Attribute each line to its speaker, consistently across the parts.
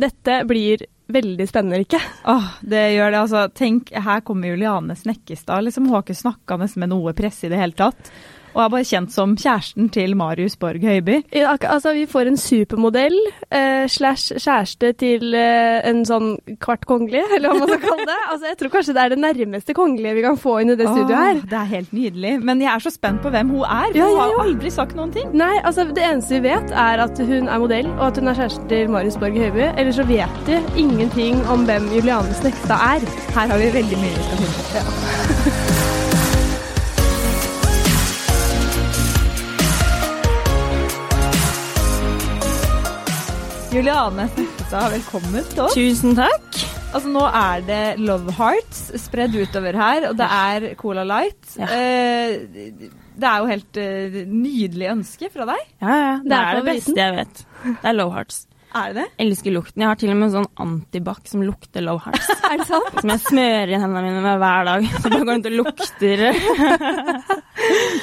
Speaker 1: Dette blir veldig spennende, ikke?
Speaker 2: Åh, det gjør det. altså. Tenk, her kommer Juliane Snekkestad. liksom. Hun har ikke snakka nesten med noe presse i det hele tatt. Og er bare kjent som kjæresten til Marius Borg Høiby.
Speaker 1: I- ak- Altså, vi får en supermodell eh, slash kjæreste til eh, en sånn kvart kongelig, eller hva man skal kalle det. Altså, jeg tror kanskje det er det nærmeste kongelige vi kan få inn i det studioet
Speaker 3: Ah.
Speaker 1: her.
Speaker 2: Åh, Det er helt nydelig. Men jeg er så spent på hvem hun er.
Speaker 1: Ja,
Speaker 2: hun
Speaker 1: ja,
Speaker 2: har jo
Speaker 1: ja.
Speaker 2: aldri sagt noen ting.
Speaker 1: Nei, altså det eneste vi vet er at hun er modell, og at hun er kjæresten til Marius Borg Høiby. Ellers så vet de ingenting om hvem Juliane Snekstad er.
Speaker 2: Her har vi veldig mye vi skal finne ut. Juliane Snekkestad, velkommen til oss.
Speaker 3: Tusen takk.
Speaker 2: Altså Nå er det Love Hearts spredd utover her, og det er Cola Light.
Speaker 3: Ja.
Speaker 2: Eh, det er jo helt eh, nydelig ønske fra deg.
Speaker 3: Ja, ja. Det,
Speaker 1: Det er
Speaker 3: er, det
Speaker 1: favoritten.
Speaker 3: beste jeg vet. Det er Low Hearts.
Speaker 2: Er det det?
Speaker 3: Elsker lukten. Jeg har til og med en sånn antibac som lukter Low Hearts.
Speaker 2: Er det sant?
Speaker 3: som jeg smører i hendene mine med hver dag. Så bare går rundt og lukter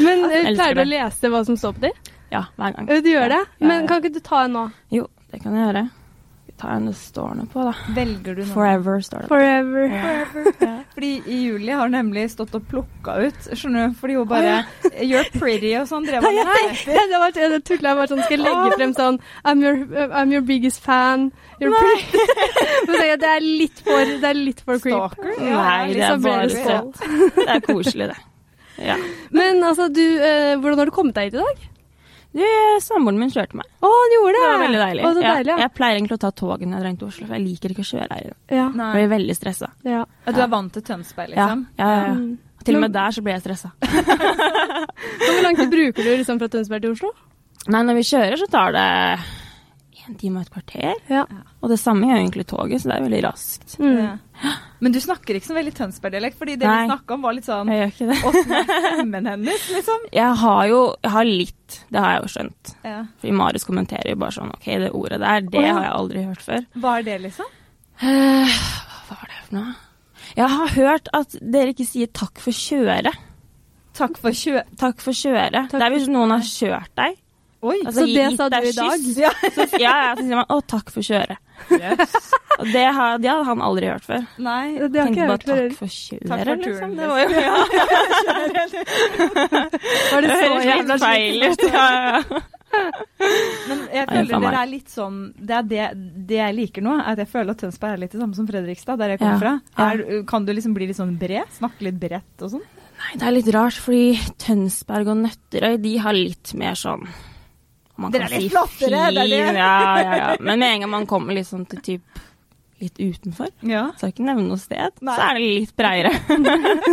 Speaker 1: Men eh,
Speaker 3: elsker
Speaker 1: pleier du å
Speaker 3: det.
Speaker 1: lese hva som står på dem?
Speaker 3: Ja, hver gang.
Speaker 1: Du gjør det?
Speaker 3: Ja, ja,
Speaker 1: Men
Speaker 3: ja.
Speaker 1: kan ikke du ta en nå?
Speaker 3: Jo, det kan jeg gjøre. Vi tar en det står noe på, da.
Speaker 2: Velger du noe?
Speaker 3: Forever står det.
Speaker 1: Forever.
Speaker 2: Fordi i juli har hun nemlig stått og plukka ut, skjønner du. Fordi hun bare eh, You're pretty og sånn. Drev
Speaker 1: Nei,
Speaker 2: hun
Speaker 1: jeg,
Speaker 2: med.
Speaker 1: jeg, jeg, jeg, jeg tullet, jeg bare sånn, skal jeg legge frem sånn I'm your, I'm your biggest fan. You're pretty. Men så tenker jeg, det er litt for, det er litt for creep.
Speaker 2: Stalker?
Speaker 3: Nei, det er
Speaker 1: liksom
Speaker 3: bare
Speaker 1: Blair Witch.
Speaker 3: søtt. Det er koselig, det. Ja.
Speaker 1: Men altså, du, eh, hvordan har du kommet deg hit i dag?
Speaker 3: Du, Samboeren min kjørte meg.
Speaker 1: Å, han gjorde
Speaker 3: Det
Speaker 1: det!
Speaker 3: var veldig deilig.
Speaker 1: Å, så
Speaker 3: Ja.
Speaker 1: deilig, ja.
Speaker 3: Jeg pleier egentlig å ta toget når jeg drar inn til Oslo, for jeg liker ikke å kjøre her.
Speaker 1: ja.
Speaker 2: Nei.
Speaker 3: Jeg blir veldig stressa.
Speaker 1: ja.
Speaker 2: Ja, Du er vant til Tønsberg, liksom?
Speaker 3: Ja, ja, ja.
Speaker 1: Mm.
Speaker 3: Til og med der så blir jeg stressa.
Speaker 1: Så hvor lang tid bruker du liksom, fra Tønsberg til Oslo?
Speaker 3: Nei, når vi kjører så tar det en time og et kvarter.
Speaker 1: Ja.
Speaker 3: Og det samme gjør egentlig toget, så det er veldig raskt.
Speaker 1: Mm.
Speaker 2: Ja. Men du snakker ikke så veldig Tønsberg-dialekt, fordi det
Speaker 3: Nei.
Speaker 2: vi snakka om, var litt sånn
Speaker 3: Jeg gjør ikke det.
Speaker 2: Åssen er stemmen hennes, liksom?
Speaker 3: Jeg har jo jeg har litt, det har jeg jo skjønt.
Speaker 2: Ja.
Speaker 3: Fordi Marius kommenterer jo bare sånn OK, det ordet der, det
Speaker 1: Å, ja.
Speaker 3: har jeg aldri hørt før.
Speaker 2: Hva er det, liksom?
Speaker 3: Eh, hva var det for noe? Jeg har hørt at dere ikke sier 'takk for kjøre'.
Speaker 2: Takk for kjø...
Speaker 3: Takk for kjøre.
Speaker 1: for
Speaker 3: det er hvis noen har kjørt deg.
Speaker 2: Oi!
Speaker 3: Altså,
Speaker 1: Så det
Speaker 3: gitt
Speaker 1: sa du
Speaker 3: deg
Speaker 1: i dag?
Speaker 3: kyss. Så, ja, ja, så sier man 'å, takk for kjøre'. Og det, har, det hadde han aldri hørt før.
Speaker 2: Nei.
Speaker 1: Det har ikke
Speaker 3: Tenkte
Speaker 1: jeg
Speaker 3: bare
Speaker 1: hørt før.
Speaker 3: 'takk for kjøre',
Speaker 2: Takk for turen,
Speaker 3: liksom. Det var jo ja.
Speaker 1: Var det så
Speaker 3: helt
Speaker 1: jævla sjukt?
Speaker 3: feil ut. Ja, ja.
Speaker 2: Men jeg
Speaker 3: Nei,
Speaker 2: føler
Speaker 3: faen meg.
Speaker 2: dere er litt sånn Det er det, det jeg liker nå, er at jeg føler at Tønsberg er litt det samme som Fredrikstad, der jeg
Speaker 3: Ja.
Speaker 2: kommer fra.
Speaker 3: Ja.
Speaker 2: Er, kan du liksom bli litt sånn bred? Snakke litt bredt og sånn?
Speaker 3: Nei, det er litt rart, fordi Tønsberg og Nøtterøy, de har litt mer sånn om man
Speaker 2: Dere
Speaker 3: kan
Speaker 2: er litt
Speaker 3: si
Speaker 2: flottere, det er det.
Speaker 3: fin, Ja, ja, ja. Men med en gang man kommer litt sånn til typ litt utenfor,
Speaker 2: Ja.
Speaker 3: skal ikke nevne noe sted,
Speaker 2: Nei.
Speaker 3: så er det litt breiere.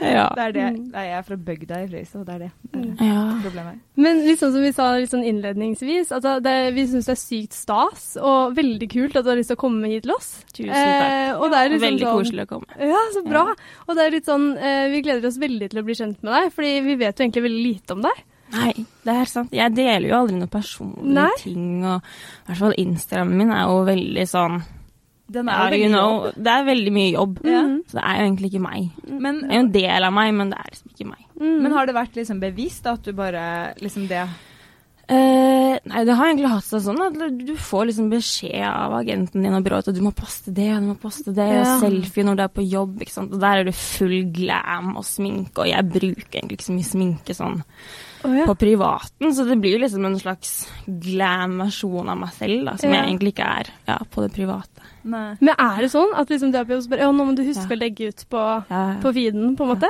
Speaker 3: ja.
Speaker 2: Det er det. Nei, jeg er fra bygda i Fløystad, og det er det. Det er det.
Speaker 3: Mm. ja.
Speaker 2: Problemet her.
Speaker 1: Men liksom som vi sa litt sånn innledningsvis, altså det, vi syns det er sykt stas og veldig kult at du har lyst til å komme hit til oss.
Speaker 3: Tusen takk.
Speaker 1: Eh, og det er liksom
Speaker 3: Veldig
Speaker 1: sånn,
Speaker 3: koselig å komme.
Speaker 1: Ja, så bra. Og det er litt sånn, eh, vi gleder oss veldig til å bli kjent med deg, fordi vi vet jo egentlig veldig lite om deg.
Speaker 3: Nei, det er sant. Jeg deler jo aldri noen personlige
Speaker 1: Nei.
Speaker 3: ting, og i hvert fall Instagramen min er jo veldig sånn
Speaker 2: Den
Speaker 3: ja,
Speaker 2: er jo
Speaker 3: you
Speaker 2: veldig
Speaker 3: know, Det er veldig mye jobb, Mm.
Speaker 1: Ja.
Speaker 3: så det er jo egentlig ikke meg.
Speaker 2: jobb. Men,
Speaker 3: Det er jo en del av meg, men det er liksom ikke meg.
Speaker 2: men har det vært liksom bevisst at du bare liksom det
Speaker 3: Eh, nei, det har egentlig hatt seg sånn at du får liksom beskjed av agenten din og byrået at du må poste det, og du må poste det,
Speaker 1: Ja.
Speaker 3: og selfie når du er på jobb, ikke sant. Og der er du full glam og sminke, og jeg bruker egentlig ikke så mye sminke sånn
Speaker 1: Å, ja.
Speaker 3: på privaten, så det blir jo liksom en slags glam-versjon av meg selv, da, som
Speaker 1: Ja.
Speaker 3: jeg egentlig ikke er ja, på det private.
Speaker 2: Nei.
Speaker 1: Men er det sånn at liksom du er på jobb og spør «Å, nå må du huske
Speaker 3: Ja.
Speaker 1: å legge ut på,
Speaker 3: Ja, ja.
Speaker 1: på feeden, på en måte?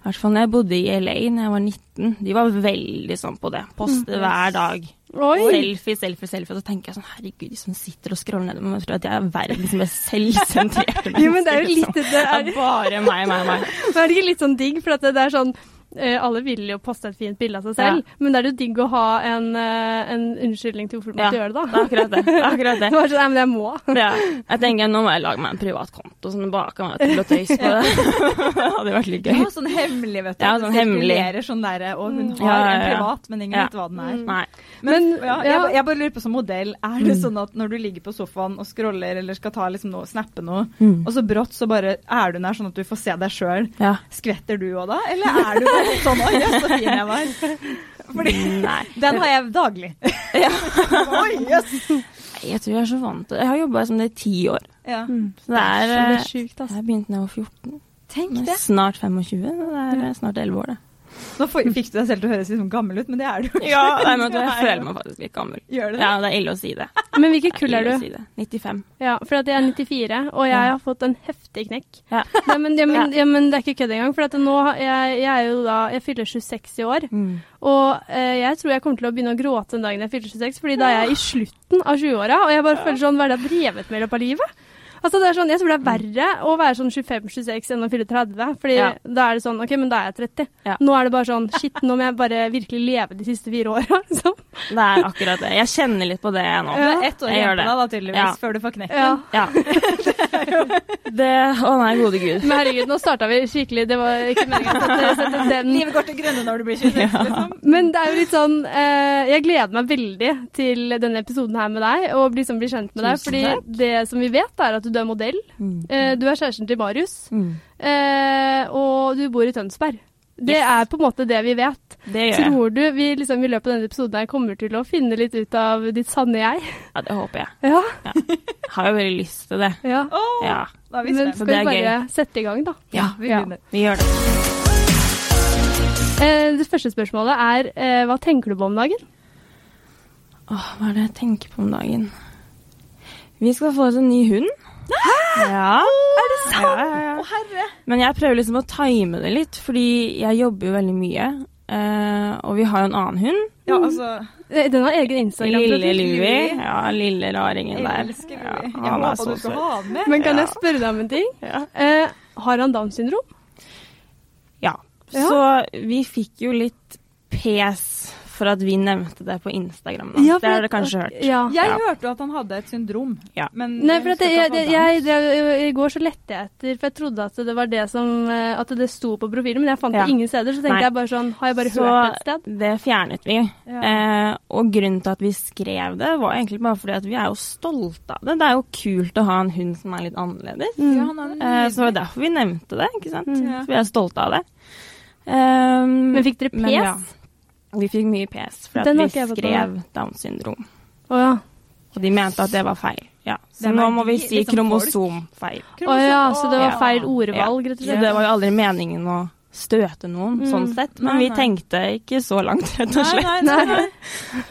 Speaker 3: I hvert fall når jeg bodde i LA da jeg var 19, de var veldig sånn på det. Poste hver dag.
Speaker 1: Mm. Oi!
Speaker 3: Selfie, selfie, selfie. Og så tenker jeg sånn Herregud, de som sitter og scroller nedover meg, tror at jeg er verdens mest selvsentrerte
Speaker 1: Jo, men det er jo litt det
Speaker 3: Det
Speaker 1: er,
Speaker 3: er bare meg, meg, meg.
Speaker 1: men er det ikke litt sånn digg, for at det, det er sånn eh, alle vil jo poste et fint bilde av seg selv, men det er jo digg å ha en, eh, en unnskyldning til hvorfor du
Speaker 3: Ja,
Speaker 1: måtte gjøre det.
Speaker 3: Det er
Speaker 1: da.
Speaker 3: akkurat det. det, er akkurat
Speaker 1: Det
Speaker 3: det.
Speaker 1: var sånn, nei, men jeg må.
Speaker 3: Ja. Jeg tenker nå må jeg lage meg en privat konto som baker meg til å tøyse på det. Det hadde vært litt gøy.
Speaker 2: Ja, sånn hemmelig, vet du.
Speaker 3: Ja,
Speaker 2: Det
Speaker 3: sånn hemmelig.
Speaker 2: sirkulerer Sånn der, og hun har
Speaker 3: Ja, ja,
Speaker 2: en
Speaker 3: ja.
Speaker 2: privat, men ingen
Speaker 3: Ja.
Speaker 2: vet hva den er.
Speaker 3: Nei.
Speaker 2: Men,
Speaker 1: Men,
Speaker 2: ja,
Speaker 1: ja.
Speaker 2: Jeg, ba- jeg bare lurer på som modell, er det sånn at når du ligger på sofaen og scroller eller skal ta liksom noe, snappe noe,
Speaker 3: Mm.
Speaker 2: og så brått så bare er du der sånn at du får se deg sjøl,
Speaker 3: Ja.
Speaker 2: skvetter du òg da? Eller er du bare sånn 'oi, jøss, så fin jeg var'? Fordi
Speaker 3: Nei.
Speaker 2: den har jeg daglig. Oi, jøss.
Speaker 3: Nei, jeg tror jeg er så vant til det. Jeg har jobba som det i ti år.
Speaker 2: Ja.
Speaker 3: Så det er,
Speaker 2: Det er
Speaker 3: eh,
Speaker 2: sjukt, altså.
Speaker 3: jeg begynte da jeg var 14.
Speaker 2: Tenk
Speaker 3: Nå er
Speaker 2: det.
Speaker 3: jeg Snart 25. så Det er eh, snart 11 år, det.
Speaker 2: Nå får- fikk du deg selv til å høres liksom gammel ut, men det er du jo.
Speaker 3: Ja, nei, men vet du, jeg føler meg faktisk litt gammel.
Speaker 2: Gjør du det?
Speaker 3: Ja, det er ille å si det.
Speaker 1: Men hvilket kull er
Speaker 3: Ille å
Speaker 1: du?
Speaker 3: si det. 95.
Speaker 1: Ja, for at jeg er 94, og jeg har fått en heftig knekk.
Speaker 3: Ja.
Speaker 1: Nei, men, ja, men, ja, men det er ikke kødd engang. For at nå, har- jeg, jeg er jo da Jeg fyller 26 i år.
Speaker 3: Mm.
Speaker 1: Og eh, jeg tror jeg kommer til å begynne å gråte den dagen jeg fyller 26, fordi da er jeg i slutten av 20-åra, og jeg bare føler sånn Hva er det jeg har drevet med i løpet av livet? Altså, det er sånn, Jeg tror det er verre å være sånn 25-26 enn å fylle 30, fordi
Speaker 3: Ja.
Speaker 1: da er det sånn OK, men da er jeg 30.
Speaker 3: Ja.
Speaker 1: Nå er det bare sånn Shit, nå må jeg bare virkelig leve de siste fire åra. Liksom.
Speaker 3: Det er akkurat det. Jeg kjenner litt på det nå.
Speaker 2: Det er ett år
Speaker 3: Jeg
Speaker 2: igjen
Speaker 3: gjør
Speaker 2: på
Speaker 3: det.
Speaker 2: deg, da, tydeligvis,
Speaker 3: Ja.
Speaker 2: før du får knekken.
Speaker 1: Ja.
Speaker 3: Ja. Det Å nei, gode gud.
Speaker 1: Men herregud, nå starta vi skikkelig, det var ikke meninga å sette- sette den
Speaker 2: Livet går til grønne når du blir 26, liksom.
Speaker 1: Men det er jo litt sånn eh, Jeg gleder meg veldig til denne episoden her med deg, og bli, liksom, bli kjent med deg.
Speaker 3: Tusen
Speaker 1: Fordi
Speaker 3: takk.
Speaker 1: det som vi vet, er at du er modell. Eh, du er kjæresten til Marius.
Speaker 3: Mm.
Speaker 1: Eh, og du bor i Tønsberg. Det er på en måte det vi vet.
Speaker 3: Det gjør jeg.
Speaker 1: Tror du vi liksom, i løpet av denne episoden her kommer til å finne litt ut av ditt sanne jeg?
Speaker 3: Ja, det håper jeg.
Speaker 1: Ja.
Speaker 3: Har jo veldig lyst til det.
Speaker 1: ja.
Speaker 2: Åh,
Speaker 3: Ja.
Speaker 2: Da er vi
Speaker 1: Men
Speaker 2: spent. Ah,
Speaker 1: skal
Speaker 3: det
Speaker 1: vi
Speaker 3: er
Speaker 1: bare sette i gang, da?
Speaker 3: Ja,
Speaker 2: Vi
Speaker 1: Ja.
Speaker 2: begynner.
Speaker 3: vi gjør det.
Speaker 1: Eh, det første spørsmålet er eh, hva tenker du på om dagen?
Speaker 3: Åh, hva er det jeg tenker på om dagen? Vi skal få oss en ny hund. Ja. Er det sant? Ja, ja,
Speaker 2: Å,
Speaker 3: ja.
Speaker 2: herre!
Speaker 3: Men jeg prøver liksom å time det litt, fordi jeg jobber jo veldig mye. eh, og vi har jo en annen hund.
Speaker 2: Ja, altså
Speaker 1: Eh, Den har egen
Speaker 3: Lille
Speaker 1: Instagram-profil.
Speaker 3: Louie.
Speaker 2: Louie.
Speaker 3: Ja, lille raringen
Speaker 2: Jeg
Speaker 3: der.
Speaker 2: elsker
Speaker 3: Ja,
Speaker 2: Louis. Jeg
Speaker 3: han er
Speaker 2: håpa
Speaker 3: så
Speaker 2: du skal
Speaker 3: søt.
Speaker 2: ha den med.
Speaker 1: Men kan
Speaker 3: Ja.
Speaker 1: jeg spørre deg om en ting?
Speaker 3: Ja.
Speaker 1: Eh, har han Downs syndrom?
Speaker 3: Ja.
Speaker 1: Ja.
Speaker 3: Så vi fikk jo litt pes for at vi nevnte det på Instagram. Da.
Speaker 1: Ja, for
Speaker 3: det har
Speaker 1: at-
Speaker 3: dere kanskje hørt.
Speaker 1: Ja.
Speaker 2: Jeg
Speaker 3: Ja.
Speaker 2: hørte jo at han hadde et syndrom.
Speaker 3: Ja.
Speaker 2: Men
Speaker 1: Nei, for at
Speaker 2: husker
Speaker 1: jeg,
Speaker 2: ikke
Speaker 1: jeg,
Speaker 2: at han
Speaker 1: jeg,
Speaker 2: hadde
Speaker 1: det- I går så lette jeg etter, for jeg trodde at det var det som eh, At det sto på profilen, men jeg fant
Speaker 3: Ja.
Speaker 1: det ingen steder. Så tenkte
Speaker 3: Nei.
Speaker 1: jeg bare sånn Har jeg bare
Speaker 3: Så
Speaker 1: hørt et sted?
Speaker 3: det fjernet vi.
Speaker 2: Ja.
Speaker 3: Eh, og grunnen til at vi skrev det, var egentlig bare fordi at vi er jo stolte av det. Det er jo kult å ha en hund som er litt annerledes.
Speaker 2: den. Ja, han er
Speaker 3: Eh,
Speaker 2: nydelig.
Speaker 3: så det var derfor vi nevnte det, ikke sant.
Speaker 2: Ja.
Speaker 3: Så vi er stolte av det. Um,
Speaker 1: Mm. Men fikk dere pes?
Speaker 3: men ja. Vi fikk mye pes for at
Speaker 1: Den har
Speaker 3: vi
Speaker 1: ikke jeg fått
Speaker 3: skrev Downs syndrom.
Speaker 1: Å ja.
Speaker 3: Og de mente at det var feil. Ja. Så
Speaker 2: Hvem er
Speaker 3: nå må vi
Speaker 2: de,
Speaker 3: si
Speaker 2: liksom folk?
Speaker 3: kromosomfeil.
Speaker 1: Å ja, så det var
Speaker 3: Ja.
Speaker 1: feil ordvalg, rett og
Speaker 3: Så
Speaker 1: slett.
Speaker 3: det var jo aldri meningen å støte noen,
Speaker 1: Mm.
Speaker 3: sånn sett. Men
Speaker 2: Nei,
Speaker 3: vi
Speaker 2: nei.
Speaker 3: tenkte ikke så langt, rett og
Speaker 2: Nei,
Speaker 3: slett.
Speaker 2: nei, nei. nei.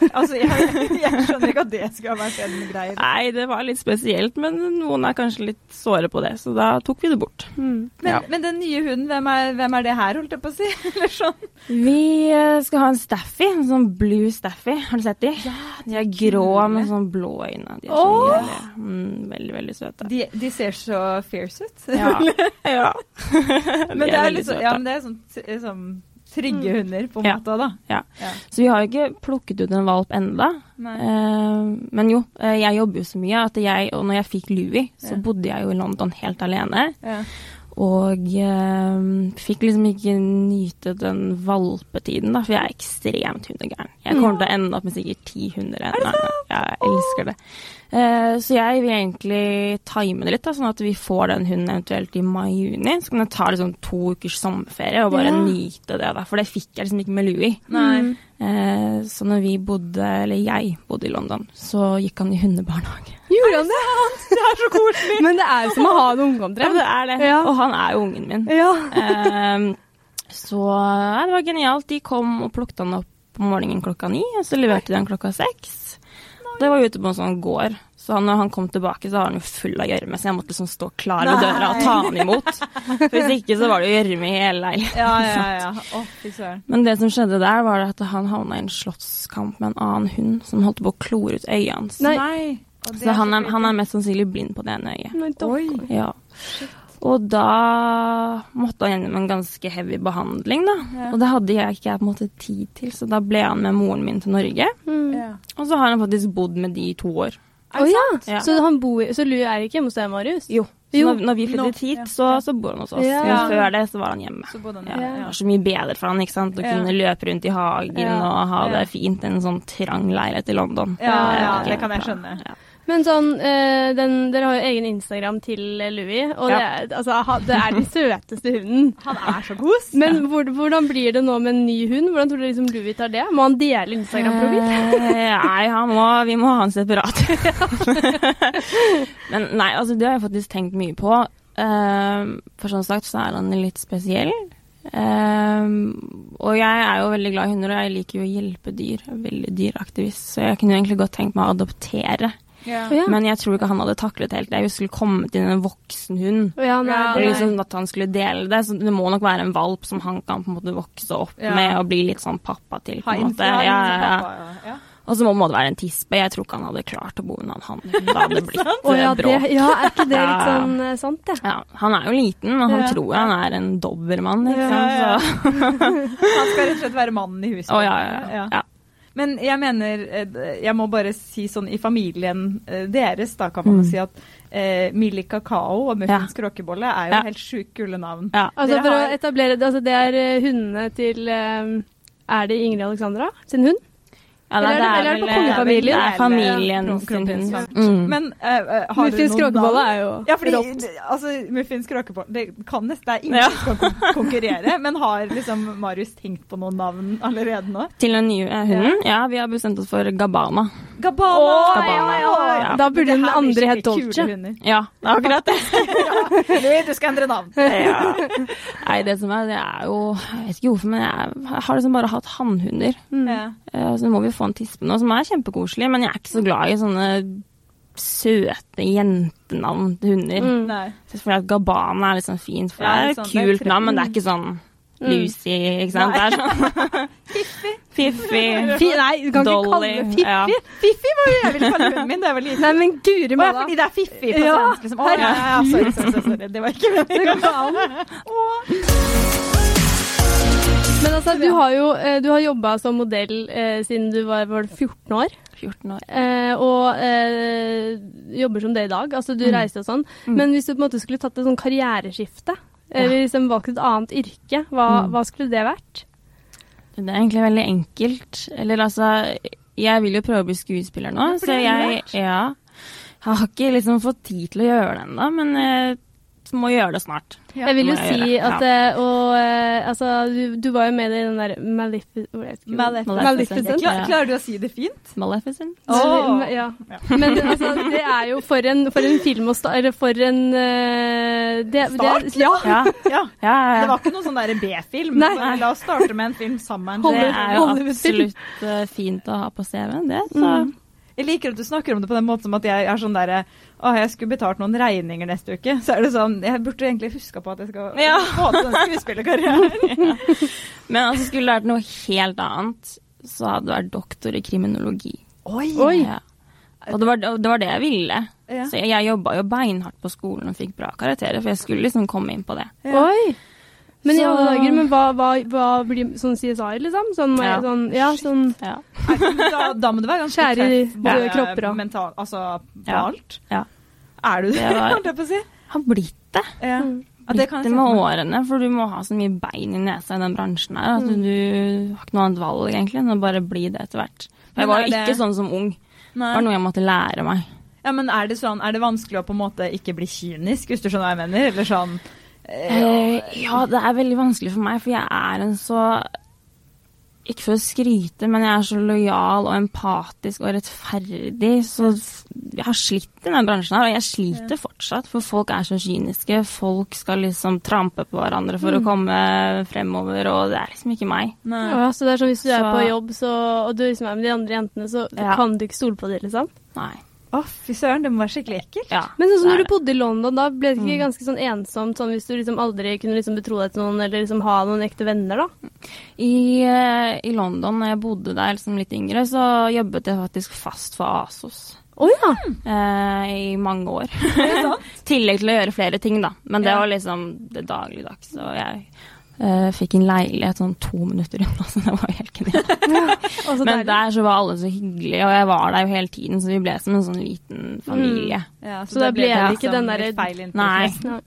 Speaker 2: altså, jeg, jeg skjønner ikke at det skulle ha vært en greie.
Speaker 3: Nei, det var litt spesielt, men noen er kanskje litt såre på det, så da tok vi det bort.
Speaker 1: Mm.
Speaker 2: Men,
Speaker 3: Ja.
Speaker 2: men den nye hunden, hvem er, hvem er det her, holdt jeg på å si? Eller sånn.
Speaker 3: Vi eh, skal ha en staffy, en sånn blue staffy. Har du sett de? Ja, de er grå med sånn blå øyne. De er så
Speaker 2: Åh!
Speaker 3: nydelige. Mm, veldig, veldig søte.
Speaker 2: De, de ser så fierce ut.
Speaker 3: Ja. ja.
Speaker 2: men, det er litt så- ja, men det er sånn, t- sånn trygge hunder, på en
Speaker 3: Ja.
Speaker 2: måte, da.
Speaker 3: Ja.
Speaker 2: Ja.
Speaker 3: Så vi har jo ikke plukket ut en valp enda.
Speaker 2: Nei.
Speaker 3: Eh, men jo, eh, jeg jobber jo så mye at jeg, og når jeg fikk Louis, så
Speaker 2: Ja.
Speaker 3: bodde jeg jo i London helt alene.
Speaker 2: Ja.
Speaker 3: Og eh, fikk liksom ikke nyte den valpetiden, da, for jeg er ekstremt hundegæren. Jeg kommer til å ende opp med sikkert ti hunder. Er det sant? Ja, jeg elsker det. Eh, så jeg vil egentlig time det litt, da, sånn at vi får den hunden eventuelt i mai-juni. Så kan jeg ta liksom to ukers sommerferie og bare
Speaker 1: Ja.
Speaker 3: nyte det, da, for det fikk jeg liksom ikke med Louis.
Speaker 2: Nei.
Speaker 3: Eh, så når vi bodde, eller jeg bodde i London, så gikk han i hundebarnehage.
Speaker 1: Gjorde han det? Det er så koselig! Men det er jo som å ha en unge
Speaker 3: Ja,
Speaker 1: omtrent.
Speaker 3: det er det.
Speaker 1: Ja.
Speaker 3: Og han er jo ungen min.
Speaker 1: Ja.
Speaker 3: Ehm, så nei, det var genialt. De kom og plukket han opp om morgenen klokka ni, og så leverte de han klokka seks. Det var jo ute på en sånn gård, så han, når han kom tilbake, så var han jo full av gjørme, så jeg måtte liksom stå klar ved
Speaker 2: Nei.
Speaker 3: døra og ta han imot. Hvis ikke så var det jo gjørme i hele leiligheten.
Speaker 2: Ja, ja, ja. Å, fy søren.
Speaker 3: Men det som skjedde der, var at han havna i en slåsskamp med en annen hund som holdt på å klore ut øyet hans.
Speaker 1: Nei.
Speaker 2: Og det
Speaker 3: Så han er,
Speaker 2: så
Speaker 3: han er mest sannsynlig blind på det ene øyet.
Speaker 1: Nei, da-
Speaker 2: Oi.
Speaker 3: Ja. Og da måtte han gjennom en ganske heavy behandling, da.
Speaker 2: Ja.
Speaker 3: Og det hadde jeg ikke jeg på en måte tid til, så da ble han med moren min til Norge.
Speaker 1: Mm.
Speaker 2: Ja.
Speaker 3: Og så har han faktisk bodd med de i to år.
Speaker 1: Å ja.
Speaker 3: Ja.
Speaker 1: Så han bor i Så Louie er ikke hjemme hos deg, Marius?
Speaker 3: Jo. Så
Speaker 1: Jo.
Speaker 3: når, når vi
Speaker 2: Nå.
Speaker 3: flyttet hit,
Speaker 2: Ja.
Speaker 3: så, så bor han hos oss.
Speaker 1: Ja.
Speaker 3: Men før det så var han hjemme.
Speaker 2: Så både han
Speaker 3: Ja,
Speaker 2: og-
Speaker 3: det var så mye bedre for han, ikke sant. Å
Speaker 2: Ja.
Speaker 3: kunne løpe rundt i hagen
Speaker 2: Ja.
Speaker 3: og ha det
Speaker 2: Ja.
Speaker 3: fint i en sånn trang leilighet i London.
Speaker 2: Ja,
Speaker 1: Ja,
Speaker 2: ja,
Speaker 1: ok.
Speaker 2: det kan jeg skjønne.
Speaker 3: Ja.
Speaker 1: Men sånn, eh, den, dere har jo egen Instagram til eh, Louis, og det, er, altså, ha- det er den søteste hunden.
Speaker 2: Han er så kos.
Speaker 1: Men hvor, hvordan blir det nå med en ny hund? Hvordan tror du liksom Louis tar det? Må han dele Instagram-profil?
Speaker 3: Eh, Nei, han må, vi må ha en separat. Men nei, altså det har jeg faktisk tenkt mye på. Ehm, for sånn sagt så er han litt spesiell. Ehm, og jeg er jo veldig glad i hunder, og jeg liker jo å hjelpe dyr. Jeg er veldig dyreaktivist, så jeg kunne egentlig godt tenkt meg å adoptere.
Speaker 2: Eh,
Speaker 1: Å ja.
Speaker 3: Men jeg tror ikke han hadde taklet helt det. Jeg skulle kommet inn en voksen hund.
Speaker 1: Å ja, nei,
Speaker 2: Ja,
Speaker 3: Og
Speaker 1: det,
Speaker 3: liksom at han skulle dele det. Så det må nok være en valp som han kan på en måte vokse opp
Speaker 2: Ja.
Speaker 3: med og bli litt sånn pappa til. på
Speaker 2: Ha
Speaker 3: en måte.
Speaker 2: innflytelse,
Speaker 3: Ja, ja, ja.
Speaker 2: pappa, ja.
Speaker 3: Og så må må det være en tispe. Jeg tror ikke han hadde klart å bo unna en hann. Da hadde det blitt
Speaker 1: Å ja,
Speaker 3: eh,
Speaker 1: det,
Speaker 3: bråk.
Speaker 1: ja, er ikke det litt
Speaker 3: Ja.
Speaker 1: sånn eh, sant, ja?
Speaker 3: Ja, han er jo liten, og han
Speaker 2: Ja.
Speaker 3: tror han er en dobbermann. Ikke
Speaker 2: Ja,
Speaker 3: sant?
Speaker 2: ja, ja.
Speaker 3: Så,
Speaker 2: Han skal rett og slett være mannen i huset.
Speaker 3: Å, ja, ja, ja. Ja.
Speaker 2: Men jeg mener, eh, jeg må bare si sånn i familien eh, deres, da kan man jo
Speaker 3: Mm.
Speaker 2: si at eh, Millie Kakao og Muffins Kråkebolle er jo
Speaker 3: Ja.
Speaker 2: helt sjukt kule navn.
Speaker 3: ja.
Speaker 1: Altså
Speaker 2: Dere
Speaker 1: for å
Speaker 2: har-
Speaker 1: etablere det, altså det er eh, hundene til eh, Er det Ingrid Alexandra sin hund?
Speaker 3: Ja,
Speaker 1: Eller er det- eller er det på kongefamilien?
Speaker 3: eh, Det er familien
Speaker 2: Ja,
Speaker 3: sin
Speaker 2: kronprins, ja.
Speaker 3: hund. Mm.
Speaker 2: Men eh, eh, har
Speaker 1: Muffins
Speaker 2: du noen
Speaker 1: kråkebolle
Speaker 2: navn?
Speaker 1: er jo
Speaker 2: Ja, fordi
Speaker 1: rått.
Speaker 2: det- altså, Muffins kråkebolle Det kan nesten det er ingen
Speaker 3: Ja.
Speaker 2: som kan kon- konkurrere, men har liksom Marius tenkt på noen navn allerede nå?
Speaker 3: Til den nye eh, hunden? Ja, vi har bestemt oss for Gabbana.
Speaker 2: Gabbana!
Speaker 1: Å,
Speaker 3: Gabbana.
Speaker 1: ja, ja, ja. Da burde
Speaker 2: Det
Speaker 1: den
Speaker 2: her blir
Speaker 1: andre hett
Speaker 2: skikkelig
Speaker 1: Dolce.
Speaker 2: kule hunder.
Speaker 3: Ja, det er akkurat det.
Speaker 2: Eller du skal endre navn.
Speaker 3: Ja. Nei, det som er, det er jo Jeg vet ikke hvorfor, men jeg har liksom bare hatt hannhunder.
Speaker 1: Mm.
Speaker 2: Ja.
Speaker 3: Eh, Så nå må vi få en tispe nå, som er kjempekoselig, men jeg er ikke så glad i sånne søte jentenavn til hunder.
Speaker 1: Mm.
Speaker 2: Nei.
Speaker 3: Så føler jeg at Gabbana er litt sånn fint, for
Speaker 2: Ja,
Speaker 3: det er
Speaker 2: litt
Speaker 3: et
Speaker 2: sånn- det er
Speaker 3: kult
Speaker 2: tre-
Speaker 3: navn, men det er ikke sånn Lucy, ikke sant? Det er sånn Fiffi.
Speaker 1: Fi, nei, du kan ikke kalle
Speaker 3: Dolly,
Speaker 1: det Fiffi.
Speaker 3: ja.
Speaker 2: Fiffi var det jeg ville kalle hunden min da jeg var liten.
Speaker 1: Nei, men guri
Speaker 2: Å, ja,
Speaker 1: malla.
Speaker 2: fordi det er Fiffi på
Speaker 1: Ja,
Speaker 2: svensk. Liksom. Å, ja, ja, sorry, sorry, sorry, sorry. Det var
Speaker 1: Det
Speaker 2: ikke
Speaker 1: går
Speaker 2: meningen.
Speaker 1: ikke an. Men altså, du har jo eh, du har jobba som modell eh, siden du var, var det 14 år,
Speaker 3: 14 år.
Speaker 1: eh, og eh, jobber som det i dag. Altså, du
Speaker 3: Mm.
Speaker 1: reiser og sånn.
Speaker 3: Mm.
Speaker 1: Men hvis du på en måte skulle tatt et sånn karriereskifte,
Speaker 3: Ja.
Speaker 1: eller liksom valgt et annet yrke, hva,
Speaker 3: Mm.
Speaker 1: hva skulle det vært?
Speaker 3: Det er egentlig veldig enkelt. Eller altså, jeg vil jo prøve å bli skuespiller nå,
Speaker 2: for
Speaker 3: så
Speaker 2: det er
Speaker 3: jeg, ja, jeg har ikke liksom fått tid til å gjøre det ennå, men jeg må gjøre det snart.
Speaker 2: Ja,
Speaker 1: jeg vil jo
Speaker 3: det må jeg
Speaker 1: si
Speaker 3: gjøre,
Speaker 1: at eh, Og eh, altså, du, du var jo med i den der Malefic...
Speaker 2: Maleficent.
Speaker 1: Maleficent.
Speaker 2: Klar, klarer du å si det fint?
Speaker 3: Maleficent.
Speaker 2: Åh.
Speaker 1: Ja. Men altså, det er jo for en, for en film å starte Eller for en eh, det,
Speaker 2: Start,
Speaker 1: Det, ja.
Speaker 3: Ja,
Speaker 2: Ja.
Speaker 3: ja,
Speaker 2: Det
Speaker 3: ja.
Speaker 2: var ikke noen sånn der B-film.
Speaker 1: Nei.
Speaker 2: men La oss starte med en film sammen.
Speaker 1: Hollywood-
Speaker 3: Det er jo
Speaker 1: Hollywood-film.
Speaker 3: absolutt eh, fint å ha på CV-en, det. Så.
Speaker 2: Mm. Jeg liker at du snakker om det på den måten som at jeg er sånn derre Å, jeg skulle betalt noen regninger neste uke. Så er det sånn Jeg burde egentlig huska på at jeg skal
Speaker 3: Ja.
Speaker 2: få til den skuespillerkarrieren.
Speaker 3: Men altså, skulle det vært noe helt annet, så hadde det vært doktor i kriminologi.
Speaker 2: Oi.
Speaker 1: Oi.
Speaker 3: Ja. Og det var, det var det jeg ville.
Speaker 2: Ja.
Speaker 3: Så jeg, jeg jobba jo beinhardt på skolen og fikk bra karakterer, for jeg skulle liksom komme inn på det.
Speaker 2: Ja.
Speaker 1: Oi! Men i
Speaker 3: Så-
Speaker 1: alle dager, men hva, hva, hva blir sånn CSI, liksom? Sånn, ja.
Speaker 3: Ja.
Speaker 1: sånn, ja, sånn
Speaker 3: Ja.
Speaker 2: Da, da må du være ganske
Speaker 1: Skjære i
Speaker 2: tøff. både
Speaker 1: døde kropper og-
Speaker 2: mental- Altså på
Speaker 3: Ja.
Speaker 2: alt.
Speaker 3: Ja.
Speaker 2: Er du det,
Speaker 3: Det var-
Speaker 2: holdt jeg på å si?
Speaker 3: Har blitt det.
Speaker 2: Ja. Ja,
Speaker 3: Blitt
Speaker 2: det kan
Speaker 3: det
Speaker 2: jeg se
Speaker 3: med
Speaker 2: for meg.
Speaker 3: årene, for du må ha så mye bein i nesa i den bransjen her at
Speaker 2: Mm.
Speaker 3: du har ikke noe annet valg egentlig enn å bare bli det etter hvert. For
Speaker 2: Men
Speaker 3: jeg var
Speaker 2: er
Speaker 3: jo
Speaker 2: det-
Speaker 3: ikke sånn som ung. Det var noe jeg måtte lære meg.
Speaker 2: Ja, men er det, sånn, er det vanskelig å på en måte ikke bli kynisk, hvis du skjønner hva jeg mener? Eller sånn
Speaker 3: Eh, ja, det er veldig vanskelig for meg, for jeg er en så Ikke for å skryte, men jeg er så lojal og empatisk og rettferdig. Så f- jeg har slitt i den bransjen her, og jeg sliter fortsatt. For folk er så kyniske. Folk skal liksom trampe på hverandre for
Speaker 1: Mm.
Speaker 3: å komme fremover, og det er liksom ikke meg.
Speaker 2: Nei.
Speaker 1: ja, Så det er sånn hvis du er
Speaker 3: Så-
Speaker 1: på jobb så, og du liksom er med de andre jentene, så
Speaker 3: Ja.
Speaker 1: kan du ikke stole på dem, liksom.
Speaker 3: Nei.
Speaker 2: Å, fy søren, det må være skikkelig ekkelt.
Speaker 3: Ja,
Speaker 1: Men sånn som
Speaker 3: det er
Speaker 1: når
Speaker 3: det.
Speaker 1: du bodde i London, da ble det ikke ganske sånn ensomt sånn hvis du liksom aldri kunne liksom betro deg til noen eller liksom ha noen ekte venner, da?
Speaker 3: I, eh, I London, når jeg bodde der som litt yngre, så jobbet jeg faktisk fast for ASOS
Speaker 1: Å ja!
Speaker 3: eh, i mange år. I tillegg til å gjøre flere ting, da. Men det
Speaker 2: Ja.
Speaker 3: var liksom det dagligdags. Og jeg eh, fikk en leilighet sånn to minutter unna, så det var jo helt genialt.
Speaker 1: Altså,
Speaker 3: Men
Speaker 1: deilig.
Speaker 3: der så var alle så hyggelige, og jeg var der jo hele tiden, så vi ble som en sånn liten familie.
Speaker 2: Ja,
Speaker 1: Så da ble det ikke den
Speaker 2: litt sånn
Speaker 1: der-
Speaker 2: feil inntrykk.
Speaker 3: Nei.
Speaker 1: Ja.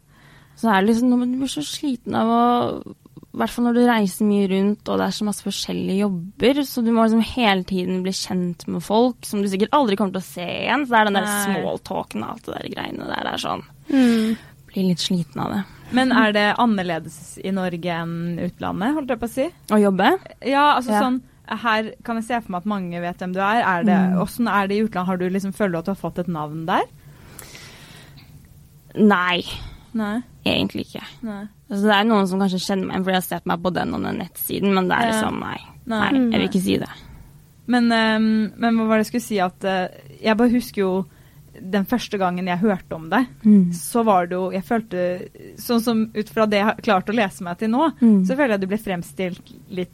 Speaker 3: Så er det liksom noe med at du blir så sliten av å i hvert fall når du reiser mye rundt og det er så masse forskjellige jobber, så du må liksom hele tiden bli kjent med folk som du sikkert aldri kommer til å se igjen. Så det er den der
Speaker 2: Nei.
Speaker 3: smalltalken og alt det der greiene der. Det er sånn
Speaker 1: Mm.
Speaker 3: Blir litt sliten av det.
Speaker 2: Men er det annerledes i Norge enn utlandet, holdt jeg på å si?
Speaker 3: Å jobbe?
Speaker 2: Ja, altså
Speaker 3: Ja.
Speaker 2: sånn her kan jeg se for meg at mange vet hvem du er. er det, Hvordan er det i utlandet? Har du liksom, føler du at du har fått et navn der?
Speaker 3: Nei,
Speaker 2: Nei.
Speaker 3: egentlig ikke.
Speaker 2: Nei.
Speaker 3: Altså, det er noen som kanskje kjenner meg fordi jeg har sett meg på den og den nettsiden, men det er
Speaker 2: Ja.
Speaker 3: liksom nei. Nei,
Speaker 2: Nei.
Speaker 3: jeg vil ikke si det.
Speaker 2: Men, ehm, men hva var det jeg skulle si at eh, Jeg bare husker jo den første gangen jeg hørte om deg, så var det jo Jeg følte Sånn som ut fra det jeg har klart å lese meg til nå,
Speaker 3: Mm.
Speaker 2: så føler jeg du ble fremstilt litt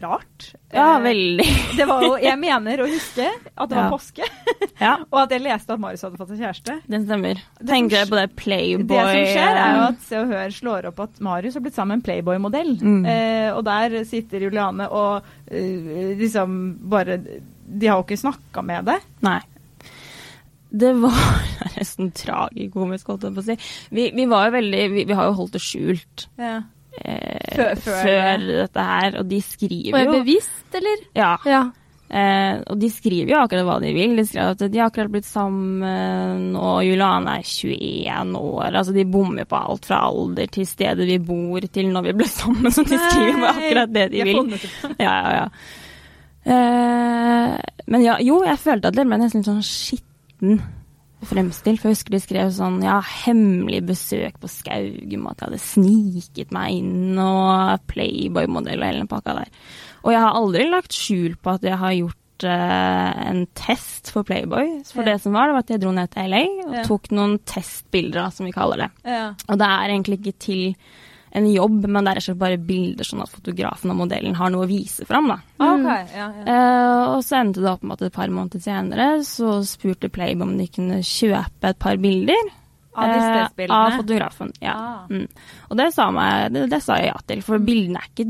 Speaker 2: rart.
Speaker 3: Ja,
Speaker 2: Eh,
Speaker 3: veldig.
Speaker 2: Det var jo Jeg mener å huske at det var
Speaker 3: Ja.
Speaker 2: påske,
Speaker 3: Ja,
Speaker 2: og at jeg leste at Marius hadde fått seg kjæreste.
Speaker 3: det stemmer. Tenker jeg på det Playboy
Speaker 2: Det som skjer, er jo at Se og Hør slår opp at Marius har blitt sammen med en Playboy-modell.
Speaker 3: Mm.
Speaker 2: Eh, og der sitter Juliane og eh, liksom bare De har jo ikke snakka med det.
Speaker 3: Nei. Det var nesten tragikomisk, holdt jeg på å si. Vi, vi var jo veldig Vi, vi har jo holdt det skjult eh,
Speaker 2: Før-
Speaker 3: før,
Speaker 2: før-
Speaker 3: dette her, og de
Speaker 1: Og
Speaker 3: skriver
Speaker 1: er
Speaker 3: jo
Speaker 1: bevisst, eller?
Speaker 3: ja,
Speaker 1: Ja.
Speaker 3: eh, Og de skriver jo akkurat hva de vil. De skriver at de har akkurat blitt sammen, og Juliane er 21 år. Altså, de bommer på alt fra alder til stedet vi bor, til når vi ble sammen. Så de skriver bare akkurat det de vil. Ja, ja, ja. Eh, men ja, jo, jeg følte at dere ble nesten litt sånn skitten fremstilt. For jeg husker de skrev sånn ja, hemmelig besøk på Skaugum, og at jeg hadde sniket meg inn, og Playboy-modell og hele den pakka der. Og jeg har aldri lagt skjul på at jeg har gjort eh, en test for Playboy. For
Speaker 2: Ja.
Speaker 3: det som var, det var at jeg dro ned til LA og
Speaker 2: Ja.
Speaker 3: tok noen testbilder, da, som vi kaller det.
Speaker 2: Ja.
Speaker 3: Og det er egentlig ikke til en jobb, men det er rett og slett bare bilder, sånn at fotografen og modellen har noe å vise fram. Da.
Speaker 2: Ah, Ok, ja, ja.
Speaker 3: Eh, og så endte det opp med at et par måneder senere så spurte Playboy om de kunne kjøpe et par bilder
Speaker 2: Av de
Speaker 3: eh, av
Speaker 2: stedsbildene.
Speaker 3: fotografen. Ja.
Speaker 2: Ah.
Speaker 3: Mm. Og det sa, meg, det, det sa jeg ja til, for bildene er ikke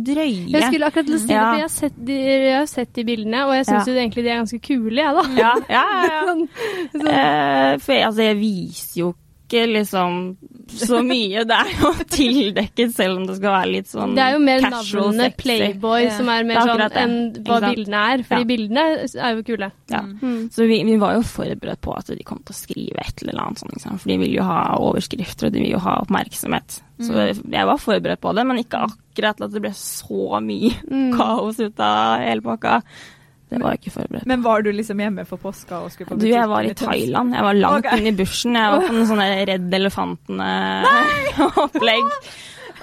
Speaker 1: Jeg
Speaker 3: drøye.
Speaker 1: skulle liksom- akkurat til å si det,
Speaker 3: Ja.
Speaker 1: for jeg har sett de, jeg har sett de bildene, og jeg syns
Speaker 3: Ja.
Speaker 1: jo egentlig de er ganske kule, jeg, da.
Speaker 3: ja, ja, ja, ja.
Speaker 1: Sånn,
Speaker 3: Eh, for jeg, altså, jeg viser jo ikke liksom så mye. Det er jo tildekket, selv om det skal være litt sånn
Speaker 1: det er jo mer
Speaker 3: casual
Speaker 1: navnene
Speaker 3: sexy.
Speaker 1: Playboy
Speaker 2: Ja.
Speaker 1: som er
Speaker 3: Det
Speaker 1: mer
Speaker 3: er
Speaker 1: sånn
Speaker 3: akkurat det.
Speaker 1: enn hva
Speaker 3: Ikke sant?
Speaker 1: bildene er, for de
Speaker 3: Ja.
Speaker 1: bildene er jo kule.
Speaker 3: Ja.
Speaker 1: Mm.
Speaker 3: Så vi, vi var jo forberedt på at de kom til å skrive et eller annet sånt, ikke sant? for de vil jo ha overskrifter og de vil jo ha oppmerksomhet. Så
Speaker 2: Mm.
Speaker 3: jeg var forberedt på det, men ikke akkurat at det ble så mye
Speaker 2: Mm.
Speaker 3: kaos ut av hele pakka. Det var jeg ikke forberedt på.
Speaker 2: Men var du liksom hjemme for påska og skulle på
Speaker 3: Du, jeg var i
Speaker 2: butikken litt?
Speaker 3: Thailand. Jeg var langt
Speaker 2: Ok.
Speaker 3: inn i bushen. Jeg var på en sånn der Redd Elefantene-opplegg.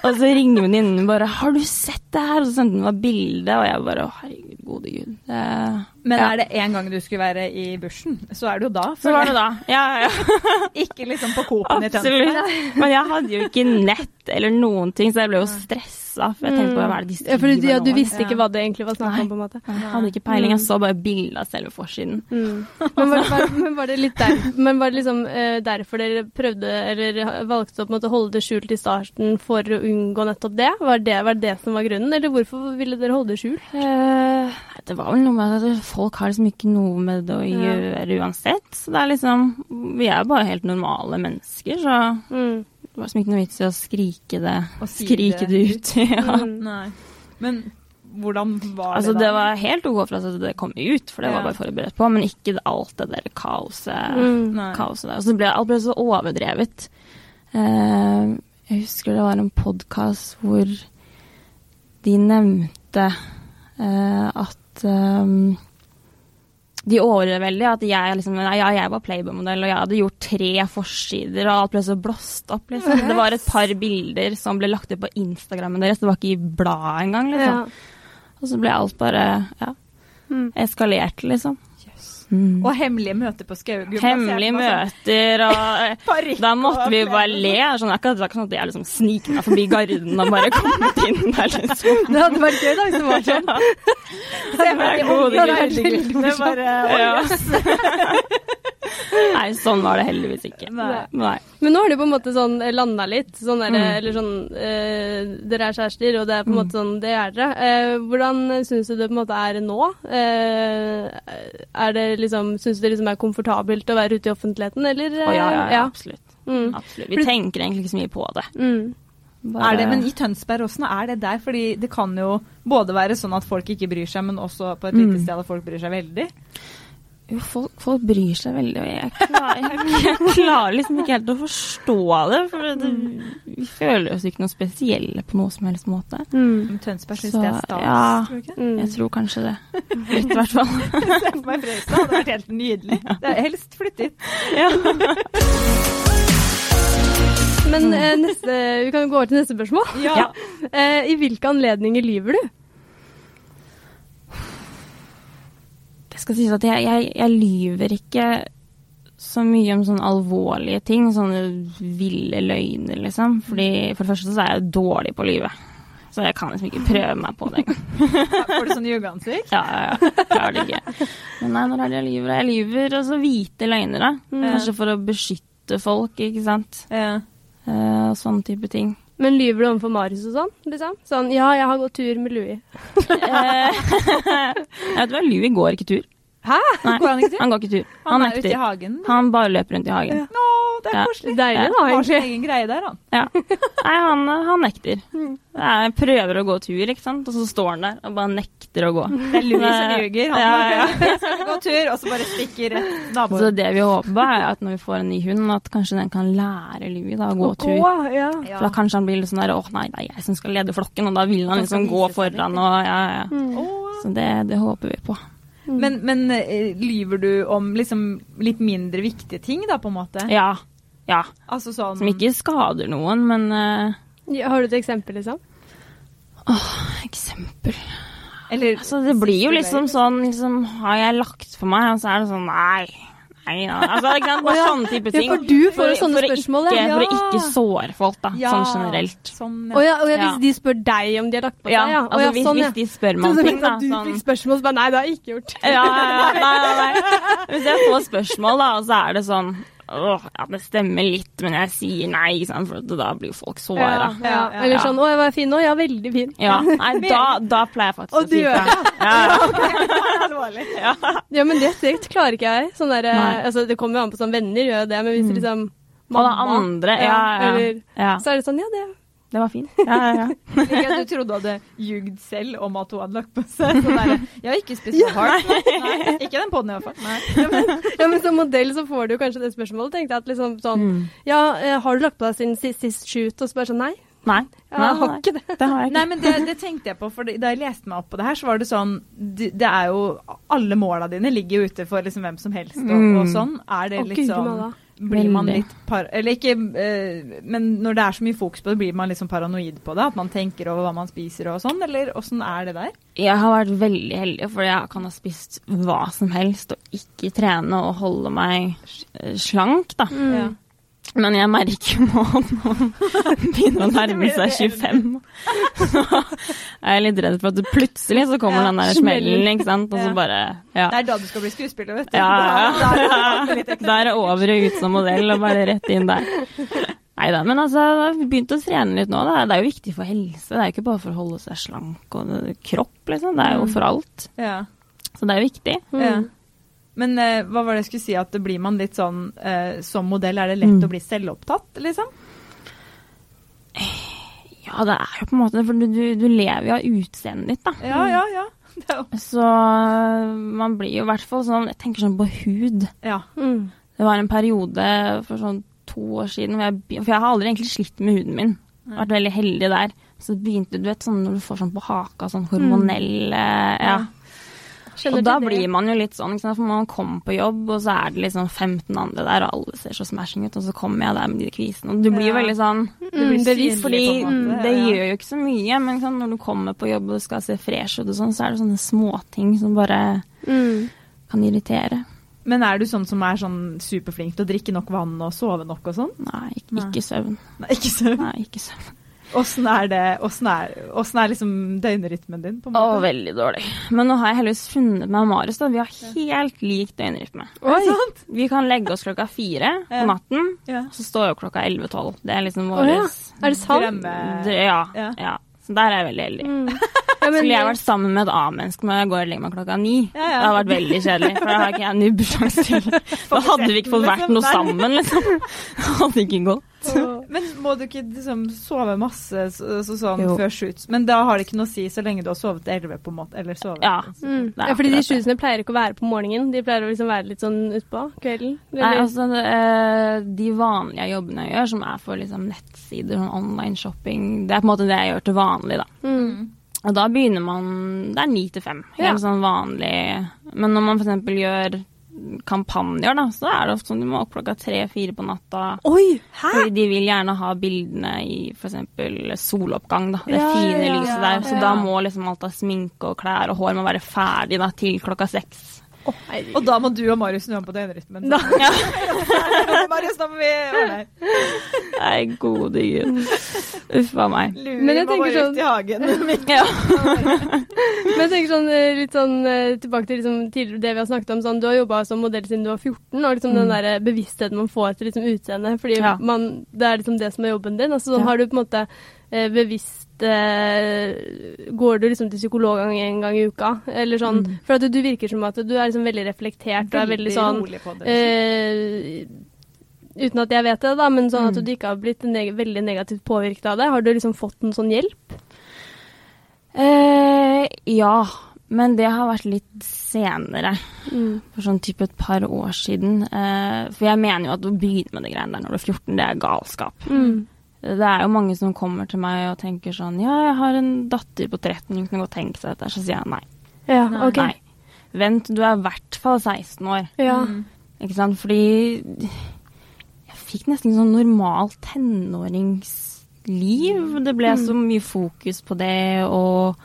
Speaker 3: Og så ringer venninnen min bare 'Har du sett det her?' Og så sendte hun meg bilde, og jeg bare 'Å, herregud, gode gud'. Det,
Speaker 2: Men
Speaker 3: ja.
Speaker 2: er det en gang du skulle være i bushen, så er det jo da.
Speaker 3: Så var det da. Ja, ja, ja.
Speaker 2: Ikke liksom på Coop-en i Tønsberg.
Speaker 3: Absolutt. Men jeg hadde jo ikke nett eller noen ting, så jeg ble jo stressa. For jeg tenkte på hva er det Mm. de
Speaker 1: Ja, for du, ja, du
Speaker 3: nå?
Speaker 1: visste
Speaker 2: Ja.
Speaker 1: ikke hva det egentlig var snakk om, på en måte.
Speaker 3: Jeg hadde ikke peiling. Jeg så bare bilde av selve forsiden.
Speaker 1: Mm. Men, var, var, men var det litt der, men var det liksom eh, derfor dere prøvde, eller valgte å på en måte holde det skjult i starten for å unngå nettopp det? Var det var det som var grunnen, eller hvorfor ville dere holde det skjult?
Speaker 3: Eh, det var vel noe med at folk har liksom ikke noe med det å
Speaker 1: Ja.
Speaker 3: gjøre uansett. Så det er liksom Vi er bare helt normale mennesker, så
Speaker 1: Mm.
Speaker 3: det var liksom ikke noe vits i å skrike det,
Speaker 2: Og si
Speaker 3: skrike
Speaker 2: det.
Speaker 3: det ut. ja.
Speaker 1: Mm.
Speaker 2: Nei. Men hvordan var
Speaker 3: Altså,
Speaker 2: det da?
Speaker 3: det var helt OK for oss at det kom ut, for det
Speaker 2: Ja.
Speaker 3: var bare forberedt på, men ikke alt det der kaoset.
Speaker 1: Mm.
Speaker 2: Nei.
Speaker 3: kaoset der. Og så ble alt ble så overdrevet. Eh, jeg husker det var en podkast hvor de nevnte eh, at eh, de overdrev veldig at jeg, liksom, nei, ja, jeg var Playboy-modell, og jeg hadde gjort tre forsider, og alt ble så blåst opp. Liksom. Det var et par bilder som ble lagt ut på Instagrammen deres, det var ikke i bladet engang. Liksom.
Speaker 1: Ja.
Speaker 3: Og så ble alt bare ja,
Speaker 1: Mm.
Speaker 3: eskalert, liksom.
Speaker 2: Yes.
Speaker 3: Mm.
Speaker 2: Og hemmelige møter på Skaugum.
Speaker 3: Hemmelige møter og
Speaker 2: sånn
Speaker 3: eh,
Speaker 2: Parykk
Speaker 3: Da måtte
Speaker 2: og-
Speaker 3: vi bare le. Sånn, det er ikke- det var ikke sånn at jeg liksom sniker meg forbi garden og bare kommet inn der, liksom.
Speaker 1: Det hadde vært gøy da, hvis det var sånn.
Speaker 3: Ja.
Speaker 2: Det var
Speaker 3: Gode
Speaker 2: det var
Speaker 1: gutter.
Speaker 2: veldig gøy. Det
Speaker 3: liksom.
Speaker 2: var, eh,
Speaker 3: Ja. Nei, sånn var det heldigvis ikke.
Speaker 2: Nei.
Speaker 3: Nei.
Speaker 1: Men nå har du på en måte sånn landa litt, sånn der,
Speaker 3: Mm.
Speaker 1: eller sånn eh, Dere er kjærester, og det er på en måte sånn det er dere. Eh, hvordan syns du det på en måte er nå? Eh, er det liksom Syns du det liksom er komfortabelt å være ute i offentligheten, eller?
Speaker 3: Å, ja, ja,
Speaker 1: eh,
Speaker 3: ja, absolutt.
Speaker 1: Mm.
Speaker 3: absolutt. Vi tenker egentlig ikke så mye på det.
Speaker 1: Mm.
Speaker 3: Bare-
Speaker 2: Er det, men i Tønsberg, åssen er det der? Fordi det kan jo både være sånn at folk ikke bryr seg, men også på et lite
Speaker 3: Mm.
Speaker 2: sted at folk bryr seg veldig.
Speaker 3: Jo, folk, folk bryr seg veldig, og jeg klarer, jeg, jeg klarer liksom ikke helt å forstå det. For det, vi føler oss ikke noe spesielle på noe som helst måte.
Speaker 1: Mm.
Speaker 2: Men Tønsberg syns
Speaker 3: Så,
Speaker 2: det er stas.
Speaker 3: ja.
Speaker 2: tror du ikke?
Speaker 1: Mm.
Speaker 3: Jeg tror kanskje det. Litt, i hvert fall.
Speaker 2: Se for meg Fredrikstad, hadde vært helt nydelig. Det er helst flytt dit.
Speaker 1: Men eh, neste, vi kan jo gå over til neste spørsmål.
Speaker 2: Ja.
Speaker 1: Eh, I hvilke anledninger lyver du?
Speaker 3: Det skal sies at jeg, jeg, jeg lyver ikke så mye om sånne alvorlige ting, sånne ville løgner, liksom. Fordi for det første så er jeg dårlig på å lyve. Så jeg kan liksom ikke prøve meg på det engang.
Speaker 2: Får du sånn jugeansikt?
Speaker 3: Ja, ja, ja. Klarer det ikke. Men nei, når er det jeg lyver? Jeg lyver altså hvite løgner, da.
Speaker 2: Mm.
Speaker 3: Kanskje for å beskytte folk, ikke sant.
Speaker 2: Ja.
Speaker 3: Eh, Og sånne type ting.
Speaker 1: Men lyver du overfor Marius og sånn? Liksom? Sånn, ja, jeg har gått tur med Louis.
Speaker 3: Eh, jeg vet hva, Louis går ikke tur.
Speaker 2: Hæ?
Speaker 3: Nei,
Speaker 2: Går han ikke tur?
Speaker 3: Han går ikke tur.
Speaker 2: Han,
Speaker 3: Han
Speaker 2: er ute i
Speaker 3: nekter.
Speaker 2: hagen.
Speaker 3: Han bare løper rundt i hagen.
Speaker 2: Nå, det er
Speaker 3: Ja.
Speaker 2: koselig.
Speaker 1: Deilig, da,
Speaker 2: Han har sin
Speaker 1: egentlig.
Speaker 2: egen greie der, han.
Speaker 3: Ja. Nei, han, han nekter. Jeg prøver å gå tur, ikke sant, og så står han der og bare nekter å gå.
Speaker 2: Det er Louis som
Speaker 3: Nei.
Speaker 2: ljuger. Han
Speaker 3: Ja, ja.
Speaker 2: Jeg skal gå tur, og så bare stikker rett
Speaker 3: Så
Speaker 2: naboen.
Speaker 3: det vi håper på, er at når vi får en ny hund, at kanskje den kan lære Louis da, å gå tur.
Speaker 1: ja.
Speaker 2: Ja.
Speaker 3: For da kanskje han blir litt sånn der åh nei, det er jeg som skal lede flokken, og da vil han
Speaker 2: Han skal
Speaker 3: liksom gå
Speaker 2: vise seg
Speaker 3: foran og ja, ja.
Speaker 2: Åh.
Speaker 3: Så det, det håper vi på.
Speaker 2: Men, men eh, lyver du om liksom litt mindre viktige ting, da, på en måte?
Speaker 3: Ja. Ja.
Speaker 2: Altså sånn
Speaker 3: Som ikke skader noen, men eh,
Speaker 1: Ja, Har du et eksempel, liksom?
Speaker 3: eksempel
Speaker 2: Eller
Speaker 3: Altså, det blir jo liksom sånn liksom, Har jeg lagt for meg? Og så er det sånn Nei. Nei, ja. altså, ikke sant? Bare sånne type ting.
Speaker 1: for du får jo sånne
Speaker 3: for å
Speaker 1: spørsmål,
Speaker 3: Ikke,
Speaker 1: ja.
Speaker 3: For å ikke såre folk, da.
Speaker 2: Ja,
Speaker 3: Sånn generelt.
Speaker 2: Sånn,
Speaker 1: Å ja, å ja,
Speaker 3: Ja.
Speaker 1: hvis de spør deg om de har lagt på seg?
Speaker 3: Ja,
Speaker 1: Ja, Å
Speaker 3: altså,
Speaker 1: ja,
Speaker 3: hvis,
Speaker 1: sånn, ja.
Speaker 3: hvis de spør meg
Speaker 1: Trodde
Speaker 3: om
Speaker 1: du
Speaker 3: ting, da.
Speaker 1: at du
Speaker 3: Sånn,
Speaker 1: fikk spørsmål, så bare nei, det har jeg ikke gjort.
Speaker 3: ja, ja, ja, nei, nei, nei. Hvis jeg får spørsmål, da, og så er det sånn Åh, ja, det stemmer litt, men jeg sier nei, ikke sant? for at da blir jo folk såra.
Speaker 1: Ja,
Speaker 3: Ja.
Speaker 1: ja.
Speaker 2: Ja, ja.
Speaker 1: Eller sånn 'Å, jeg var fin nå'. Ja, veldig fin.
Speaker 3: Nei, da, da pleier jeg faktisk
Speaker 1: Og
Speaker 3: å
Speaker 1: du
Speaker 3: si
Speaker 1: gjør
Speaker 3: fra. Ja, ja.
Speaker 2: Alvorlig.
Speaker 1: Ja, men det strikt klarer ikke jeg. Sånn der,
Speaker 3: Nei. Mm.
Speaker 1: altså, det kommer jo an på sånn venner, gjør jo det, men hvis det liksom
Speaker 3: Alle andre. Ja, ja.
Speaker 1: Eller,
Speaker 3: ja.
Speaker 1: Så er det sånn Ja, det
Speaker 3: Det var fint. Ja, ja, ja.
Speaker 2: Ikke at du trodde hun hadde ljugd selv om at hun hadde lagt på seg. Så bare, jeg har ikke spist for hardt. Nei, ikke den podden i hvert fall. Nei.
Speaker 1: Ja, men som modell så får du jo kanskje det spørsmålet, tenkte jeg. At liksom sånn
Speaker 3: Mm.
Speaker 1: Ja, eh, har du lagt på deg siden sist, sist shoot? Og så bare sånn Nei,
Speaker 3: Nei.
Speaker 1: jeg
Speaker 3: nei,
Speaker 1: har
Speaker 3: nei.
Speaker 1: ikke det.
Speaker 3: Det har jeg ikke.
Speaker 2: Nei, men det, det tenkte jeg på, for da jeg leste meg opp på det her, så var det sånn Det, det er jo Alle måla dine ligger jo ute for liksom hvem som helst og,
Speaker 3: Mm.
Speaker 2: og sånn. Er det
Speaker 1: Å,
Speaker 2: litt
Speaker 1: guri
Speaker 2: sånn
Speaker 1: malla.
Speaker 2: Blir man
Speaker 3: Veldig.
Speaker 2: litt par... Eller ikke eh, Men når det er så mye fokus på det, blir man liksom paranoid på det? At man tenker over hva man spiser og sånn? Eller åssen er det der?
Speaker 3: Jeg har vært veldig heldig, for jeg kan ha spist hva som helst og ikke trene og holde meg eh, slank, da.
Speaker 2: Ja.
Speaker 3: Men jeg merker jo nå at man begynner å nærme seg 25. Så jeg er litt redd for at det plutselig så kommer
Speaker 2: Ja,
Speaker 3: den der
Speaker 1: smellen.
Speaker 3: smellen, ikke sant. Og
Speaker 2: Ja.
Speaker 3: så bare Ja.
Speaker 2: Det er da du skal bli skuespiller, vet du.
Speaker 3: Ja, ja,
Speaker 2: Da- da-
Speaker 3: ja. Der er over og ut som modell, og bare rett inn der. Nei da, men altså, jeg har begynt å trene litt nå. Da. Det er jo viktig for helse. Det er jo ikke bare for å holde seg slank og kropp, liksom. Det er jo for alt.
Speaker 2: ja.
Speaker 3: Så det er jo viktig.
Speaker 2: Ja.
Speaker 1: Mm.
Speaker 2: Men eh, hva var det jeg skulle si, at det blir man litt sånn eh, Som modell er det lett
Speaker 3: Mm.
Speaker 2: å bli selvopptatt, liksom?
Speaker 3: Ja, det er jo på en måte det, for du, du, du lever jo av utseendet ditt, da.
Speaker 2: Ja, ja, ja. Det er jo-
Speaker 3: Så man blir jo i hvert fall sånn Jeg tenker sånn på hud.
Speaker 2: Ja.
Speaker 1: Mm.
Speaker 3: Det var en periode for sånn to år siden hvor jeg be- For jeg har aldri egentlig slitt med huden min. Vært veldig heldig der. Så begynte du vet sånn når du får sånn på haka, sånn hormonell eh, Ja.
Speaker 1: Skjønner
Speaker 3: Og da
Speaker 1: til det.
Speaker 3: blir man jo litt sånn, ikke sant? for man kommer på jobb, og så er det liksom 15 andre der, og alle ser så smashing ut, og så kommer jeg der med de kvisene. Og du blir jo
Speaker 2: Ja.
Speaker 3: veldig sånn
Speaker 2: Det blir
Speaker 1: bevisst,
Speaker 2: synlig
Speaker 3: Fordi
Speaker 2: på en måte,
Speaker 3: det
Speaker 2: ja.
Speaker 3: gjør jo ikke så mye, men sånn, når du kommer på jobb og skal se fresh ut og sånn, så er det sånne småting som bare
Speaker 1: Mm.
Speaker 3: kan irritere.
Speaker 2: Men er du sånn som er sånn superflink til å drikke nok vann og sove nok og sånn?
Speaker 3: Nei, ikke,
Speaker 2: Nei.
Speaker 3: ikke søvn.
Speaker 2: Nei, ikke så.
Speaker 3: Nei, ikke søvn.
Speaker 2: Åssen er det Åssen er, åssen er liksom døgnrytmen din, på en
Speaker 3: Å,
Speaker 2: måte?
Speaker 3: veldig dårlig. Men nå har jeg heldigvis funnet meg og Marius, da. Vi har helt lik døgnrytme.
Speaker 2: Er det sant?
Speaker 3: Vi kan legge oss klokka fire på
Speaker 2: Ja.
Speaker 3: natten,
Speaker 2: Ja.
Speaker 3: og så står jo klokka 11-12. Det er liksom
Speaker 1: Å
Speaker 3: vår
Speaker 1: ja. Er det sant?
Speaker 2: Drømme...
Speaker 3: ja,
Speaker 2: Ja.
Speaker 3: ja. Så der er jeg veldig heldig.
Speaker 1: Mm. Ja, men-
Speaker 3: Skulle jeg vært sammen med et A-menneske når jeg går og legger meg klokka ni,
Speaker 2: Ja, ja.
Speaker 3: det hadde vært veldig kjedelig. For da har ikke jeg nubbesjanse til. Da liksom. hadde vi ikke fått vært noe sammen, liksom. Det hadde ikke gått.
Speaker 1: Åh.
Speaker 2: Men må du ikke liksom sove masse så, så, sånn
Speaker 3: Jo.
Speaker 2: før shoots? Men da har det ikke noe å si så lenge du har sovet til 11 på en måte, eller sovet.
Speaker 3: Ja.
Speaker 1: Mm.
Speaker 3: Det er
Speaker 1: Ja, fordi de
Speaker 3: akkurat det.
Speaker 1: shoesene pleier ikke å være på morgenen. De pleier å liksom være litt sånn utpå kvelden.
Speaker 3: Nei,
Speaker 1: Eller-
Speaker 3: altså eh, De vanlige jobbene jeg gjør, som er for liksom, nettsider og online shopping, det er på en måte det jeg gjør til vanlig, da.
Speaker 1: mm.
Speaker 3: Og da begynner man Det er ni til fem.
Speaker 1: Ja.
Speaker 3: Helt sånn vanlig. Men når man f.eks. gjør kampanjer, da, så er det ofte sånn du må opp klokka tre-fire på natta.
Speaker 1: Oi!
Speaker 3: Fordi de vil gjerne ha bildene i f.eks. soloppgang, da. Det
Speaker 1: Ja,
Speaker 3: fine
Speaker 1: ja, ja.
Speaker 3: lyset der. Så
Speaker 1: Ja.
Speaker 3: da må liksom alt av sminke og klær og hår må være ferdig da, til klokka seks.
Speaker 2: Og da må du og Marius snu om på døgnrytmen.
Speaker 1: Da-
Speaker 3: Ja.
Speaker 2: Marius, da må vi ordne her.
Speaker 3: Nei, gode gud. Uff a meg.
Speaker 2: Lurer,
Speaker 1: Men jeg
Speaker 2: må
Speaker 1: tenker
Speaker 2: bare
Speaker 1: sånn-
Speaker 2: ut i hagen.
Speaker 3: Ja.
Speaker 1: Men jeg tenker sånn, eh, litt sånn eh, tilbake til liksom, tidligere det vi har snakket om. Sånn, du har jobba som modell siden du var 14, og liksom den der bevisstheten man får til liksom, utseendet. Fordi
Speaker 3: Mm. Ja.
Speaker 1: man, det er liksom det som er jobben din. Altså, sånn,
Speaker 3: Ja.
Speaker 1: Har du på en måte eh, bevisst eh, Går du liksom til psykolog en- en gang i uka? Eller sånn,
Speaker 3: Mm.
Speaker 1: For at du, du virker som at du er liksom veldig reflektert og er veldig sånn
Speaker 2: rolig på det.
Speaker 1: eh, Uten at jeg vet det, da, men sånn at
Speaker 3: Mm.
Speaker 1: du ikke har blitt neg veldig negativt påvirket av det. Har du liksom fått en sånn hjelp?
Speaker 3: Eh, ja. Men det har vært litt senere, for sånn type et par år siden. Eh, for jeg mener jo at å begynne med de greiene der når du er 14, det er galskap.
Speaker 1: Mm.
Speaker 3: Det er jo mange som kommer til meg og tenker sånn Ja, jeg har en datter på 13, hun kunne godt tenke seg dette. Så sier jeg nei.
Speaker 1: Ja,
Speaker 2: Nei.
Speaker 1: OK.
Speaker 3: Nei. Vent, du er i hvert fall 16 år.
Speaker 1: Ja.
Speaker 2: Mm.
Speaker 3: Ikke sant? Fordi jeg fikk nesten sånn normalt
Speaker 1: Mm.
Speaker 3: tenåringsliv. Det ble så mye fokus på det, og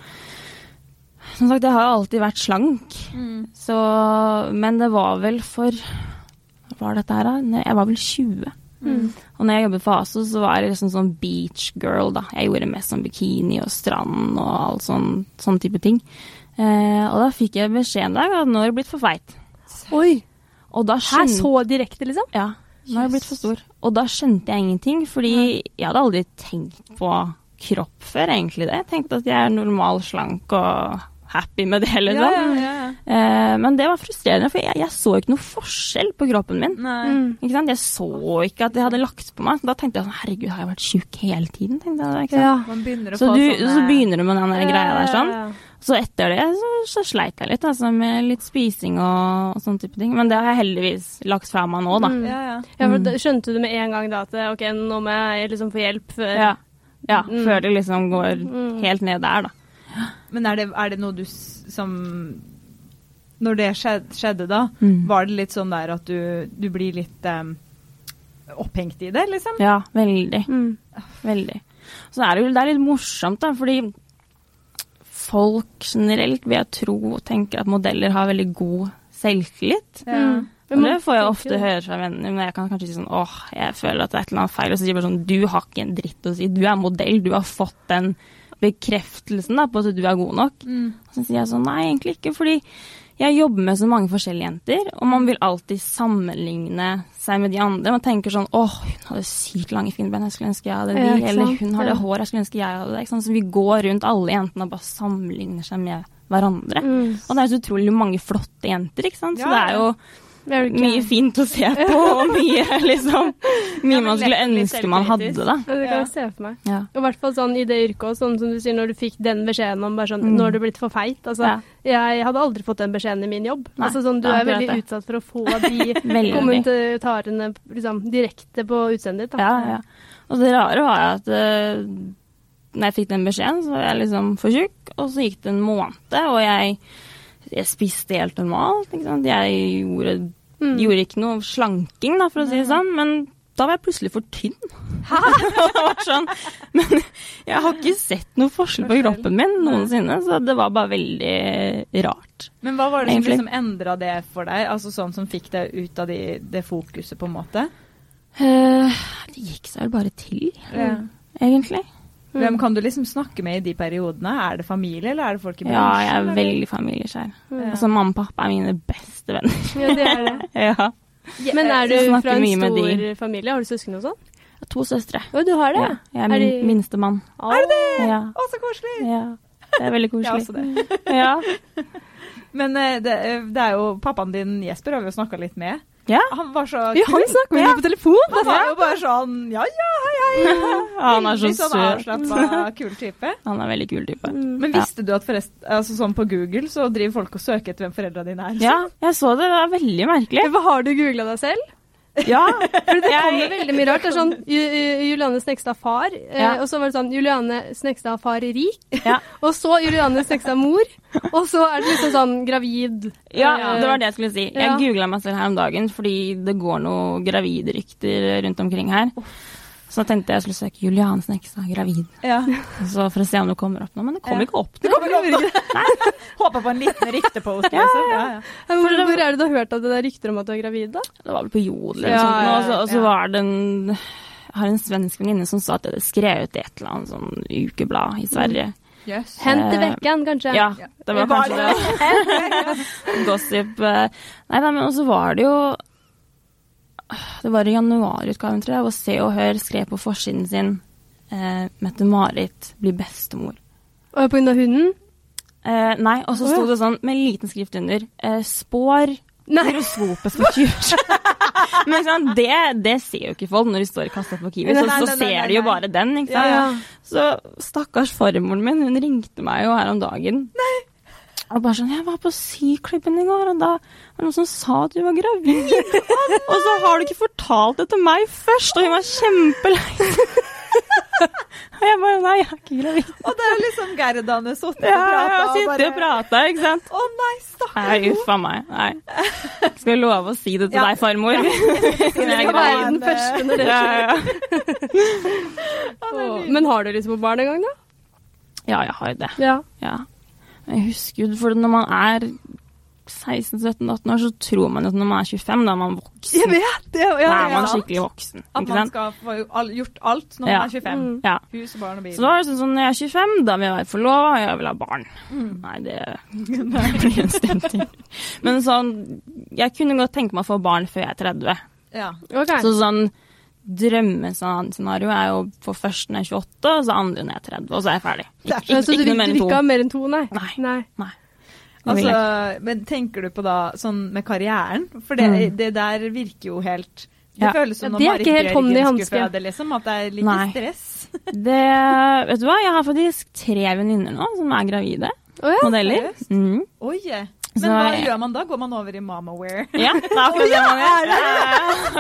Speaker 3: Som sagt, jeg har alltid vært slank.
Speaker 2: Mm.
Speaker 3: Så Men det var vel for Hva var dette her, da? Nei, Jeg var vel 20.
Speaker 1: Mm.
Speaker 3: Og når jeg jobbet for ASO, så var jeg liksom sånn beach girl, da. Jeg gjorde mest sånn bikini og strand og all sånn, sånn type ting. Eh, og da fikk jeg beskjed en dag at nå har du blitt for feit.
Speaker 1: Oi!
Speaker 3: Og da
Speaker 1: Her
Speaker 3: skjønte
Speaker 1: så direkte, liksom?
Speaker 3: Ja, nå har jeg blitt for stor. Og da skjønte jeg ingenting, fordi jeg hadde aldri tenkt på kropp før, egentlig det. Jeg tenkte at jeg er normal slank og happy med det, liksom.
Speaker 2: Ja, ja, ja, ja.
Speaker 3: Eh, men det var frustrerende, for jeg, jeg så ikke noe forskjell på kroppen min.
Speaker 2: Nei.
Speaker 1: Mm.
Speaker 3: Ikke sant? Jeg så ikke at jeg hadde lagt på meg. Da tenkte jeg sånn, herregud, har jeg vært sjuk hele tiden? tenkte jeg da, ikke sant?
Speaker 1: Ja.
Speaker 2: Man begynner å
Speaker 3: Så,
Speaker 2: få
Speaker 3: du,
Speaker 2: sånne
Speaker 3: så begynner du med den der greia der sånn.
Speaker 1: Ja, ja,
Speaker 3: Så etter det så, så sleit jeg litt, altså med litt spising og, og sånn type ting. Men det har jeg heldigvis lagt fra meg nå, da.
Speaker 1: Mm.
Speaker 2: Ja, ja.
Speaker 1: ja. ja, for da skjønte du med en gang da at eh, OK, nå må jeg liksom få hjelp før
Speaker 3: Ja, ja
Speaker 1: Mm.
Speaker 3: før det liksom går
Speaker 1: Mm.
Speaker 3: helt ned der, da.
Speaker 2: Men er det, er det noe du s- som Når det skjedde, skjedde da,
Speaker 3: Mm.
Speaker 2: var det litt sånn der at du, du blir litt em, opphengt i det, liksom?
Speaker 3: Ja, veldig.
Speaker 1: Mm.
Speaker 3: Veldig. Så er det jo det er litt morsomt, da, fordi folk generelt vil jeg tro og tenker at modeller har veldig god selvtillit.
Speaker 1: Mm.
Speaker 3: Og det får jeg
Speaker 1: tenker
Speaker 3: ofte
Speaker 1: det.
Speaker 3: høre fra venner, men jeg kan kanskje si sånn åh, jeg føler at det er et eller annet feil. Og så sier jeg bare sånn du har ikke en dritt å si, du er modell, du har fått den bekreftelsen da, på at du er god nok.
Speaker 2: Mm.
Speaker 3: Og så sier jeg sånn nei, egentlig ikke, fordi jeg jobber med så mange forskjellige jenter, og man vil alltid sammenligne seg med de andre. Man tenker sånn åh, hun hadde sykt lange fine ben, jeg skulle ønske jeg hadde de.
Speaker 1: Ja, ikke
Speaker 3: Eller
Speaker 1: sant?
Speaker 3: hun har det
Speaker 1: Ja.
Speaker 3: håret, jeg skulle ønske jeg hadde det. Ikke sant? Så vi går rundt alle jentene og bare sammenligner seg med hverandre.
Speaker 1: Mm.
Speaker 3: Og det er så utrolig mange flotte jenter, ikke sant. Så
Speaker 2: Ja,
Speaker 3: det er jo
Speaker 1: Det er jo ikke-
Speaker 3: mye fint å se på, og mye liksom Mye
Speaker 2: men
Speaker 3: man skulle
Speaker 2: lett litt
Speaker 3: ønske man hadde, da.
Speaker 1: Ja, Det kan
Speaker 2: Ja.
Speaker 1: jeg se for meg.
Speaker 3: Ja.
Speaker 1: Og I hvert fall sånn i det yrket også, sånn som du sier, når du fikk den beskjeden om bare sånn
Speaker 3: Mm.
Speaker 1: Nå har du blitt for feit. Altså,
Speaker 3: Ja.
Speaker 1: jeg hadde aldri fått den beskjeden i min jobb.
Speaker 3: Nei,
Speaker 1: altså sånn, Du
Speaker 3: det er
Speaker 1: er veldig
Speaker 3: akkurat det.
Speaker 1: utsatt for å få de
Speaker 3: Veldig.
Speaker 1: kommentarene liksom, direkte på utseendet ditt. da.
Speaker 3: Ja, ja. Og det rare var jo at eh, når jeg fikk den beskjeden, så var jeg liksom for tjukk, og så gikk det en måned, og jeg, jeg spiste helt normalt. Ikke sant? Jeg gjorde,
Speaker 1: Mm.
Speaker 3: gjorde ikke noe slanking, da, for å si det sånn, men da var jeg plutselig for tynn. Og det var sånn, men jeg har ikke sett noe forskjell på
Speaker 2: Forskjell.
Speaker 3: kroppen min noensinne, så det var bare veldig rart.
Speaker 2: Men hva var det som
Speaker 3: Egentlig.
Speaker 2: liksom endra det for deg? Altså sånn som fikk deg ut av de, det fokuset, på en måte?
Speaker 3: Eh, det gikk seg vel bare til, egentlig.
Speaker 2: Hvem kan du liksom snakke med i de periodene? Er det familie, eller er det folk i
Speaker 3: Ja, jeg er
Speaker 2: eller?
Speaker 3: veldig familieskjær.
Speaker 1: Mm.
Speaker 3: Altså, mamma og pappa er mine beste venner.
Speaker 1: Ja, det er det.
Speaker 3: ja.
Speaker 1: Men er du
Speaker 3: Jeg snakker
Speaker 1: fra en
Speaker 3: mye med
Speaker 1: stor
Speaker 3: de.
Speaker 1: familie? Har du søsken og sånn?
Speaker 3: Jeg har To søstre.
Speaker 1: Å, du har det?
Speaker 3: Ja, jeg er
Speaker 1: Er
Speaker 3: min
Speaker 1: de-
Speaker 3: minstemann.
Speaker 1: Er det det?
Speaker 3: Ja,
Speaker 2: Å, så koselig!
Speaker 3: ja. Det er veldig
Speaker 2: Jeg er
Speaker 1: altså
Speaker 2: også
Speaker 3: koselig.
Speaker 2: det.
Speaker 3: Ja,
Speaker 2: Men eh, det, eh, det er jo pappaen din, Jesper, har vi jo snakka litt med.
Speaker 3: Ja.
Speaker 2: Han var så
Speaker 1: Ja, han snakker med henne på telefon!
Speaker 2: Han var jo bare sånn ja, ja, hei, hei.
Speaker 3: Han er så
Speaker 2: Veldig sånn
Speaker 3: søt.
Speaker 2: avslappa, kul type.
Speaker 3: Han er veldig kul type.
Speaker 1: Mm.
Speaker 2: Men
Speaker 3: Ja.
Speaker 2: visste du at forresten, altså sånn på Google så driver folk og søker etter hvem foreldra dine er?
Speaker 3: Ja, jeg så det. Det er veldig merkelig.
Speaker 1: Hva har du googla deg selv?
Speaker 3: Ja.
Speaker 1: For det kommer veldig mye rart. Det er sånn Ju- Ju- Juliane Snekstad far, eh,
Speaker 3: Ja.
Speaker 1: og så var det sånn Juliane Snekstad far rik,
Speaker 3: Ja.
Speaker 1: og så Juliane Snekstad mor, og så er det liksom sånn gravid. eh,
Speaker 3: ja,
Speaker 1: Ja.
Speaker 3: det var det jeg skulle si. Jeg
Speaker 1: Ja.
Speaker 3: googla meg selv her om dagen fordi det går noen gravidrykter rundt omkring her. Så da tenkte jeg jeg skulle søke Julian Snekstad gravid,
Speaker 2: Ja.
Speaker 3: så for å se om det kommer opp noe. Men det kom
Speaker 2: Ja.
Speaker 3: ikke opp.
Speaker 2: Det kommer jo ikke Håpa på en liten ryktepost, liksom. Ja, ja.
Speaker 1: Men Hvor, hvor er det du har hørt at det der rykter om at du er gravid, da?
Speaker 3: Det var vel på Jodel eller
Speaker 1: Ja,
Speaker 3: noe sånt. nå,
Speaker 2: ja,
Speaker 3: Og så, og så
Speaker 2: ja.
Speaker 3: var det en jeg har en svensk venninne som sa at det hadde skrevet i et eller annet sånn ukeblad i Sverige.
Speaker 2: Yes.
Speaker 1: Hent til
Speaker 3: Eh,
Speaker 1: vekken, kanskje.
Speaker 3: Ja, det var kanskje det. Gossip. eh, Nei da, men også var det jo Det var i januarutgaven, tror jeg, og Se og Hør skrev på forsiden sin eh, Mette-Marit blir bestemor.
Speaker 1: Og på grunn av hunden?
Speaker 3: Eh, nei, og så
Speaker 1: Å,
Speaker 3: sto
Speaker 1: ja.
Speaker 3: det sånn med liten skrift under eh, Spår
Speaker 1: Nei.
Speaker 3: horoskopet for 20 Men ikke sant, det, det ser jo ikke folk når de står i kassa på Kiwi,
Speaker 1: Nei,
Speaker 3: så,
Speaker 2: nei,
Speaker 3: så
Speaker 2: nei, nei,
Speaker 3: ser de jo
Speaker 2: nei.
Speaker 3: bare den, ikke sant.
Speaker 1: Ja.
Speaker 3: Så stakkars formoren min, hun ringte meg jo her om dagen. Nei. Og bare sånn Jeg var på syklubben i går, og da var det noen som sa at du var gravid. og så har du ikke fortalt det til meg først, og hun var kjempelei seg. Og jeg bare Nei, jeg er ikke gravid.
Speaker 2: Og det er jo liksom Gerdan har sittet
Speaker 3: Ja,
Speaker 2: og
Speaker 3: jeg
Speaker 2: prata og
Speaker 3: sitter og
Speaker 2: bare
Speaker 3: prater, ikke sant.
Speaker 2: Å nei, stakkar.
Speaker 3: Nei, uff a meg. Nei. Skal jeg love å si det til
Speaker 2: Ja.
Speaker 3: deg, farmor? Siden jeg er
Speaker 1: Skal
Speaker 2: gravid.
Speaker 1: være den første når det
Speaker 3: Ja,
Speaker 1: skjer.
Speaker 3: ja.
Speaker 1: Åh, Men har du liksom barn en gang, da?
Speaker 3: ja, jeg har jo det.
Speaker 1: Ja.
Speaker 3: Ja. Men Jeg husker jo, for når man er 16-17-18 år, så tror man at når man er 25, da er man voksen.
Speaker 1: vet det! Ja,
Speaker 3: da er
Speaker 2: ja.
Speaker 3: man skikkelig voksen.
Speaker 2: At
Speaker 3: Ikke
Speaker 2: man
Speaker 3: sant?
Speaker 2: skal få jo all- gjort alt når
Speaker 3: Ja.
Speaker 2: man er 25.
Speaker 1: Mm.
Speaker 3: Ja.
Speaker 2: Hus, barn og bil.
Speaker 3: Så da var det sånn som når jeg er 25, da vil jeg være forlova, og jeg vil ha barn. Nei, det blir en stund til. Men sånn, jeg kunne godt tenke meg å få barn før jeg er 30.
Speaker 2: ja.
Speaker 1: Ok.
Speaker 3: Så sånn drømmescenario er jo å få først når jeg er 28, og så andre når jeg er 30, og så er jeg ferdig. Ikke,
Speaker 1: Ja,
Speaker 3: ikke,
Speaker 1: så du,
Speaker 3: ikke
Speaker 1: vil-
Speaker 3: noe mer
Speaker 1: du vil
Speaker 3: enn
Speaker 1: ikke
Speaker 3: to.
Speaker 1: ha mer enn to, nei?
Speaker 3: Nei.
Speaker 1: nei.
Speaker 3: Nei. Det vil jeg
Speaker 2: Altså,
Speaker 3: ikke.
Speaker 2: men tenker du på da sånn med karrieren? For det,
Speaker 3: Mm.
Speaker 2: det der virker jo helt Det
Speaker 3: Ja.
Speaker 2: føles som
Speaker 1: Ja,
Speaker 2: når
Speaker 1: det er
Speaker 2: Marit
Speaker 1: ikke helt hånden i
Speaker 2: Bjørgen skulle
Speaker 1: hanske.
Speaker 2: føde, liksom. At det er litt
Speaker 3: Nei.
Speaker 2: stress.
Speaker 3: Det, vet du hva? Jeg har faktisk tre venninner nå som er gravide.
Speaker 1: Å ja.
Speaker 3: Modeller.
Speaker 2: seriøst?
Speaker 3: Mm.
Speaker 2: Oi. eh.
Speaker 3: Så
Speaker 2: Men hva
Speaker 3: jeg-
Speaker 2: gjør man da? Går man over i mamaware?
Speaker 3: Ja, det er akkurat det man gjør.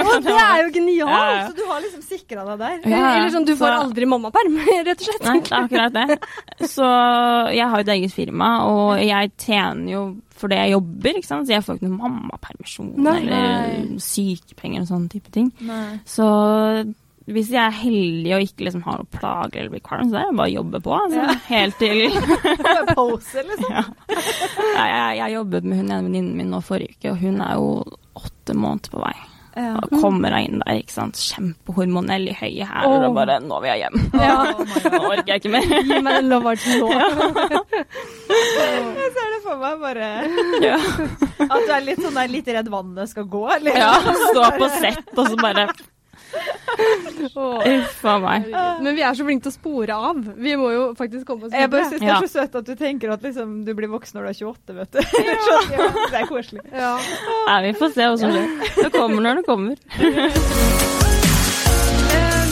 Speaker 1: Å, det er jo genialt!
Speaker 3: Ja, ja.
Speaker 2: Så du har liksom sikra deg der?
Speaker 3: Ja, ja.
Speaker 1: Eller sånn, du får
Speaker 3: Så-
Speaker 1: aldri mammaperm, rett og slett.
Speaker 3: Nei, det er akkurat det. Så jeg har jo et eget firma, og jeg tjener jo for det jeg jobber, ikke sant? så jeg får ikke noe mammapermisjon
Speaker 1: Nei.
Speaker 3: eller sykepenger og sånne type ting.
Speaker 2: Nei.
Speaker 3: Så hvis jeg er heldig og ikke liksom har noe plage eller blir kvalm, så er det bare å jobbe på. Altså. Helt til
Speaker 2: Bare pose, liksom.
Speaker 3: Ja, jeg, jeg jobbet med hun ene venninnen min nå forrige uke, og hun er jo åtte måneder på vei.
Speaker 2: Ja.
Speaker 3: Og kommer hun inn der, ikke sant. Kjempehormonell i høye hæler og
Speaker 1: Åh.
Speaker 3: bare Nå vil jeg hjem.
Speaker 2: Ja. Oh my
Speaker 3: Nå
Speaker 2: God.
Speaker 3: orker jeg ikke mer.
Speaker 1: Gi meg den love arten nå.
Speaker 2: Jeg ser det for meg bare
Speaker 3: Ja.
Speaker 2: At du er litt sånn der litt redd vannet skal gå, eller?
Speaker 3: ja stå på sett og så bare
Speaker 1: Åh.
Speaker 3: Uff a meg.
Speaker 1: Men vi er så flinke til å spore av. Vi må jo faktisk komme oss
Speaker 2: Jeg bare
Speaker 1: videre.
Speaker 2: syns det
Speaker 3: Ja.
Speaker 2: er så søtt at du tenker at liksom, du blir voksen når du er 28, vet du. Skjønner du? Det er koselig.
Speaker 1: Ja.
Speaker 3: Nei, vi får se hva som skjer. Det kommer når det kommer.
Speaker 1: Eh,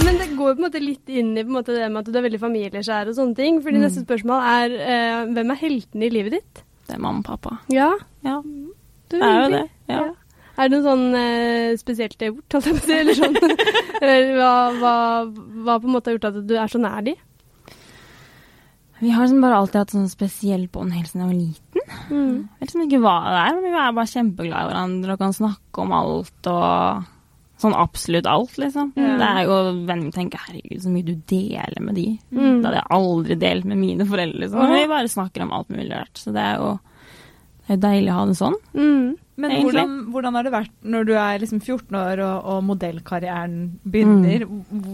Speaker 1: Men det går jo på en måte litt inn i på en måte, det med at du er veldig familieskjær og sånne ting. Fordi neste spørsmål er eh, hvem er helten i livet ditt?
Speaker 3: Det er mamma og pappa.
Speaker 1: Ja,
Speaker 3: Ja,
Speaker 1: du
Speaker 3: det er jo det. Ja.
Speaker 1: Er det noe sånn eh, spesielt det har gjort, holdt jeg på å si? Eller sånn Eller hva, hva, hva på en måte har gjort at du er så nær de?
Speaker 3: Vi har liksom bare alltid hatt sånn spesiell bånd helt siden jeg var liten. Jeg vet liksom ikke hva det er, men vi er bare kjempeglade i hverandre og kan snakke om alt og Sånn absolutt alt, liksom.
Speaker 2: Ja.
Speaker 3: Det er jo venner vi tenker herregud, så mye du deler med de.
Speaker 1: Mm.
Speaker 3: Det hadde jeg aldri delt med mine foreldre. Liksom.
Speaker 1: Åh.
Speaker 3: Vi bare snakker om alt mulig rart. Så det er jo det er jo deilig å ha det sånn.
Speaker 1: Mm.
Speaker 2: Men
Speaker 3: Egentlig.
Speaker 2: hvordan, hvordan har det vært når du er liksom 14 år og, og modellkarrieren begynner?
Speaker 3: Mm.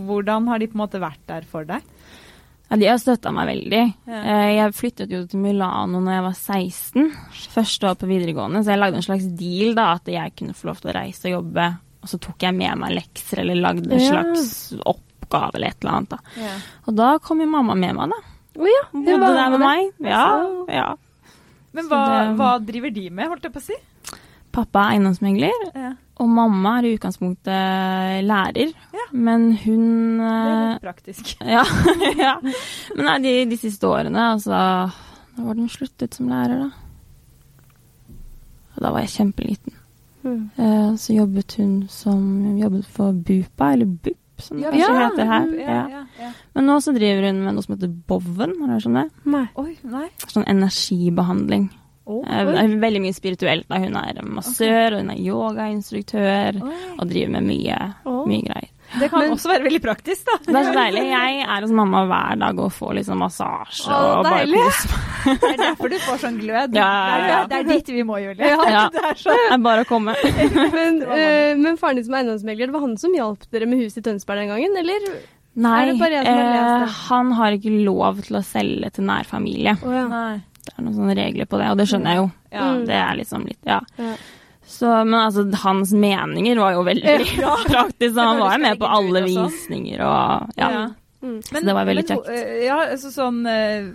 Speaker 2: Hvordan har de på en måte vært der for deg?
Speaker 3: Ja, de har støtta meg veldig.
Speaker 2: Ja.
Speaker 3: Eh, Jeg flyttet jo til Milano når jeg var 16, første år på videregående, så jeg lagde en slags deal da, at jeg kunne få lov til å reise og jobbe, og så tok jeg med meg lekser eller lagde en
Speaker 1: Ja.
Speaker 3: slags oppgave eller et eller annet. da. Og da kom jo mamma med meg, da.
Speaker 1: Å ja.
Speaker 3: Hun
Speaker 1: det
Speaker 3: Bodde
Speaker 1: var-
Speaker 3: der med meg. Ja,
Speaker 1: Så-
Speaker 3: ja.
Speaker 2: Men
Speaker 3: Så
Speaker 2: hva,
Speaker 3: det-
Speaker 2: hva driver de med, holdt jeg på å si?
Speaker 3: Pappa er eiendomsmegler,
Speaker 2: Ja.
Speaker 3: Og mamma er i utgangspunktet lærer,
Speaker 2: Ja.
Speaker 3: men hun
Speaker 2: Det er
Speaker 3: eh,
Speaker 2: litt praktisk.
Speaker 3: ja, ja. Men nei, de, de siste årene, altså Da var den sluttet som lærer, da. Og da var jeg kjempeliten.
Speaker 1: Mm.
Speaker 3: Eh, Så jobbet hun som jobbet for BUPA, eller BUP, som det kanskje
Speaker 1: ja,
Speaker 3: heter her.
Speaker 2: Ja,
Speaker 3: Ja.
Speaker 2: ja, ja.
Speaker 3: Men nå så driver hun med noe som heter Boven, har du hørt om det?
Speaker 1: Nei.
Speaker 2: Oi, nei.
Speaker 3: Sånn energibehandling.
Speaker 2: Å,
Speaker 3: Eh, Det er veldig mye spirituelt. Da. Hun er massør, og hun er yogainstruktør,
Speaker 2: oi.
Speaker 3: og driver med mye,
Speaker 1: Å.
Speaker 3: mye greier.
Speaker 2: Det kan også være veldig praktisk, da.
Speaker 3: Det er så deilig. Jeg er hos mamma hver dag og får liksom massasje
Speaker 2: Å,
Speaker 3: og bare
Speaker 2: deilig.
Speaker 3: kos meg.
Speaker 2: Det er derfor du får sånn glød.
Speaker 3: Ja, ja, ja.
Speaker 2: Det, er, det er dit vi må, Julie.
Speaker 3: Ja.
Speaker 2: Det er sånn.
Speaker 3: Det er bare å komme.
Speaker 1: Men,
Speaker 2: var vanlig.
Speaker 1: eh, men faren din som er eiendomsmegler, det var han som hjalp dere med huset i Tønsberg den gangen, eller?
Speaker 3: Nei,
Speaker 1: Er det bare jeg som har lest det?
Speaker 3: eh, han har ikke lov til å selge til nær familie.
Speaker 1: Å ja.
Speaker 2: Nei.
Speaker 3: Det er noen sånne regler på det, og det skjønner jeg jo.
Speaker 2: Ja.
Speaker 1: Mm.
Speaker 3: Det er liksom litt, ja.
Speaker 1: Ja.
Speaker 3: Så, men altså, hans meninger var jo veldig praktiske, så han
Speaker 2: høres
Speaker 3: var jo med
Speaker 2: veldig
Speaker 3: på
Speaker 2: kult
Speaker 3: alle
Speaker 2: ut og sånn.
Speaker 3: visninger og ja.
Speaker 2: Ja.
Speaker 1: Mm.
Speaker 3: Så det var veldig
Speaker 2: men,
Speaker 3: kjekt.
Speaker 2: eh, Ja, altså sånn eh,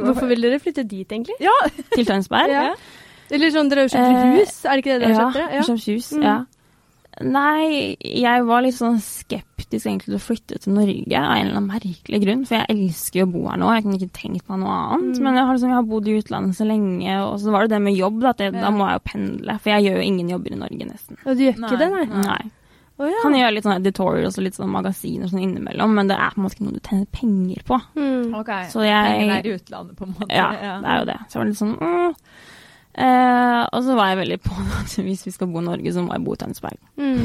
Speaker 1: Hvorfor ville dere flytte dit, egentlig?
Speaker 2: Ja,
Speaker 3: Til Tønsberg.
Speaker 1: Ja. Eller sånn, dere har jo kjøpt
Speaker 3: Eh,
Speaker 1: hus, er det ikke det dere har kjøpt? dere?
Speaker 3: jeg kjøpte hus.
Speaker 1: Mm.
Speaker 3: Ja. Nei, jeg var litt sånn skeptisk egentlig til å flytte til Norge av en eller annen merkelig grunn, for jeg elsker jo å bo her nå. Jeg kunne ikke tenkt meg noe annet.
Speaker 1: Mm.
Speaker 3: Men jeg har, liksom, jeg har bodd i utlandet så lenge, og så var det det med jobb, da, at jeg,
Speaker 2: Ja.
Speaker 3: da må jeg jo pendle. For jeg gjør jo ingen jobber i Norge, nesten.
Speaker 1: Ja, du gjør ikke
Speaker 2: Nei.
Speaker 1: det, nei?
Speaker 3: Nei.
Speaker 1: Å ja.
Speaker 3: Kan gjøre litt sånn editorials og litt sånn magasiner og sånn innimellom, men det er på en måte ikke noe du tjener penger på.
Speaker 1: Mm.
Speaker 2: OK.
Speaker 3: Så jeg
Speaker 2: Pengene er i utlandet, på en måte.
Speaker 3: Ja, det er jo det. Så jeg var litt sånn mm. eh, Og så var jeg veldig på at hvis vi skal bo i Norge, så må jeg bo i Tønsberg.
Speaker 1: Mm.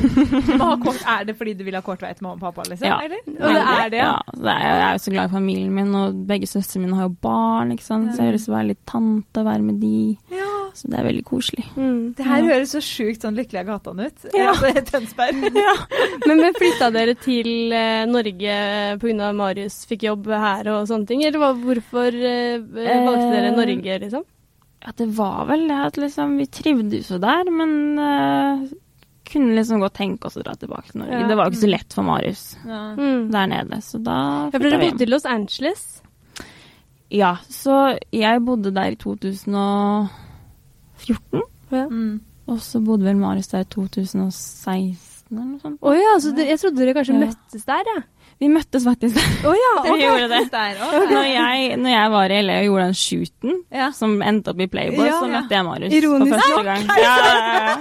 Speaker 2: Du må ha kort, er det fordi du vil ha kort vei til mamma og pappa, liksom?
Speaker 3: Ja.
Speaker 2: Eller?
Speaker 1: Og
Speaker 2: det er det?
Speaker 3: Ja, så det er, jeg er jo så glad i familien min, og begge søstrene mine har jo barn, ikke sant? så jeg har lyst til å være litt tante, være med de.
Speaker 2: Ja.
Speaker 3: Så det er veldig koselig.
Speaker 1: Mm.
Speaker 2: Det her høres så sjukt sånn Lykkelig av gatan ut.
Speaker 3: Ja.
Speaker 2: Altså, Tønsberg.
Speaker 1: Men men flytta dere til eh, Norge pga. Marius fikk jobb her og sånne ting, eller hva- hvorfor eh, valgte dere
Speaker 3: Eh,
Speaker 1: Norge, liksom?
Speaker 3: Ja, det var vel det at liksom vi trivdes jo der, men eh, kunne liksom godt tenke oss å dra tilbake til Norge.
Speaker 1: Ja.
Speaker 3: Det var jo ikke så lett for Marius
Speaker 1: Mm.
Speaker 3: der nede, så da
Speaker 1: Ja, for
Speaker 3: flyttet
Speaker 1: dere
Speaker 3: vi hjem.
Speaker 1: bodde i Los Angeles.
Speaker 3: Ja, så jeg bodde der i 2014,
Speaker 1: Ja.
Speaker 2: Mm.
Speaker 3: og så bodde vel Marius der i 2016 eller noe sånt.
Speaker 1: Å ja, så dere, jeg trodde dere kanskje
Speaker 3: Ja.
Speaker 1: møttes der, ja.
Speaker 3: Vi møttes faktisk der.
Speaker 1: Å ja,
Speaker 3: Vi gjorde det.
Speaker 2: Der,
Speaker 3: Når jeg, når jeg var i LA og gjorde den shooten
Speaker 2: Ja.
Speaker 3: som endte opp i Playboy,
Speaker 2: Ja,
Speaker 3: så
Speaker 2: ja.
Speaker 3: møtte jeg Marius
Speaker 1: Ironisk
Speaker 3: for første gang. Ja, ja, ja.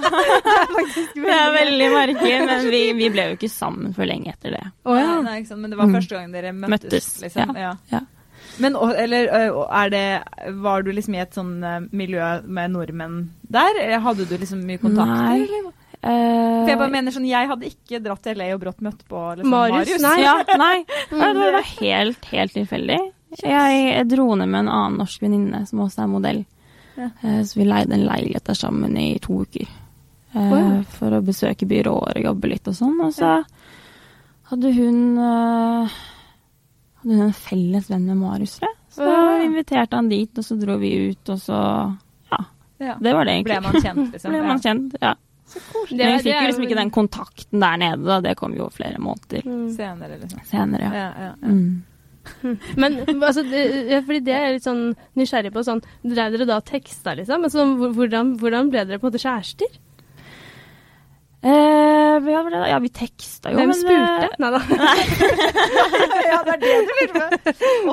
Speaker 3: Det er veldig merkelig, men vi, vi ble jo ikke sammen før lenge etter det.
Speaker 1: Å ja.
Speaker 2: Nei, ikke sant, men det var
Speaker 3: Mm.
Speaker 2: første gang dere møttes,
Speaker 3: Møttes,
Speaker 2: liksom. Ja.
Speaker 3: ja.
Speaker 2: Men og- eller, ø, og er det, var du liksom i et sånn ø, miljø med nordmenn der? Eller Hadde du liksom mye kontakt?
Speaker 3: Nei.
Speaker 2: eller?
Speaker 3: Eh,
Speaker 2: For jeg bare mener sånn, jeg hadde ikke dratt til LA og brått møtt på liksom,
Speaker 1: Marius,
Speaker 2: Marius.
Speaker 1: nei.
Speaker 3: Ja, nei. Ja, Det var helt, helt tilfeldig. Jeg dro ned med en annen norsk venninne som også er modell.
Speaker 2: Ja.
Speaker 3: Eh, Så vi leide en leilighet der sammen i to uker. eh,
Speaker 1: Wow.
Speaker 3: For å besøke byråer og jobbe litt og sånn. Og så hadde hun eh, Hadde hun en felles venn med Marius, tror jeg. Så da
Speaker 1: Wow.
Speaker 3: inviterte han dit, og så dro vi ut, og så Ja.
Speaker 2: Ja.
Speaker 3: Det var det, egentlig.
Speaker 2: Ble man kjent, liksom?
Speaker 3: Ble man kjent, ja.
Speaker 1: Det er-
Speaker 3: Men vi
Speaker 1: det
Speaker 3: fikk
Speaker 1: er
Speaker 3: jo liksom
Speaker 1: jo-
Speaker 3: ikke den kontakten der nede, da. Det kom jo flere måneder
Speaker 2: Ja.
Speaker 1: Mm.
Speaker 2: Senere, liksom.
Speaker 3: senere, ja.
Speaker 2: Ja, ja, ja.
Speaker 3: Mm.
Speaker 1: Men altså, det, ja, fordi det er jeg litt sånn nysgjerrig på. Sånn, Drev dere da og teksta, liksom? Altså, hvor- hvordan, hvordan ble dere på en måte kjærester?
Speaker 3: Eh, ja, var det- ja, vi teksta jo.
Speaker 1: Hvem
Speaker 3: men,
Speaker 1: spurte? Nei da.
Speaker 2: ja, det er det du lurer på.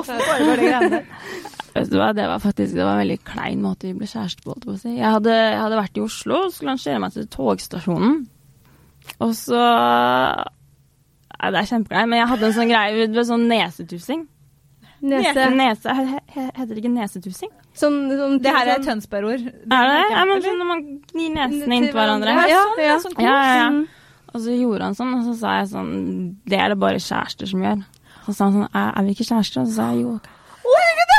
Speaker 2: Åssen foregår det greiene der?
Speaker 3: eh, Vet du hva, det var faktisk det var en veldig klein måte vi ble kjærester på. holdt jeg på å si. Jeg hadde, jeg hadde vært i Oslo og skulle arrangere meg til togstasjonen. Og så ja, Det er kjempegreier, men jeg hadde en sånn greie med sånn nesetussing.
Speaker 1: Nese.
Speaker 3: Nese, he, he, heter det ikke nesetussing?
Speaker 1: Sånn, sånn,
Speaker 2: Det her er
Speaker 1: sånn-
Speaker 2: et Tønsberg-ord.
Speaker 3: Er det? Ja, men
Speaker 2: Eller?
Speaker 3: sånn når man gnir
Speaker 1: Til
Speaker 3: nesene inntil hverandre.
Speaker 1: hverandre.
Speaker 2: Ja,
Speaker 1: Ja,
Speaker 2: sånn, ja.
Speaker 1: ja.
Speaker 2: Sånn
Speaker 3: Ja, ja, ja.
Speaker 1: Mm.
Speaker 3: Og så gjorde han sånn, og så sa jeg sånn Det er det bare kjærester som gjør. Så sa han sånn Er, er vi ikke kjærester? Og så sa jeg jo. ok.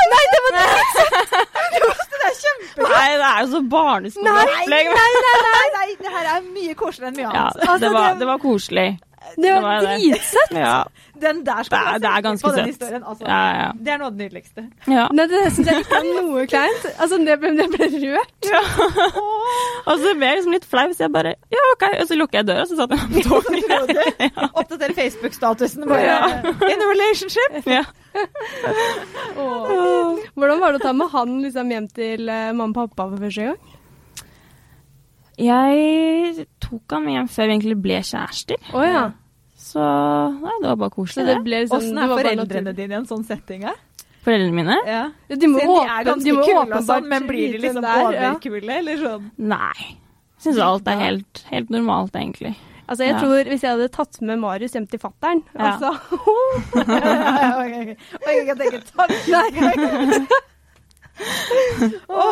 Speaker 2: Nei, det var det! Det er kjempegøy!
Speaker 3: Nei, det er jo så barneskoleopplegg.
Speaker 2: nei, nei, nei, nei, det her er mye koseligere enn mye
Speaker 3: Ja,
Speaker 2: annet. Altså,
Speaker 3: det var, det var koselig.
Speaker 1: Det
Speaker 3: Det var
Speaker 1: var
Speaker 3: det.
Speaker 1: dritsøtt!
Speaker 3: Ja,
Speaker 2: Den der
Speaker 3: det
Speaker 2: skal
Speaker 3: er,
Speaker 2: du
Speaker 3: det
Speaker 2: ha
Speaker 3: er
Speaker 2: sett
Speaker 3: ganske
Speaker 2: på den
Speaker 3: søtt.
Speaker 2: historien, altså.
Speaker 3: Ja, ja.
Speaker 2: Det er noe av det nydeligste.
Speaker 3: ja.
Speaker 1: Nei, det syns jeg ikke er noe kleint. Altså, det ble, det ble rørt.
Speaker 3: Og så ble jeg liksom litt flau, så jeg bare Ja, OK. Og så lukker jeg døra, og så satt jeg meg på toget.
Speaker 2: Oppdatere Facebook-statusen. bare,
Speaker 3: Ja.
Speaker 2: In a relationship!
Speaker 3: Ja.
Speaker 1: Hvordan var det å ta med han liksom, hjem til eh, mamma og pappa for første gang?
Speaker 3: Jeg tok han med hjem før vi egentlig ble kjærester.
Speaker 1: Å ja.
Speaker 3: Så nei, det var bare
Speaker 1: Så det
Speaker 3: koselig, det.
Speaker 1: ble liksom
Speaker 2: Åssen
Speaker 1: det
Speaker 2: er
Speaker 1: var bare
Speaker 2: foreldrene
Speaker 1: naturlig.
Speaker 2: dine i en sånn setting? her?
Speaker 3: Foreldrene mine?
Speaker 2: Ja.
Speaker 1: Ja, De må
Speaker 2: Siden de er
Speaker 1: åpen- de
Speaker 2: ganske
Speaker 1: må
Speaker 2: kule, og sånn,
Speaker 1: åpenbart
Speaker 2: men blir de
Speaker 1: vite
Speaker 2: liksom
Speaker 1: den der, ja.
Speaker 2: overkule, eller sånn?
Speaker 3: Nei. Syns alt er helt, helt normalt, egentlig.
Speaker 1: Altså, jeg
Speaker 3: Ja.
Speaker 1: tror Hvis jeg hadde tatt med Marius hjem til fattern
Speaker 3: Ja.
Speaker 1: altså,
Speaker 2: Oi, jeg tenker tanken. Å,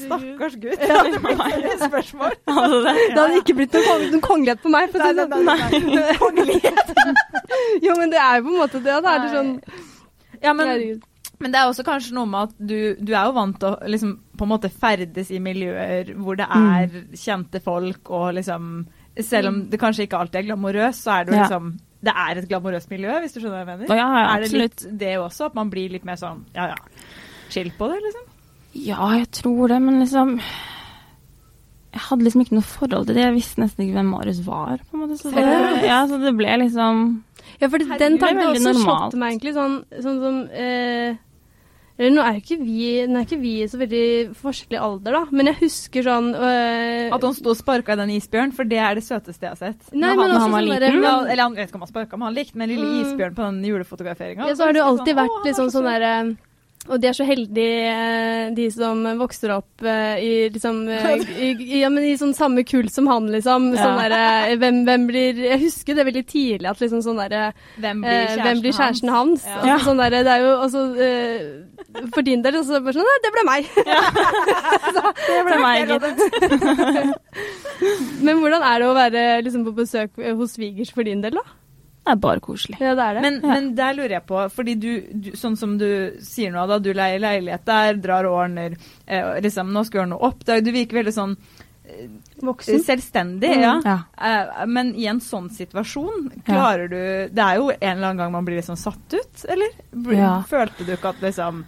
Speaker 2: stakkars gutt. Ja, det blir flere spørsmål.
Speaker 3: Altså, det-
Speaker 1: Det hadde ikke blitt noen, kong noen kongelighet på meg. For å si det sånn.
Speaker 2: Kongelighet.
Speaker 1: Jo, men det er jo på en måte det. Da er det sånn
Speaker 2: Ja, men,
Speaker 1: Herregud.
Speaker 2: men det er også kanskje noe med at du, du er jo vant til å liksom, på en måte ferdes i miljøer hvor det
Speaker 1: Mm.
Speaker 2: er kjente folk, og liksom Selv om det kanskje ikke alltid er glamorøst, så er det jo
Speaker 3: Ja.
Speaker 2: liksom Det er et glamorøst miljø, hvis du skjønner hva jeg mener?
Speaker 3: Å, ja, ja,
Speaker 2: er det
Speaker 3: absolutt.
Speaker 2: litt det også, at man blir litt mer sånn ja ja, chill på det, liksom?
Speaker 3: Ja, jeg tror det, men liksom Jeg hadde liksom ikke noe forhold til det. Jeg visste nesten ikke hvem Marius var, på en måte. Så det, ja, så det ble liksom
Speaker 1: Ja, for det, den
Speaker 3: Herregud, det er
Speaker 1: tanken har
Speaker 3: veldig
Speaker 1: også
Speaker 3: normalt.
Speaker 1: slått meg egentlig sånn, sånn som eh, Eller nå er jo ikke vi Nå er ikke vi i så veldig forskjellig alder, da, men jeg husker sånn eh,
Speaker 2: At han sto og sparka i den isbjørnen, for det er det søteste jeg har sett.
Speaker 1: Nei,
Speaker 3: Når
Speaker 1: men også
Speaker 3: han- når han var
Speaker 1: sånn
Speaker 3: liten,
Speaker 1: derre
Speaker 2: Ja,
Speaker 1: men-
Speaker 2: eller han jeg vet ikke om han sparka, men han likte den lille
Speaker 1: Mm.
Speaker 2: isbjørnen på den julefotograferingen.
Speaker 1: Ja, så har det jo alltid
Speaker 2: Sånn,
Speaker 1: vært
Speaker 2: «Å,
Speaker 1: liksom
Speaker 2: han er så
Speaker 1: sånn derre og de er så heldige, eh, de som vokser opp eh, i liksom eh, i, i- Ja, men i sånn samme kull som han, liksom. Sånn
Speaker 3: Ja.
Speaker 1: derre hvem, hvem blir Jeg husker det veldig tidlig at liksom sånn derre
Speaker 2: Hvem blir
Speaker 1: Eh,
Speaker 2: kjæresten,
Speaker 1: hvem blir kjæresten hans?
Speaker 2: Ja.
Speaker 1: Altså, sånn der, det er jo altså, eh, For din del så er det bare sånn Nei, det ble meg.
Speaker 3: Det ble meg, gitt.
Speaker 1: Men hvordan er det å være liksom, på besøk hos svigers for din del, da?
Speaker 3: Det er bare koselig.
Speaker 1: Ja, det er det.
Speaker 2: Men, men der lurer jeg på, fordi du, du sånn som du sier nå, da du leier leilighet der, drar og ordner eh, og liksom, Nå skal du ordne opp. Da, du virker veldig sånn eh,
Speaker 1: Voksen.
Speaker 2: selvstendig,
Speaker 1: Mm.
Speaker 2: ja.
Speaker 3: Ja.
Speaker 2: Eh, men i en sånn situasjon, klarer du Det er jo en eller annen gang man blir liksom satt ut, eller? Bl-
Speaker 3: Ja.
Speaker 2: Følte du ikke at liksom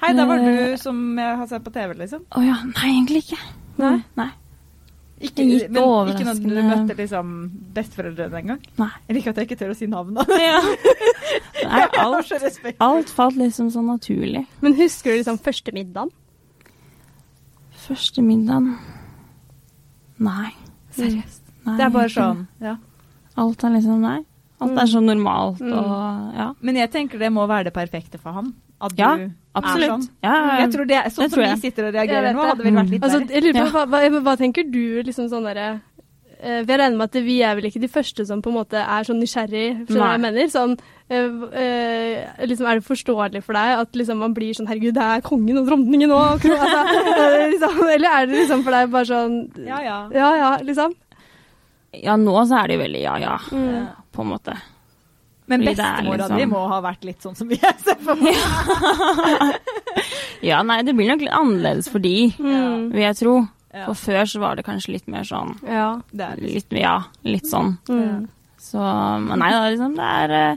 Speaker 2: Hei, der var du
Speaker 3: Eh.
Speaker 2: som jeg har sett på TV, liksom.
Speaker 3: Å ja. Nei, egentlig ikke. Nei. Nei.
Speaker 2: Ikke,
Speaker 3: Det gikk
Speaker 2: men ikke når du
Speaker 3: overraskende.
Speaker 2: møtte liksom besteforeldrene engang.
Speaker 3: Nei.
Speaker 2: Jeg liker at jeg ikke tør å si navnet.
Speaker 3: Nei
Speaker 2: Jeg har
Speaker 3: alt,
Speaker 2: så respekt.
Speaker 3: alt falt liksom sånn naturlig.
Speaker 1: Men husker du liksom første middagen?
Speaker 3: Første middagen Nei.
Speaker 2: Seriøst.
Speaker 3: Nei,
Speaker 2: Det er bare
Speaker 3: egentlig
Speaker 2: sånn. Ja.
Speaker 3: ikke. Alt er liksom Nei. Alt er så normalt
Speaker 1: Mm.
Speaker 3: og Ja.
Speaker 2: Men jeg tenker det må være det perfekte for han. At du
Speaker 3: Ja,
Speaker 2: er sånn.
Speaker 3: Absolutt. Ja, ja, ja.
Speaker 2: Jeg tror det, sånn
Speaker 3: Det
Speaker 2: som
Speaker 3: tror jeg.
Speaker 2: vi sitter og
Speaker 1: Jeg
Speaker 2: reagerer
Speaker 1: vet
Speaker 2: nå,
Speaker 1: det.
Speaker 2: hadde vel
Speaker 3: Mm.
Speaker 2: vært litt
Speaker 1: Altså,
Speaker 2: verre.
Speaker 1: jeg lurer på,
Speaker 3: Ja.
Speaker 1: hva, hva, hva tenker du liksom sånn derre eh, for jeg regner med at vi er vel ikke de første som på en måte er sånn nysgjerrig, skjønner du hva jeg mener? Sånn, eh, eh, liksom, er det forståelig for deg at liksom, man blir sånn herregud, det er kongen og dronningen nå? og kro- Altså, eh, liksom, eller er det liksom for deg bare sånn
Speaker 2: Ja, ja.
Speaker 1: ja, ja liksom?
Speaker 3: ja, nå så er det jo veldig ja, ja,
Speaker 1: Mm.
Speaker 3: på en måte.
Speaker 2: Men
Speaker 3: Fordi det er
Speaker 2: bestemora
Speaker 3: liksom-
Speaker 2: di må ha vært litt sånn som vi er. ser for meg.
Speaker 3: Ja, nei, det blir nok litt annerledes for de,
Speaker 1: Mm.
Speaker 3: vil jeg tro.
Speaker 2: Ja.
Speaker 3: For før så var det kanskje litt mer sånn
Speaker 1: Ja.
Speaker 2: Det er liksom- litt
Speaker 3: Litt, ja, litt sånn.
Speaker 1: Mm.
Speaker 3: Så Men nei da, liksom, det er eh,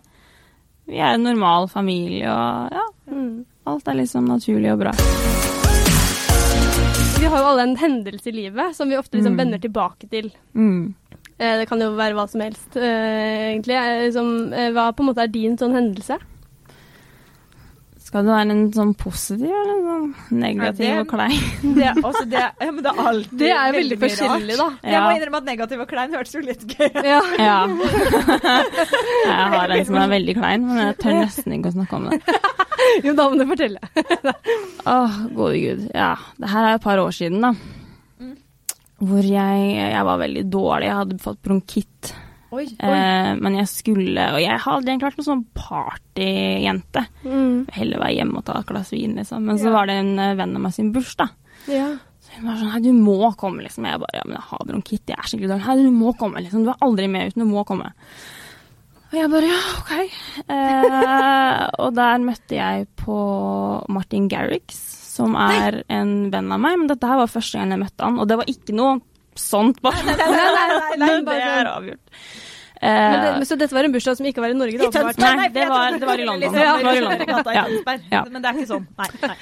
Speaker 3: Vi er en normal familie, og ja,
Speaker 1: Mm.
Speaker 3: alt er liksom naturlig og bra.
Speaker 1: Vi har jo alle en hendelse i livet som vi ofte liksom
Speaker 3: Mm.
Speaker 1: vender tilbake til.
Speaker 3: Mm.
Speaker 1: Eh, Det kan jo være hva som helst, eh, egentlig. Eh, Som, eh, hva på en måte er din sånn hendelse?
Speaker 3: Skal det være en sånn positiv eller en sånn negativ
Speaker 2: Ja, det-
Speaker 3: og klein?
Speaker 2: det, altså det, ja, men det er alltid
Speaker 1: Det er jo veldig
Speaker 2: mye rart.
Speaker 1: forskjellig, da.
Speaker 2: Jeg må
Speaker 3: Ja.
Speaker 2: innrømme at negativ og klein hørtes jo litt gøy ut.
Speaker 1: Ja.
Speaker 3: Ja. Jeg har en som er veldig klein, men jeg tør nesten ikke å snakke om det.
Speaker 1: Jo, da må du fortelle.
Speaker 3: Åh, gode gud. Ja, det her er et par år siden, da.
Speaker 2: Mm.
Speaker 3: Hvor jeg, jeg var veldig dårlig. Jeg hadde fått bronkitt.
Speaker 2: Oi.
Speaker 3: Eh, men jeg skulle Og jeg hadde egentlig vært en sånn partyjente.
Speaker 1: Mm.
Speaker 3: Heller være hjemme og ta et glass vin, liksom. Men
Speaker 2: Ja.
Speaker 3: så var det en eh, venn av meg sin bursdag.
Speaker 1: Ja.
Speaker 3: Hun var sånn Hei, du må komme, liksom. Jeg bare Ja, men jeg har bronkitt, jeg er skikkelig dårlig. Hei, du må komme, liksom. Du er aldri med uten, du må komme. Og jeg bare Ja, OK. Eh, og der møtte jeg på Martin Garrix, som er en venn av meg. Men dette her var første gang jeg møtte han, og det var ikke noe sånt, bare.
Speaker 2: Nei, nei, nei, nei, nei,
Speaker 3: Men det
Speaker 2: bare
Speaker 3: er
Speaker 2: sånn.
Speaker 3: avgjort.
Speaker 1: Men det,
Speaker 3: Eh,
Speaker 1: men så dette var en bursdag som ikke var i Norge,
Speaker 2: I
Speaker 1: da,
Speaker 2: Tønsberg.
Speaker 1: åpenbart?
Speaker 3: Nei,
Speaker 2: for
Speaker 3: det
Speaker 2: jeg
Speaker 3: var-
Speaker 2: trodde
Speaker 3: det var i
Speaker 2: skulle
Speaker 3: London.
Speaker 2: liksom-
Speaker 3: Det var i London.
Speaker 2: Regatta i
Speaker 3: Ja.
Speaker 2: Tønsberg.
Speaker 3: Ja.
Speaker 2: Men det er ikke sånn. Nei, nei.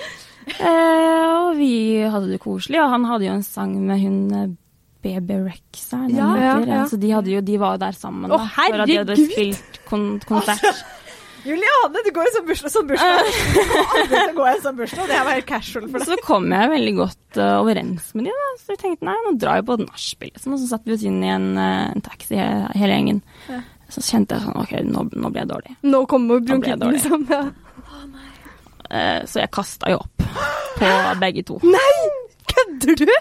Speaker 3: Eh, og vi hadde det koselig, og han hadde jo en sang med hun eh, BB Rex, er det
Speaker 1: Ja,
Speaker 3: hun
Speaker 1: ja,
Speaker 3: heter? Altså, Ja,
Speaker 1: ja.
Speaker 3: Så de, hadde jo, de var jo der sammen.
Speaker 1: Å,
Speaker 3: da, for at de hadde
Speaker 1: herregud!
Speaker 3: spilt kon konsert.
Speaker 2: Juliane, du går i sånn bursdag som bursdag. Aldri så går jeg i sånn bursdag. Det her var helt casual for deg.
Speaker 3: Så kom jeg veldig godt eh, overens med de, da. Så jeg tenkte nei, nå drar jeg på nachspiel, liksom. Og så satt vi oss inn i en, eh, en taxi, he- hele gjengen.
Speaker 2: Ja.
Speaker 3: Så kjente jeg sånn OK, nå, nå ble jeg dårlig.
Speaker 1: Nå kommer
Speaker 3: Da ble jeg
Speaker 1: bronkitten, liksom. Ja.
Speaker 3: Eh, så jeg kasta jo opp på begge to.
Speaker 1: Nei! Kødder du?!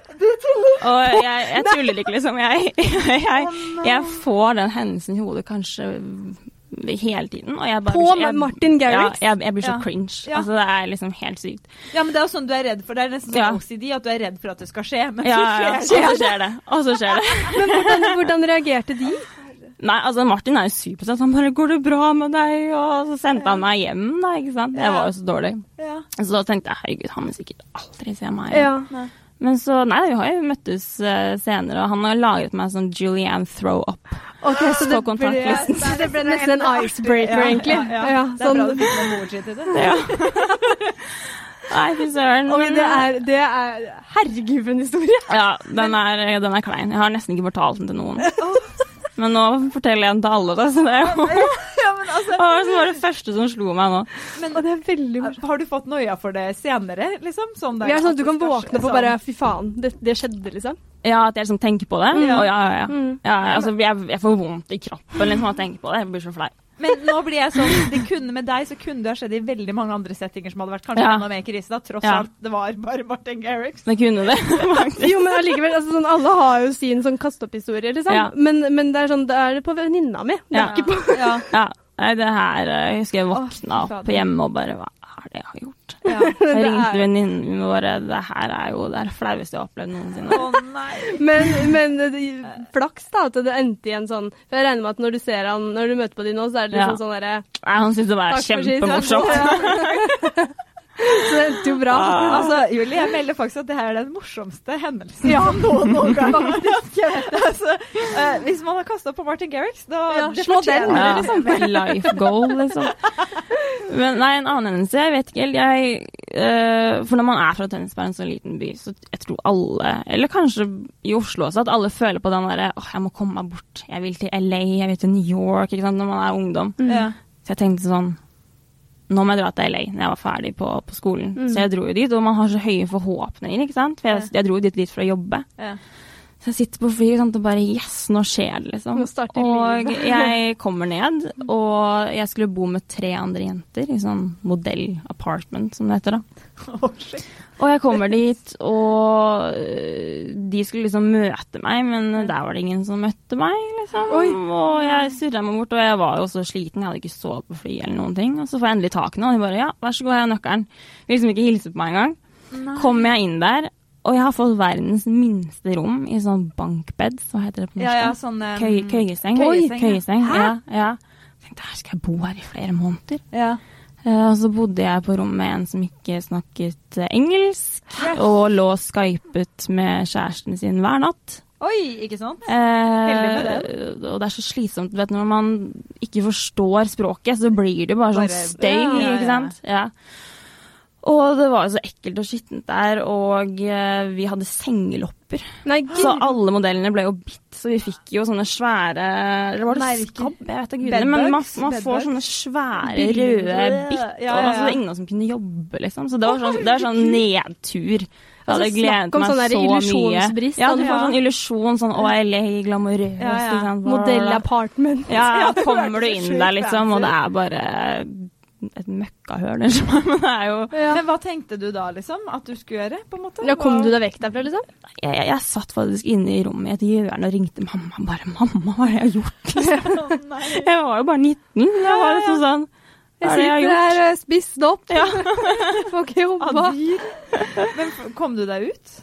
Speaker 3: Og jeg, jeg tuller ikke, liksom. Jeg, jeg, jeg får den hendelsen i hodet kanskje hele tiden. Og jeg bare,
Speaker 1: På
Speaker 3: jeg,
Speaker 1: Martin Garrix?
Speaker 3: Ja, jeg, jeg blir så
Speaker 2: Ja.
Speaker 3: cringe.
Speaker 2: Ja.
Speaker 3: Altså, det er liksom helt sykt.
Speaker 2: Ja, men det er jo sånn du er redd for. Det er nesten
Speaker 3: Ja.
Speaker 2: sånn OCD at du er redd for at det skal skje, men
Speaker 3: Ja,
Speaker 2: så
Speaker 3: ja,
Speaker 2: skjer
Speaker 3: og
Speaker 2: det.
Speaker 3: så skjer det. Og så skjer det.
Speaker 1: Men hvordan, hvordan reagerte de?
Speaker 3: Nei, altså Martin er jo supersøt. Han bare 'Går det bra med deg?' Og så sendte han meg hjem, da, ikke sant. Jeg var jo så dårlig.
Speaker 2: Ja.
Speaker 3: Så da tenkte jeg 'herregud, han vil sikkert aldri se meg'.
Speaker 1: Ja.
Speaker 3: Men så, nei, vi har jo møttes eh, senere, og han har lagret meg som Julianne Throw Up.
Speaker 1: Ok, så det
Speaker 3: På kontaktlisten.
Speaker 1: ble- det ble nesten en icebreaker, egentlig.
Speaker 2: Ja, ja, ja.
Speaker 1: Ja,
Speaker 2: Det er bra
Speaker 1: sånn.
Speaker 2: du fikk noen morskytt i det.
Speaker 3: Ja. nei, fy søren.
Speaker 1: Ok,
Speaker 3: men-
Speaker 1: det er, det er Herregud, for en historie!
Speaker 3: Ja, den er, den er klein. Jeg har nesten ikke fortalt den til noen. Men nå forteller jeg den til alle, da, så det er jo
Speaker 2: Ja, men altså,
Speaker 3: det var liksom bare det første som slo meg nå.
Speaker 1: Og det er veldig morsomt.
Speaker 2: har du fått noia for det senere, liksom? Sånn
Speaker 1: Det er sånn at du kan
Speaker 2: skal skje-
Speaker 1: våkne opp og
Speaker 2: sånn-
Speaker 1: bare Fy faen, det, det skjedde, liksom.
Speaker 3: Ja, at jeg liksom tenker på det.
Speaker 2: Ja.
Speaker 3: Og ja, ja, ja.
Speaker 1: Mm.
Speaker 3: ja altså, jeg, jeg får vondt i kroppen liksom, av å tenke på det. Jeg blir så flau.
Speaker 2: Men nå blir jeg sånn, det kunne med deg så kunne det ha skjedd i veldig mange andre settinger som hadde vært kanskje
Speaker 3: Ja.
Speaker 2: enda mer krise, da, tross
Speaker 3: Ja.
Speaker 2: alt det var bare Martin Garrix.
Speaker 3: Men jeg kunne det, faktisk.
Speaker 1: Jo, men allikevel, altså, sånn, alle har jo sin sånn kaste-opp-historie, liksom.
Speaker 3: Ja.
Speaker 1: Men, men det er sånn, det er det på venninna mi. Det er
Speaker 3: Ja.
Speaker 1: ikke på
Speaker 2: Ja.
Speaker 3: Ja. Nei, det her eh, Jeg husker jeg
Speaker 2: Å, fy
Speaker 3: våkna opp
Speaker 2: fader.
Speaker 3: hjemme og bare Hva er det jeg har gjort?
Speaker 2: Ja.
Speaker 3: Jeg
Speaker 1: det
Speaker 3: ringte
Speaker 1: er-
Speaker 3: venninnene mine våre. Det her er jo det er det flaueste jeg har opplevd noensinne.
Speaker 2: Å nei.
Speaker 1: Men, men det- flaks da at det endte i en sånn For jeg regner med at når du ser han Når du møter på de nå, så er det liksom
Speaker 3: Ja.
Speaker 1: sånn derre
Speaker 3: Nei, han syntes det var
Speaker 1: takk for sist,
Speaker 3: kjempemorsomt.
Speaker 1: ja. Ah, Så det endte jo bra.
Speaker 2: Altså, Julie, jeg melder faktisk at det her er den morsomste hendelsen
Speaker 1: Ja.
Speaker 2: som noen noen gang har hatt. Altså, eh, hvis man har kasta på Martin Garrix, da
Speaker 1: Ja,
Speaker 2: det
Speaker 1: slå
Speaker 2: fortjener
Speaker 1: den.
Speaker 2: det,
Speaker 3: Ja,
Speaker 2: liksom.
Speaker 3: life goal, liksom. Men nei, en annen hendelse, jeg vet ikke helt. Jeg, eh, for når man er fra Tønsberg, en sånn liten by, så jeg tror alle, eller kanskje i Oslo også, at alle føler på den derre åh, jeg må komme meg bort. Jeg vil til LA, jeg vil til New York, ikke sant, når man er ungdom.
Speaker 1: Mm.
Speaker 2: Ja.
Speaker 3: Så jeg tenkte sånn nå må jeg dra til LA når jeg var ferdig på, på skolen.
Speaker 1: Mm.
Speaker 3: Så jeg dro jo dit, og man har så høye forhåpninger, ikke sant. For jeg, jeg dro jo dit, dit for å jobbe.
Speaker 2: Ja.
Speaker 3: Så jeg sitter på flyet sant, og bare Yes, nå skjer det, liksom.
Speaker 1: Nå starter
Speaker 3: og
Speaker 1: livet.
Speaker 3: jeg kommer ned, og jeg skulle bo med tre andre jenter i sånn modell-apartment, som det heter da.
Speaker 2: Å, shit.
Speaker 3: Og jeg kommer dit, og øh, de skulle liksom møte meg, men der var det ingen som møtte meg, liksom. Og jeg surra meg bort, og jeg var jo så sliten, jeg hadde ikke sovet på flyet eller noen ting. Og så får jeg endelig tak i noen, og de bare ja, vær så god, jeg har nøkkelen. Vil liksom ikke hilse på meg engang. Kommer jeg inn der, og jeg har fått verdens minste rom i sånn bankbed, hva heter det på norsk?
Speaker 2: ja, ja,
Speaker 3: da?
Speaker 2: sånn eh,
Speaker 3: Køy, køyeseng.
Speaker 2: køyeseng, ja.
Speaker 3: køyeseng.
Speaker 2: Hæ?
Speaker 3: Ja, ja. Jeg tenkte her skal jeg bo her i flere måneder.
Speaker 2: Ja.
Speaker 3: Eh, Og så bodde jeg på rommet med en som ikke snakket eh, engelsk, og lå skypet med kjæresten sin hver natt.
Speaker 2: Oi, ikke sant?
Speaker 3: Eh,
Speaker 2: med
Speaker 3: og det er så slitsomt. Du vet, når man ikke forstår språket, så blir det bare sånn
Speaker 2: Bare-
Speaker 3: støy,
Speaker 2: Ja, ja, ja.
Speaker 3: ikke sant? Ja. Og det var jo så ekkelt og skittent der, og eh, vi hadde sengelopper.
Speaker 1: Nei,
Speaker 3: Så
Speaker 1: gud.
Speaker 3: alle modellene ble jo bitt, så vi fikk jo sånne svære Eller var det
Speaker 2: Merker.
Speaker 3: skabb? Jeg vet da gudene.
Speaker 2: Bedbugs?
Speaker 3: Men man, man får
Speaker 2: Bedbugs?
Speaker 3: sånne svære
Speaker 2: Bilder.
Speaker 3: røde bitt.
Speaker 2: Ja, ja,
Speaker 3: Og
Speaker 2: ja.
Speaker 3: altså, det er ingen av oss som kunne jobbe, liksom. Så det var sånn, det var sånn nedtur. Jeg hadde
Speaker 1: Altså, snakk
Speaker 3: gledet
Speaker 1: om
Speaker 3: meg så
Speaker 1: sånn der
Speaker 3: mye.
Speaker 1: illusjonsbrist,
Speaker 3: Ja, du
Speaker 1: da.
Speaker 3: får sånn illusjon, sånn å, LA, glamorøs,
Speaker 2: Ja, ja.
Speaker 3: ikke sant.
Speaker 1: Modell-apartment.
Speaker 3: sånn, Ja,
Speaker 2: Ja, det
Speaker 3: kommer du
Speaker 2: hørtes
Speaker 3: inn
Speaker 2: sjukt
Speaker 3: der, liksom, og
Speaker 2: fancy.
Speaker 3: det er bare et møkkahøl, liksom. Men det er jo
Speaker 1: Ja.
Speaker 2: Men hva tenkte du da, liksom? At du skulle gjøre? på en måte?
Speaker 1: Ja, kom
Speaker 2: Hva-
Speaker 1: du deg vekk derfra, liksom?
Speaker 3: jeg, jeg, jeg satt faktisk inne i rommet i et hjørne og ringte mamma. Bare 'Mamma, hva er det jeg har gjort?'
Speaker 2: Å, nei.
Speaker 3: Jeg var jo bare 19. Jeg var liksom sånn Hva
Speaker 1: Jeg
Speaker 3: er det jeg
Speaker 1: sitter
Speaker 3: har gjort?
Speaker 1: her eh, spist opp.
Speaker 3: Ja.
Speaker 1: Får ikke jobba.
Speaker 2: Adyr. Men f- kom du deg ut?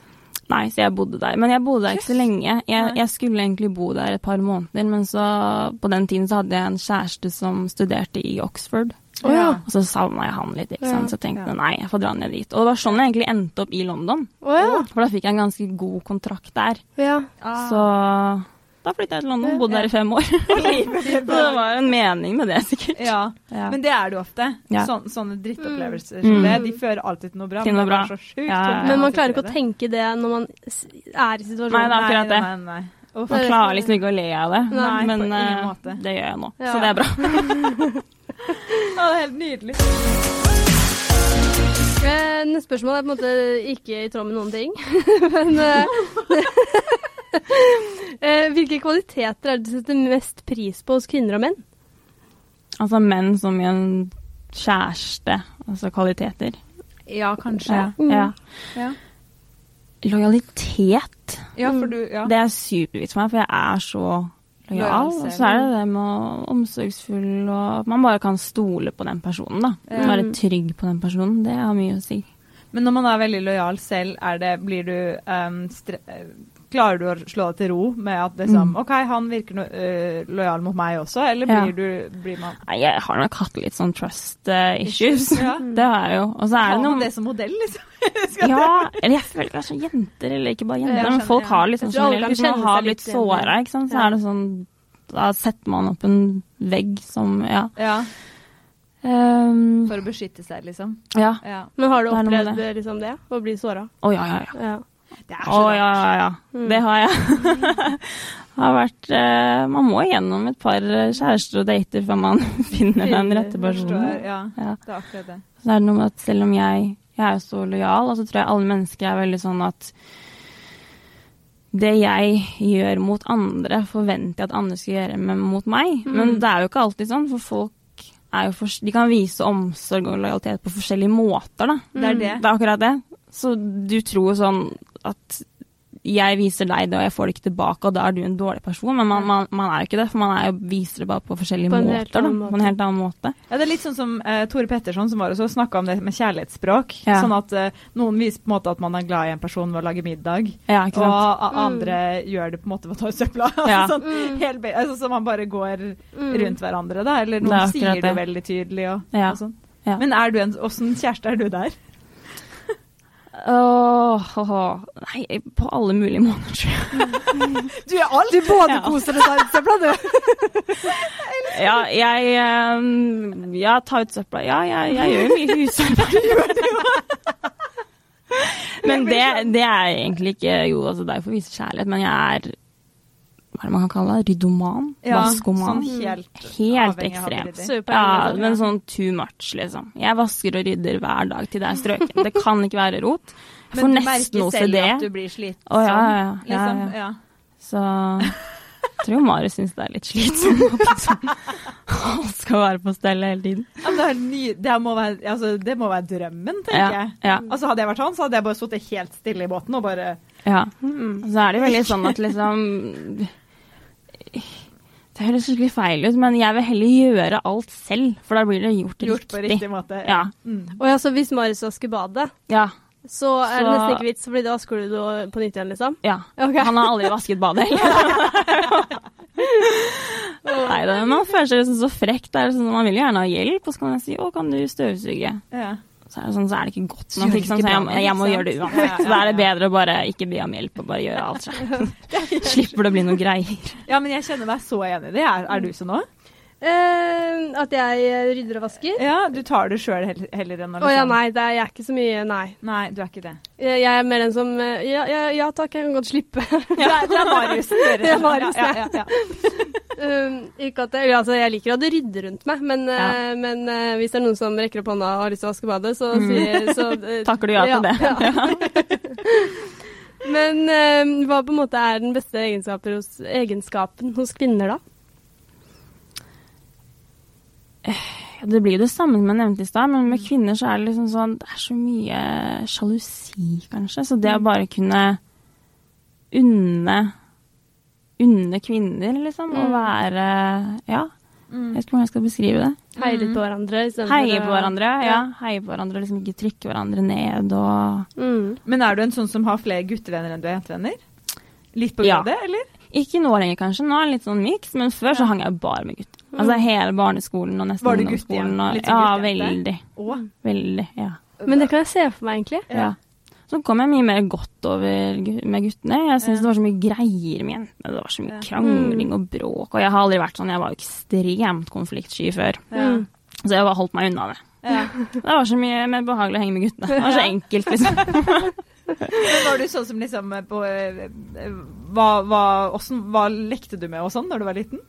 Speaker 3: Nei, så jeg bodde der. Men jeg bodde der ikke så lenge. Jeg, jeg skulle egentlig bo der et par måneder, men så på den tiden så hadde jeg en kjæreste som studerte i Oxford.
Speaker 1: Å ja.
Speaker 3: Og så savna jeg han litt, ikke sant. Så tenkte
Speaker 2: Ja.
Speaker 3: jeg nei, jeg får dra ned dit. Og det var sånn jeg egentlig endte opp i London.
Speaker 1: Å ja.
Speaker 3: For da fikk jeg en ganske god kontrakt der.
Speaker 1: ja.
Speaker 2: Ah.
Speaker 3: Så da flytta jeg til London og bodde der i fem år.
Speaker 2: livet
Speaker 3: Så det var en mening med det, sikkert.
Speaker 2: Ja,
Speaker 3: Ja.
Speaker 2: men det er det jo ofte.
Speaker 3: Ja.
Speaker 2: Sån, sånne drittopplevelser som
Speaker 3: Mm.
Speaker 2: det. De fører alltid til noe bra.
Speaker 3: Til
Speaker 2: men
Speaker 3: noe bra.
Speaker 2: det er så sjukt
Speaker 3: Ja, ja.
Speaker 2: vondt
Speaker 1: Men man
Speaker 2: å
Speaker 1: klarer ikke å
Speaker 2: oppleve
Speaker 1: tenke det når man s- er i
Speaker 3: Nei,
Speaker 1: situasjonen.
Speaker 3: det er akkurat det.
Speaker 2: Nei, nei, nei. Uff.
Speaker 3: Man klarer liksom ikke å le av det,
Speaker 1: Nei,
Speaker 3: men
Speaker 2: på ingen
Speaker 3: eh,
Speaker 2: måte.
Speaker 3: det gjør jeg nå,
Speaker 1: Ja.
Speaker 3: så det er bra.
Speaker 2: Ja, det er helt nydelig.
Speaker 1: Eh, Neste spørsmål er på en måte ikke i tråd med noen ting. Men eh, eh, Hvilke kvaliteter er det du setter mest pris på hos kvinner og menn?
Speaker 3: Altså menn som i en kjæreste, altså kvaliteter.
Speaker 2: Ja, kanskje.
Speaker 3: Ja. ja.
Speaker 2: Ja.
Speaker 3: Lojalitet.
Speaker 2: Ja, for du ja.
Speaker 3: Det er superviktig for meg, for jeg er så
Speaker 2: Lojal,
Speaker 3: lojal. Og
Speaker 2: ser
Speaker 3: så er det det med å- omsorgsfull og at man bare kan stole på den personen, da.
Speaker 2: Ja.
Speaker 3: Være
Speaker 1: Mm.
Speaker 3: trygg på den personen. Det har mye å si.
Speaker 2: Men når man er veldig lojal selv, er det, blir du ehm, stre eh, Klarer du å slå deg til ro med at liksom,
Speaker 3: Mm.
Speaker 2: OK, han virker no eh, lojal mot meg også, eller
Speaker 3: Ja.
Speaker 2: blir, du, blir man
Speaker 3: Nei, jeg har nok hatt litt sånn trust eh, issues.
Speaker 2: Ja.
Speaker 3: Det har jeg jo. Og så er
Speaker 2: Har
Speaker 3: det
Speaker 2: man
Speaker 3: noe
Speaker 2: det som modell, liksom?
Speaker 3: Ja, eller jeg føler kanskje jenter, eller ikke bare
Speaker 2: Ja,
Speaker 3: jenter,
Speaker 2: jeg
Speaker 3: men
Speaker 2: skjønner,
Speaker 3: folk
Speaker 2: ja.
Speaker 3: har liksom
Speaker 1: Jeg tror alle kan
Speaker 3: generelt, hvis man
Speaker 1: kjenne
Speaker 3: har
Speaker 1: seg
Speaker 3: blitt
Speaker 1: litt igjen der.
Speaker 3: såra, ikke sant, så
Speaker 1: Ja.
Speaker 3: er det sånn, da setter man opp en vegg som, ja.
Speaker 2: Ja,
Speaker 3: Ehm,
Speaker 2: for å beskytte seg, liksom.
Speaker 3: ja,
Speaker 2: Ja.
Speaker 1: Men har du
Speaker 3: Det er noe med
Speaker 1: opplevd eh, liksom det? Å bli såra?
Speaker 3: å ja, ja, ja.
Speaker 1: Ja.
Speaker 2: Det er Mm.
Speaker 3: Å ja, ja, ja. Det har jeg. har vært, eh, man må gjennom et par eh, kjærester og dater før man finner den rette personen.
Speaker 2: Forstår, ja.
Speaker 3: Mm. Ja.
Speaker 2: Det er akkurat det.
Speaker 3: Så det er det noe med at selv om jeg, jeg er jo så lojal, og så tror jeg alle mennesker er veldig sånn at det jeg gjør mot andre, forventer jeg at andre skal gjøre med, mot meg.
Speaker 1: Mm.
Speaker 3: Men det er jo ikke alltid sånn, for folk er jo fors- de kan vise omsorg og lojalitet på forskjellige måter, da. Mm.
Speaker 2: Det er det.
Speaker 3: Det er akkurat det. Så du tror jo sånn at jeg viser deg det, og jeg får det ikke tilbake, og da er du en dårlig person. Men man, man, man er jo ikke det, for man er jo, viser det bare på forskjellige
Speaker 1: På en helt
Speaker 3: måter. Da.
Speaker 1: annen
Speaker 3: På en
Speaker 1: måte.
Speaker 3: helt annen måte.
Speaker 2: Ja, Det er litt sånn som eh, Tore Petterson som var også snakka om det med kjærlighetsspråk.
Speaker 3: Ja.
Speaker 2: Sånn at eh, noen viser på en måte at man er glad i en person ved å lage middag,
Speaker 3: Ja,
Speaker 2: og
Speaker 3: ikke sant?
Speaker 2: a- andre gjør det på en måte ved å ta ut søpla.
Speaker 3: Ja.
Speaker 2: altså, sånn, helt be- altså, så man bare går
Speaker 1: Mm.
Speaker 2: rundt hverandre, da. Eller
Speaker 3: Det er
Speaker 2: noen
Speaker 3: akkurat
Speaker 2: sier det
Speaker 3: det.
Speaker 2: veldig tydelig og,
Speaker 3: Ja.
Speaker 2: og sånn.
Speaker 3: Ja.
Speaker 2: Men er du en, åssen kjæreste er du der?
Speaker 3: Åh, hå, hå. Nei, på alle mulige måter, tror jeg.
Speaker 2: Du er alt! Du både koser og tar ut søpla, du.
Speaker 3: Ja, jeg ehm, Ja, ta ut søpla. Ja, jeg, jeg gjør jo mye husarbeid. Men det, det er egentlig ikke Jo, altså, det er jo for å vise kjærlighet, men jeg er Hva er det man kan kalle det? Ryddoman? Vaskoman?
Speaker 2: sånn helt, avhengig
Speaker 3: Helt
Speaker 2: av
Speaker 3: ekstremt.
Speaker 2: habilitet.
Speaker 1: Super,
Speaker 3: Ja,
Speaker 1: liksom.
Speaker 3: men sånn too much, liksom. Jeg vasker og rydder hver dag til det er strøket. Det kan ikke være rot. Jeg får
Speaker 2: Men du
Speaker 3: nesten
Speaker 2: merker
Speaker 3: OCD.
Speaker 2: selv at du blir slitsom,
Speaker 3: Å, ja, ja, ja, ja,
Speaker 2: liksom.
Speaker 3: ja.
Speaker 2: Ja.
Speaker 3: Så jeg tror Marius syns det er litt slitsomt at liksom, alt skal være på stell hele tiden.
Speaker 2: Ja, men Det, er ny, det, må være, altså, det må være drømmen, tenker
Speaker 3: Ja,
Speaker 2: jeg.
Speaker 3: ja,
Speaker 2: Altså Hadde jeg vært han, så hadde jeg bare sittet helt stille i båten og bare
Speaker 3: ja. Og så er det jo veldig sånn at liksom Det høres skikkelig feil ut, men jeg vil heller gjøre alt selv, for da blir det gjort,
Speaker 2: gjort på
Speaker 3: riktig.
Speaker 2: riktig måte.
Speaker 3: Ja,
Speaker 2: Mm.
Speaker 1: Og ja, så hvis Marius vasker badet,
Speaker 3: ja,
Speaker 1: så er det
Speaker 3: Så-
Speaker 1: nesten ikke vits, for da vasker du det på nytt igjen, liksom.
Speaker 3: ja.
Speaker 1: Ok.
Speaker 3: Han har aldri vasket badet heller. Nei da, men man føler seg liksom så frekk. Det er sånn, man vil jo gjerne ha hjelp, og så kan jeg si 'Å, kan du støvsuge?'
Speaker 2: Ja.
Speaker 3: så er det sånn, så er det ikke godt
Speaker 2: Gjør
Speaker 3: nok.
Speaker 2: det
Speaker 3: Ikke sant?
Speaker 2: ikke
Speaker 3: Så jeg,
Speaker 2: bra
Speaker 3: jeg, må
Speaker 2: nok,
Speaker 3: gjøre det
Speaker 2: sant?
Speaker 3: uansett.
Speaker 2: Ja,
Speaker 3: Så da er det
Speaker 2: ja,
Speaker 3: bedre å bare ikke be om hjelp og bare gjøre alt selv. Slipper det å bli noe greier.
Speaker 2: ja, men jeg kjenner meg så enig i det. Er, er du sånn òg?
Speaker 1: Eh, at jeg eh, rydder og vasker?
Speaker 2: Ja, du tar det sjøl heller enn å
Speaker 1: Å ja,
Speaker 2: liksom-
Speaker 3: sånn?
Speaker 1: nei, det er, jeg er ikke så mye Nei.
Speaker 2: Nei, du er ikke det.
Speaker 1: Jeg jeg er mer den som eh, Ja, ja, ja takk, jeg kan godt slippe.
Speaker 2: Det er, det er Marius som gjør det.
Speaker 1: Det er Marius,
Speaker 2: ja, ja, ja, ja.
Speaker 1: Um, ikke at jeg, altså, jeg liker å ha det ryddig rundt meg, men, eh, men eh, hvis det er noen som rekker opp hånda og har lyst til å vaske badet, så, sier så eh,
Speaker 3: Takker du Mm. ja til det?
Speaker 1: Men eh, hva på en måte er den beste egenskapen hos, egenskapen hos kvinner, da?
Speaker 3: Det blir jo det samme som jeg nevnte i stad, men
Speaker 2: Mm.
Speaker 3: med kvinner så er det liksom sånn Det er så mye sjalusi, kanskje. Så
Speaker 2: Mm.
Speaker 3: det å bare kunne unne Unne kvinner, liksom.
Speaker 2: Mm.
Speaker 3: Å være Ja. Jeg vet ikke hvordan jeg skal beskrive det.
Speaker 1: Heie litt på hverandre istedenfor
Speaker 3: Mm. Heie
Speaker 1: å-
Speaker 3: på hverandre. Ja, heie på hverandre. Liksom ikke trykke hverandre ned og
Speaker 1: Mm.
Speaker 2: Men er du en sånn som har flere guttevenner enn du er jentevenner? Litt på grunn
Speaker 3: Ja.
Speaker 2: av det, eller?
Speaker 3: Ikke nå lenger, kanskje. Nå er det litt sånn miks, men før så hang jeg bare med gutter. Altså hele barneskolen og
Speaker 2: Mm.
Speaker 3: nesten
Speaker 2: Var du
Speaker 3: ungdomsskolen.
Speaker 2: guttejente?
Speaker 3: Og,
Speaker 2: Litt
Speaker 3: ja,
Speaker 2: sånn guttejente?
Speaker 3: veldig.
Speaker 2: Å.
Speaker 3: Veldig. Ja.
Speaker 1: Men det kan jeg se for meg, egentlig.
Speaker 3: ja. Så kom jeg mye mer godt over gu- med guttene. Jeg syns det var så mye greier med jentene. Det var så
Speaker 2: Ja. Mm.
Speaker 3: mye krangling og bråk. Og jeg har aldri vært sånn. Jeg var jo ekstremt konfliktsky før.
Speaker 2: Ja.
Speaker 1: Mm.
Speaker 3: Så jeg bare holdt meg unna det.
Speaker 2: Ja.
Speaker 3: Det var så mye mer behagelig å henge med guttene. Det var så enkelt, liksom.
Speaker 2: Men var du sånn som liksom eh, på eh, hva, hva, hvordan, hva lekte du med og sånn når du var liten?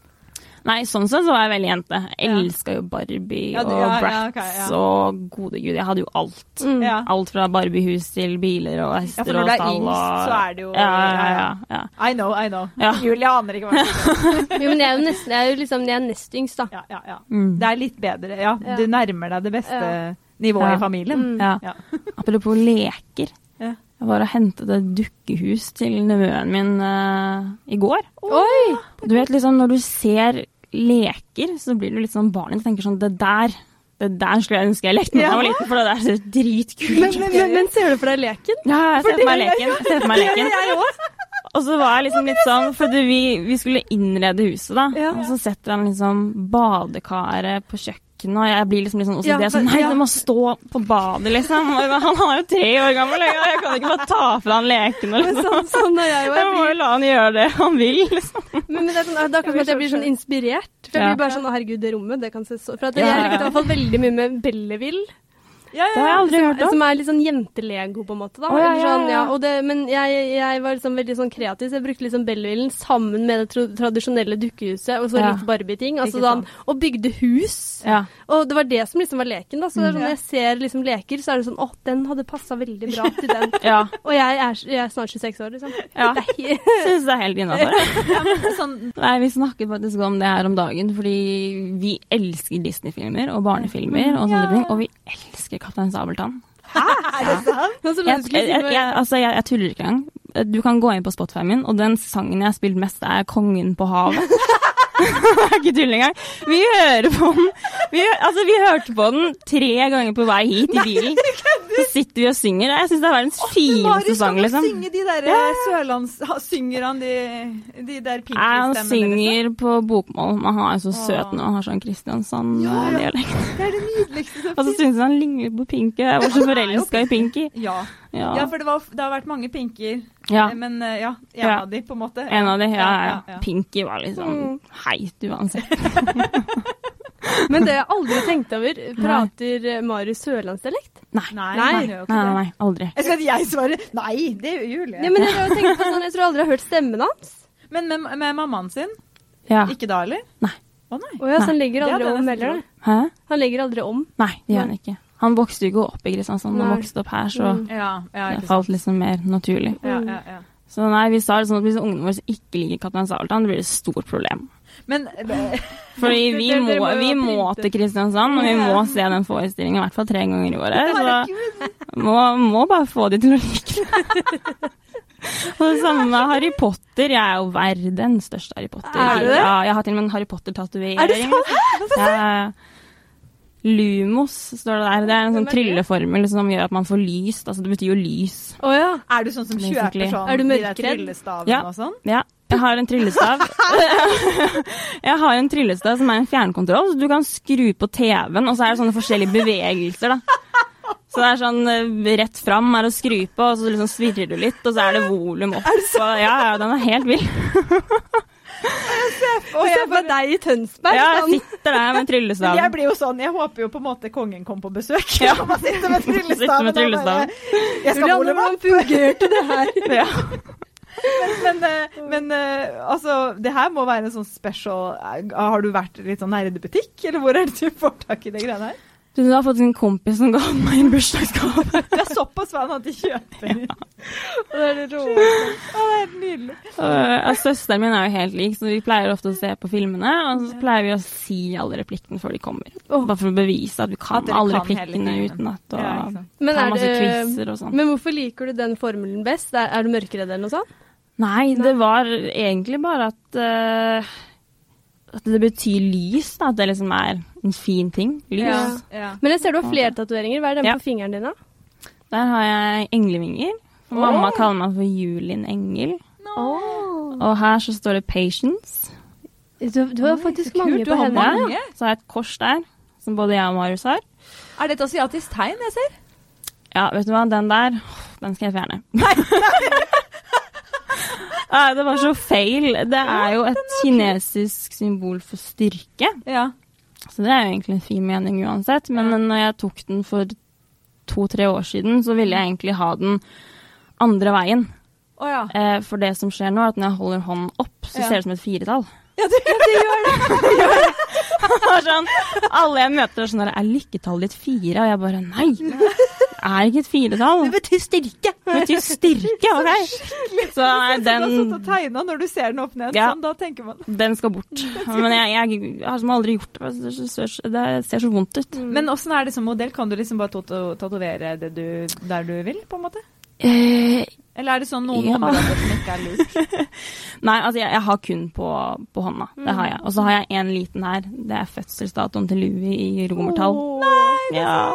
Speaker 3: Nei, sånn sett så var jeg veldig jente. Jeg elska jo Barbie
Speaker 2: Ja, du-
Speaker 3: og
Speaker 2: ja, ja,
Speaker 3: Bratz
Speaker 2: ok, ja.
Speaker 3: og gode gud, jeg hadde jo alt.
Speaker 1: Mm.
Speaker 2: Ja.
Speaker 3: Alt fra Barbiehus til biler og
Speaker 2: Ja,
Speaker 3: hester
Speaker 2: for når
Speaker 3: og
Speaker 2: du er
Speaker 3: stall
Speaker 2: yngst,
Speaker 3: og
Speaker 2: så er det jo
Speaker 3: Ja, ja, ja. ja.
Speaker 2: I know, I know.
Speaker 3: Ja.
Speaker 2: Julie aner ikke hva det er.
Speaker 1: Jo, men jeg er jo nesten Jeg er jo liksom, jeg er nest yngst, da.
Speaker 2: Ja, ja, ja.
Speaker 3: Mm.
Speaker 2: Det er litt bedre. Ja,
Speaker 1: Ja.
Speaker 2: du nærmer deg det beste
Speaker 1: Ja.
Speaker 2: nivået
Speaker 3: Ja.
Speaker 2: i familien.
Speaker 1: Mm.
Speaker 3: ja.
Speaker 2: Ja.
Speaker 3: Apropos leker.
Speaker 2: Ja.
Speaker 3: Jeg var og hentet et dukkehus til nevøen min eh, i går.
Speaker 1: Oi!
Speaker 3: Du vet liksom, når du ser leker, så blir du litt sånn barn og tenker sånn Det der det der skulle jeg ønske jeg lekte da jeg var liten, for det der ser dritkult
Speaker 1: Men, men, men, men ser du for deg leken?
Speaker 3: Ja, jeg ser for meg leken. Jeg ser for meg leken.
Speaker 2: Jeg òg.
Speaker 3: Og så var jeg liksom litt sånn, for vi, vi skulle innrede huset da,
Speaker 1: Ja.
Speaker 3: og så setter han liksom badekaret på kjøkkenet, og jeg blir liksom litt sånn OCD,
Speaker 1: Ja,
Speaker 3: det er sånn,
Speaker 1: men-
Speaker 3: nei,
Speaker 1: ja.
Speaker 3: det må stå på badet liksom. Og Han han er jo tre år gammel, og jeg kan ikke bare ta fra han leken. og
Speaker 1: Men
Speaker 3: Liksom.
Speaker 1: Sånn, sånn er jeg jo. Jeg
Speaker 3: Jeg må
Speaker 1: blir,
Speaker 3: jo la han gjøre det han vil, liksom.
Speaker 1: men, men det er sånn, da kan jeg, jeg blir sånn inspirert. For jeg
Speaker 3: Ja.
Speaker 1: blir bare sånn Å, herregud, det rommet, det kan se så For at
Speaker 3: Ja,
Speaker 1: jeg
Speaker 3: ja, ja.
Speaker 1: likte i hvert fall veldig mye med Belleville.
Speaker 2: Ja,
Speaker 3: Det
Speaker 2: ja,
Speaker 3: har jeg
Speaker 2: ja.
Speaker 3: aldri hørt om.
Speaker 1: Som er litt sånn jentelego, på en måte. da.
Speaker 3: Å, ja,
Speaker 1: Eller
Speaker 3: ja,
Speaker 1: sånn,
Speaker 3: ja.
Speaker 1: ja, og det, men jeg, jeg var liksom veldig sånn kreativ, så jeg brukte liksom Belleville sammen med det tro- tradisjonelle dukkehuset og så
Speaker 3: Ja.
Speaker 1: litt Barbie-ting. Altså,
Speaker 2: Ikke sant.
Speaker 1: sånn, og bygde hus.
Speaker 3: Ja. Mm,
Speaker 1: Og det var det som liksom var leken. da. Så det er sånn, når
Speaker 2: Ja.
Speaker 1: jeg ser liksom leker, så er det sånn Å, den hadde passa veldig bra til den.
Speaker 3: Ja,
Speaker 1: Og jeg er, jeg er snart 26 år, liksom.
Speaker 3: Ja.
Speaker 1: Det er helt-
Speaker 3: synes det er helt innenfor.
Speaker 2: Sånn,
Speaker 3: Nei, vi snakket faktisk om det her om dagen, fordi vi elsker Disney-filmer og barnefilmer og sånne ting, og vi elsker Kaptein Sabeltann.
Speaker 2: er det sant?
Speaker 1: Nå som
Speaker 3: jeg,
Speaker 1: du skulle
Speaker 3: jeg,
Speaker 1: si
Speaker 3: jeg,
Speaker 1: noe-
Speaker 3: jeg, altså, jeg, jeg tuller ikke engang. Du kan gå inn på Spotify min, og den sangen jeg har spilt mest, er 'Kongen på havet'. Det er ikke tull engang. Vi hører på den vi, hø- altså, vi hørte på den tre ganger på vei hit i bilen. Så sitter vi og synger. Jeg syns det er verdens fineste
Speaker 2: Marius
Speaker 3: sang,
Speaker 2: kan
Speaker 3: liksom.
Speaker 2: synge de der eh, sørlands... ha- Synger han de, de der
Speaker 3: Nei,
Speaker 2: pinky-stemmene?
Speaker 3: han
Speaker 2: liksom?
Speaker 3: synger på bokmål, men han er jo så
Speaker 2: Åh.
Speaker 3: søt nå. Han har sånn
Speaker 2: Ja, ja.
Speaker 3: Kristiansand-dialekt.
Speaker 2: Det er det nydeligste som
Speaker 3: Og så
Speaker 2: finnes.
Speaker 3: syns jeg han ligner litt på Pinky. Jeg var så forelska i Pinky.
Speaker 2: Ja.
Speaker 3: Ja.
Speaker 2: ja, for det, var, det har vært mange pinker,
Speaker 3: ja.
Speaker 2: eh, men eh, ja, en
Speaker 3: Ja.
Speaker 2: av de, på en måte.
Speaker 3: En av de. Ja, ja,
Speaker 2: ja, ja.
Speaker 3: Pinky var
Speaker 1: Mm.
Speaker 3: liksom heit uansett.
Speaker 1: Men det jeg aldri tenkte over, prater eh, Marius sørlandsdialekt?
Speaker 2: Nei,
Speaker 1: Nei.
Speaker 2: han gjør jo
Speaker 3: Nei,
Speaker 2: ikke
Speaker 3: nei,
Speaker 2: det.
Speaker 3: nei, aldri.
Speaker 2: Jeg skal jeg svare nei, det gjør Julie.
Speaker 1: Ja, men jeg, har jo tenkt på sånn, jeg tror aldri jeg har hørt stemmen hans.
Speaker 2: Men med, med mammaen sin?
Speaker 3: Ja.
Speaker 2: Ikke da, eller?
Speaker 3: Nei.
Speaker 2: Å nei.
Speaker 1: Å ja, så han legger
Speaker 2: Det
Speaker 1: aldri
Speaker 2: hadde jeg
Speaker 1: om
Speaker 2: nesten
Speaker 1: heller.
Speaker 2: trodd.
Speaker 1: da.
Speaker 3: Hæ?
Speaker 1: Han legger aldri om.
Speaker 3: Nei, det gjør han ikke. Han vokste jo ikke opp i Kristiansand, han
Speaker 1: Nei.
Speaker 3: vokste opp her, så
Speaker 1: Mm.
Speaker 2: Ja, ja,
Speaker 3: det
Speaker 2: ikke sant.
Speaker 3: falt liksom mer naturlig.
Speaker 2: Ja, ja, ja.
Speaker 3: Så nei, vi sa det sånn at hvis ungene våre ikke liker Kaptein Sabeltann, det blir et stort problem.
Speaker 2: Men eh,
Speaker 3: Fordi
Speaker 1: Dere-
Speaker 3: vi
Speaker 1: dere
Speaker 3: må,
Speaker 1: må jo
Speaker 3: vi
Speaker 1: ha
Speaker 3: må
Speaker 1: printet.
Speaker 3: til Kristiansand, og vi må se den forestillingen i hvert fall tre ganger i året.
Speaker 2: herregud,
Speaker 3: Så må, må bare få de til å like det. Og det samme med Harry Potter. Jeg er jo verdens største Harry Potter.
Speaker 1: Er du det?
Speaker 3: Ja, jeg har til og med en Harry Potter-tatovering.
Speaker 1: Er det sant?
Speaker 3: Ja. Lumos står det der. Det er
Speaker 1: Hvem
Speaker 3: en sånn
Speaker 1: er det?
Speaker 3: trylleformel som gjør at man får lyst. Altså, det betyr jo lys.
Speaker 1: Å ja.
Speaker 2: er du sånn som kjøper
Speaker 3: Basically.
Speaker 2: sånn
Speaker 1: Er du
Speaker 2: de der
Speaker 1: mørkredd?
Speaker 2: tryllestavene
Speaker 3: Ja.
Speaker 2: og sånn?
Speaker 3: Ja. Jeg har en tryllestav. jeg har en tryllestav som er en fjernkontroll, så du kan skru på TV-en, og så er det sånne forskjellige bevegelser, da. Så det er sånn eh, rett fram er å skru på, og så liksom svirrer du litt, og så er det volum opp. og, ja, ja, den er helt vill.
Speaker 1: Og se på deg i Tønsberg.
Speaker 3: Ja,
Speaker 1: sånn.
Speaker 3: jeg sitter der med
Speaker 2: Men jeg
Speaker 3: tryllestaven.
Speaker 2: blir jo sånn, jeg håper jo på en måte kongen kom på besøk.
Speaker 3: Ja.
Speaker 2: Og man sitter med
Speaker 3: Sitter
Speaker 2: tryllestaven.
Speaker 3: med
Speaker 2: og bare,
Speaker 3: tryllestaven.
Speaker 2: Jeg skal
Speaker 1: Julianne,
Speaker 2: holde meg
Speaker 1: hvordan fungerte det her?
Speaker 3: Ja.
Speaker 2: Men, eh, men eh, altså, det her må være en sånn special eh, Har du vært i litt sånn nerdebutikk, eller hvor er det du får tak i de greiene her?
Speaker 3: Du har fått en kompis som ga meg en bursdagsgave.
Speaker 2: Du er såpass fan at de kjøper.
Speaker 1: Det er det råeste.
Speaker 2: Å, det er nydelig.
Speaker 3: Og, eh, Søsteren min er jo helt lik, så vi pleier ofte å se på filmene. Og så pleier vi å si alle replikkene før de kommer.
Speaker 1: Åh.
Speaker 3: Bare for å bevise at vi
Speaker 2: At
Speaker 3: kan
Speaker 2: dere
Speaker 3: alle
Speaker 2: kan hele
Speaker 3: replikkene
Speaker 2: filmen.
Speaker 3: utenat.
Speaker 2: Ja, ikke
Speaker 3: Og
Speaker 2: sant.
Speaker 1: Men,
Speaker 3: ta
Speaker 1: er
Speaker 3: masse
Speaker 1: det,
Speaker 3: quizer og sånn.
Speaker 1: men hvorfor liker du den formelen best? Er, er du mørkeredd eller noe sånt?
Speaker 3: Nei, det var egentlig bare at eh, At det betyr lys. Da, at det liksom er en fin ting. Lys.
Speaker 1: Ja.
Speaker 2: Ja.
Speaker 1: Men jeg ser du har flere tatoveringer. Hva er den
Speaker 3: Ja.
Speaker 1: på fingeren din, da?
Speaker 3: Der har jeg englevinger. Og mamma kaller meg for Julin Engel. Og her så står det Patience.
Speaker 1: Du, du har faktisk mange
Speaker 2: kult, du
Speaker 1: på
Speaker 2: har
Speaker 1: hendene.
Speaker 2: mange.
Speaker 3: Ja, Så har jeg et kors der, som både jeg og Marius har.
Speaker 2: Er det et asiatisk tegn jeg ser?
Speaker 3: Ja, vet du hva, den der, den skal jeg fjerne. Nei, det var så feil. Det er jo et kinesisk symbol for styrke,
Speaker 2: Ja.
Speaker 3: så det er jo egentlig en fin mening uansett. Men når jeg tok den for to-tre år siden, så ville jeg egentlig ha den andre veien.
Speaker 2: Å ja.
Speaker 3: Eh, For det som skjer nå, er at når jeg holder hånden opp, så
Speaker 2: Ja.
Speaker 3: ser det ut som et firetall.
Speaker 2: Ja, det, gjør det.
Speaker 3: Og sånn, alle jeg møter er sånn der, er lykketallet ditt fire? Og jeg bare nei, det er ikke et firetall. Det betyr styrke. Det betyr styrke, ok. Så nei,
Speaker 2: Den... Du har
Speaker 3: den,
Speaker 2: sittet og tegnet når du ser den åpne igjen.
Speaker 3: Ja.
Speaker 2: Sånn, da tenker man
Speaker 3: den skal bort. Men jeg, jeg har som aldri gjort det. Det ser, det ser så vondt ut.
Speaker 2: Men åssen er det som modell? Kan du liksom bare tato- tatovere det du, der du vil, på en måte?
Speaker 3: Eh,
Speaker 2: Eller er det sånn noen
Speaker 3: Ja.
Speaker 2: områder som ikke er lurt?
Speaker 3: Nei, altså jeg, jeg har kun på, på hånda. Det har jeg. Og så har jeg en liten her. Det er fødselsdatoen til Louie i romertall. Ja.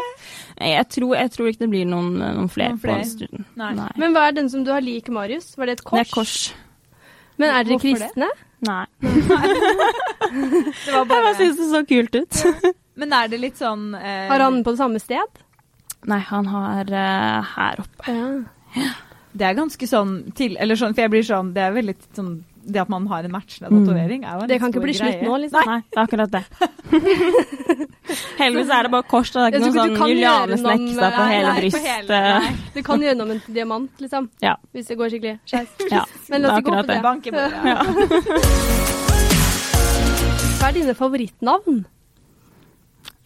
Speaker 3: Jeg, tror, jeg tror ikke det blir noen, noen flere
Speaker 2: Noen flere?
Speaker 3: på studen.
Speaker 2: Nei.
Speaker 1: Men hva er den som du har lik Marius? Var det et
Speaker 3: Det
Speaker 1: kors?
Speaker 3: er kors.
Speaker 1: Men er dere
Speaker 2: Hvorfor det?
Speaker 1: kristne?
Speaker 3: Nei.
Speaker 2: Det var
Speaker 3: Jeg bare
Speaker 2: bare...
Speaker 3: syns det så kult ut.
Speaker 2: Men er det litt sånn eh,
Speaker 1: Har han på det samme sted?
Speaker 3: Nei, han har eh, her oppe.
Speaker 1: Ja.
Speaker 2: Det er ganske sånn til Eller sånn, for jeg blir sånn Det er veldig sånn Det at man har en matchende
Speaker 3: Mm.
Speaker 2: tatovering, er jo en
Speaker 1: Det kan
Speaker 2: stor
Speaker 1: ikke bli
Speaker 2: greie.
Speaker 1: slutt nå, liksom.
Speaker 3: Nei. det er akkurat det. Heldigvis er det bare kors, og det er
Speaker 1: Jeg
Speaker 3: ikke
Speaker 1: tror
Speaker 3: noe
Speaker 1: ikke du
Speaker 3: sånn
Speaker 1: kan gjøre noe
Speaker 3: julianesnekk
Speaker 1: med-
Speaker 3: som er på
Speaker 1: Nei,
Speaker 3: hele
Speaker 1: nei, på
Speaker 3: brystet.
Speaker 2: hele-
Speaker 1: Du kan gjøre noe med en diamant, liksom.
Speaker 3: Ja.
Speaker 1: Hvis det går skikkelig skeis.
Speaker 3: ja.
Speaker 1: Men la oss
Speaker 3: Det er
Speaker 1: ikke gå
Speaker 3: akkurat
Speaker 1: på det.
Speaker 3: det.
Speaker 2: Bank i bordet.
Speaker 1: Hva er dine favorittnavn?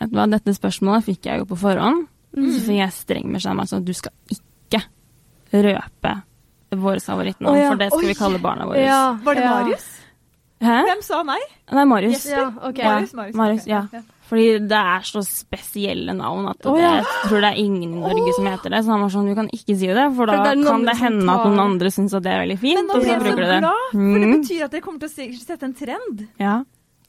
Speaker 3: Vet du hva, Dette spørsmålet fikk jeg jo på forhånd.
Speaker 1: Mm.
Speaker 3: Så fikk jeg streng beskjed om at sånn, du skal ikke røpe våre favorittnavn,
Speaker 1: Å, ja.
Speaker 3: for det skal
Speaker 2: Oi.
Speaker 3: vi kalle barna våre.
Speaker 2: Var det
Speaker 1: ja.
Speaker 2: Marius?
Speaker 3: Hæ?
Speaker 2: Hvem sa nei?
Speaker 3: Nei, Marius.
Speaker 1: Ja, ok.
Speaker 2: Marius, Marius.
Speaker 3: Marius,
Speaker 2: ok.
Speaker 3: ja. Fordi det er så spesielle navn at
Speaker 1: Å, ja.
Speaker 3: det, jeg tror det er ingen i Norge som heter det. Så han var sånn, du kan ikke si det, for da
Speaker 1: det er noen
Speaker 3: kan det
Speaker 1: som
Speaker 3: hende at
Speaker 1: tar-
Speaker 3: noen andre syns at det er veldig
Speaker 2: Men
Speaker 3: fint,
Speaker 2: nå ble
Speaker 3: og så
Speaker 2: jeg så
Speaker 3: bruker du det.
Speaker 2: glad, for det
Speaker 3: Mm.
Speaker 2: betyr at dere kommer til å se- sette en trend.
Speaker 3: Ja.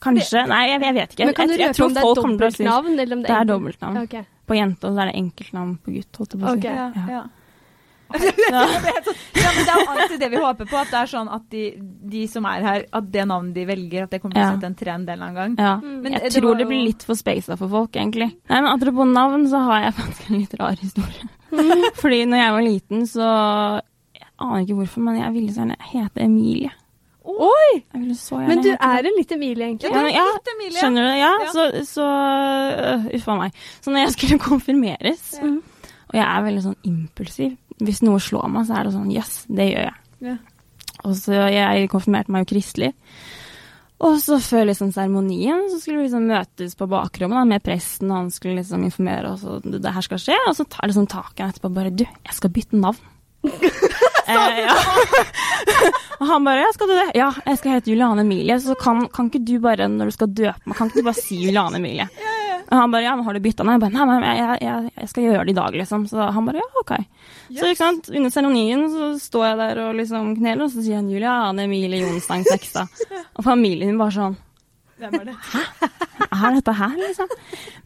Speaker 3: Kanskje. Nei, jeg, jeg vet ikke.
Speaker 1: Men kan du
Speaker 3: jeg, jeg
Speaker 1: røpe om
Speaker 3: tror
Speaker 1: det er
Speaker 3: folk kommer til å synes
Speaker 1: dobbeltnavn? Eller om
Speaker 3: det er
Speaker 1: enkelt-
Speaker 3: dobbeltnavn.
Speaker 1: Ja, ok.
Speaker 3: På jente, og så er det enkeltnavn på gutt, holdt jeg på å si.
Speaker 1: Ok. Ja,
Speaker 2: ja. ja, men Det er jo alltid det vi håper på, at det er sånn at de, de som er her, at det navnet de velger, at det kommer til
Speaker 3: Ja.
Speaker 2: å sette en trend en eller annen gang.
Speaker 3: Ja.
Speaker 1: Mm.
Speaker 2: Men
Speaker 3: jeg
Speaker 2: det var
Speaker 3: tror det
Speaker 2: jo-
Speaker 3: blir litt for spasa for folk, egentlig. Nei, men Apropos navn, så har jeg faktisk en litt rar historie. Fordi når jeg var liten, så Jeg aner ikke hvorfor, men jeg ville så gjerne hete Emilie.
Speaker 1: Oi!
Speaker 3: Jeg ville så gjerne
Speaker 1: Men du
Speaker 3: hete
Speaker 1: er en litt Emilie,
Speaker 2: Ja,
Speaker 1: egentlig.
Speaker 2: det er
Speaker 3: Ja,
Speaker 2: flott, Emilie.
Speaker 3: Skjønner du det? Ja,
Speaker 2: Ja.
Speaker 3: så, så øh, Uff a meg. Så når jeg skulle konfirmeres, og jeg er veldig sånn impulsiv Hvis noe slår meg, så er det sånn Yes, det gjør jeg.
Speaker 2: Ja.
Speaker 3: Og så Jeg konfirmerte meg jo kristelig. Og så før liksom seremonien så skulle vi liksom møtes på bakrommet da, med presten, og han skulle liksom informere oss om at det her skal skje. Og så tar liksom tak i han etterpå og bare Du, jeg skal bytte navn. eh, ja. Og han bare Ja, skal du det? Ja, jeg skal hete Juliane Emilie. Så kan, kan ikke du bare, når du skal døpe meg, kan ikke du bare si Juliane Emilie? Og han bare ja, men har du bytta? Nei, jeg bare, nei, nei, men jeg, jeg, jeg skal gjøre det i dag, liksom. Så han bare ja, OK. Så ikke sant, under seremonien så står jeg der og liksom kneler, og så sier han Juliane Emilie Jonstang Sekstad. Og familien min bare sånn
Speaker 2: Hvem er det?
Speaker 3: Er dette her, liksom?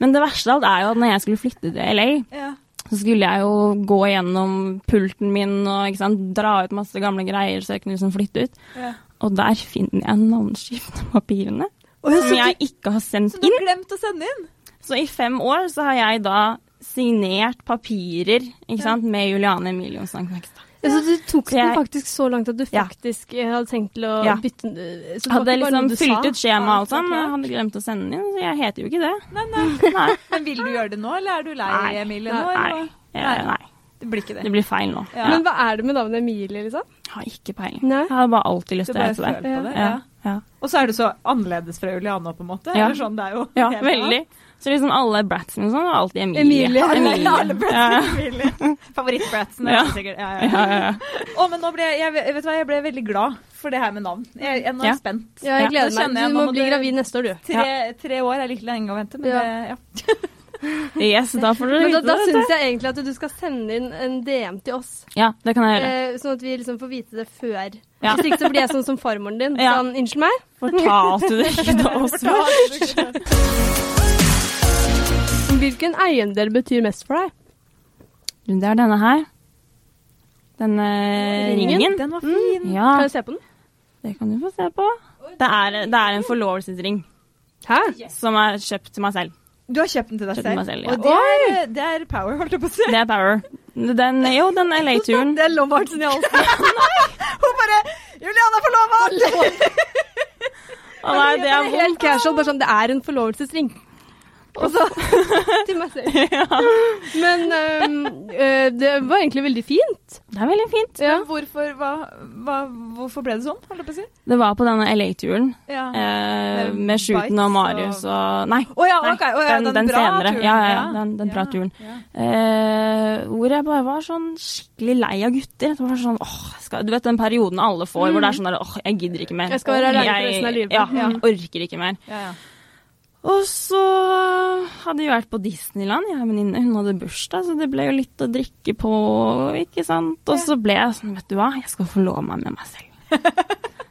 Speaker 3: Men det verste av alt er jo at når jeg skulle flytte til LA,
Speaker 2: Ja.
Speaker 3: så skulle jeg jo gå gjennom pulten min og ikke sant, dra ut masse gamle greier så jeg kunne liksom flytte ut.
Speaker 2: Ja.
Speaker 3: Og der finner jeg navneskiftepapirene som jeg ikke har sendt
Speaker 2: Så du
Speaker 3: inn.
Speaker 2: har glemt å sende inn?
Speaker 3: Så i fem år så har jeg da signert papirer ikke sant, med Juliane Emilion Sankt-Nekstad.
Speaker 1: Ja, så Altså, du tok
Speaker 3: Så jeg-
Speaker 1: den faktisk så langt at du
Speaker 3: Ja.
Speaker 1: faktisk eh, hadde tenkt til å
Speaker 3: Ja.
Speaker 1: bytte den Så det var
Speaker 3: Hadde
Speaker 1: ikke bare
Speaker 3: liksom
Speaker 1: noe du sa? Ah,
Speaker 3: fylt ut skjema og alt sånn,
Speaker 2: Ja,
Speaker 3: men
Speaker 2: klart.
Speaker 3: hadde glemt å sende den inn, så jeg heter jo ikke det.
Speaker 2: Nei, nei. Men vil du gjøre det nå, eller er du lei,
Speaker 3: Nei.
Speaker 2: Emilie?
Speaker 3: Nei,
Speaker 2: Nå, eller hva?
Speaker 3: Eh, nei.
Speaker 2: Det blir ikke det.
Speaker 3: Det blir feil nå.
Speaker 2: Ja.
Speaker 1: Men hva er det med navnet Emilie, liksom?
Speaker 3: Jeg har ikke peiling.
Speaker 1: Nei.
Speaker 3: Jeg har bare alltid lyst
Speaker 2: Du
Speaker 3: til å
Speaker 2: bare
Speaker 3: hete
Speaker 2: føler
Speaker 3: det.
Speaker 2: på det.
Speaker 3: Ja.
Speaker 2: Ja.
Speaker 3: Ja.
Speaker 2: Og så er du så annerledes fra Juliana, på en måte.
Speaker 3: Ja.
Speaker 2: Eller sånn, det er jo
Speaker 3: ja,
Speaker 2: helt
Speaker 3: veldig. Så liksom alle brats mine og sånn var alltid Emilie.
Speaker 1: Emilie.
Speaker 2: annet. Alle
Speaker 3: Ja.
Speaker 2: bratsene, Emilie. Favorittbratsen.
Speaker 3: Ja.
Speaker 2: er sikkert. Ja, ja, ja.
Speaker 3: Ja, ja, ja.
Speaker 2: Å, men nå ble jeg, jeg, vet du hva, jeg ble veldig glad for det her med navn. Jeg, jeg, nå er jeg
Speaker 3: Ja.
Speaker 2: spent.
Speaker 1: Ja, jeg
Speaker 3: Ja.
Speaker 1: gleder
Speaker 2: Nå kjenner jeg,
Speaker 1: meg. Du
Speaker 2: nå
Speaker 1: må
Speaker 2: må
Speaker 1: bli
Speaker 2: du-
Speaker 1: gravid neste år, du.
Speaker 2: Tre, tre år er litt lenge å vente, men
Speaker 1: Ja.
Speaker 2: det- ja.
Speaker 3: Yes, da får dere
Speaker 1: Men da,
Speaker 3: vite
Speaker 1: da
Speaker 3: det. vet
Speaker 1: syns jeg egentlig at du skal sende inn en DM til oss,
Speaker 3: du. Ja, det kan jeg gjøre.
Speaker 1: eh, sånn at vi liksom får vite det før.
Speaker 3: Ja.
Speaker 1: Hvis ikke så blir jeg sånn som farmoren din.
Speaker 3: Ja.
Speaker 1: Sånn, unnskyld meg.
Speaker 3: Fortalte du ikke det oss først?
Speaker 1: Hvilken eiendel betyr mest for deg?
Speaker 3: Det er denne her. Denne Eh, ringen. Mm.
Speaker 2: Den var fin.
Speaker 3: Ja,
Speaker 1: Kan jeg se på den?
Speaker 3: det kan du få se på. Det er, det er en forlovelsesring
Speaker 1: Hæ?
Speaker 3: som er kjøpt til meg selv.
Speaker 2: Du har kjøpt den til deg
Speaker 3: Kjøpt
Speaker 2: selv.
Speaker 3: den meg selv, ja.
Speaker 2: Og det er, eh, det er power, holdt jeg på å si.
Speaker 3: Det er power. Den, jo, den LA-turen.
Speaker 2: Det er Lomartsen i halsen. Hun bare 'Juliana er forlova!'
Speaker 3: Å nei, det er
Speaker 1: Helt
Speaker 3: vondt.
Speaker 1: casual, bare sånn, det er en forlovelsesring. Og så til meg selv. Men ehm, eh, det var egentlig veldig fint.
Speaker 3: Det er veldig fint.
Speaker 1: Ja.
Speaker 2: Men hvorfor, hva, hva, hvorfor ble det sånn, holdt jeg på å si?
Speaker 3: Det var på denne LA-turen
Speaker 2: Ja.
Speaker 3: eh,
Speaker 2: Med
Speaker 3: med Shooten og
Speaker 2: Bites
Speaker 3: Marius
Speaker 2: og-
Speaker 3: og Nei.
Speaker 2: Å ja,
Speaker 3: Nei,
Speaker 2: ok. Å ja,
Speaker 3: den-
Speaker 2: den,
Speaker 3: den
Speaker 2: bra
Speaker 3: senere.
Speaker 2: turen.
Speaker 3: Ja, ja, ja, den- den bra turen.
Speaker 2: Ja.
Speaker 3: Eh, hvor jeg bare var sånn skikkelig lei av gutter. Det var sånn, åh, skal, du vet den perioden alle får hvor det er sånn der, åh, jeg gidder ikke mer.
Speaker 1: Jeg skal være
Speaker 3: Åh,
Speaker 1: alene for
Speaker 3: jeg-
Speaker 1: resten av livet.
Speaker 3: Ja,
Speaker 1: Ja.
Speaker 3: orker ikke mer.
Speaker 2: Ja, ja.
Speaker 3: Og så hadde vi vært på Disneyland, jeg og venninne, hun hadde bursdag, så det ble jo litt å drikke på, ikke sant. Og så ble jeg sånn, vet du hva, jeg skal forlove meg med meg selv.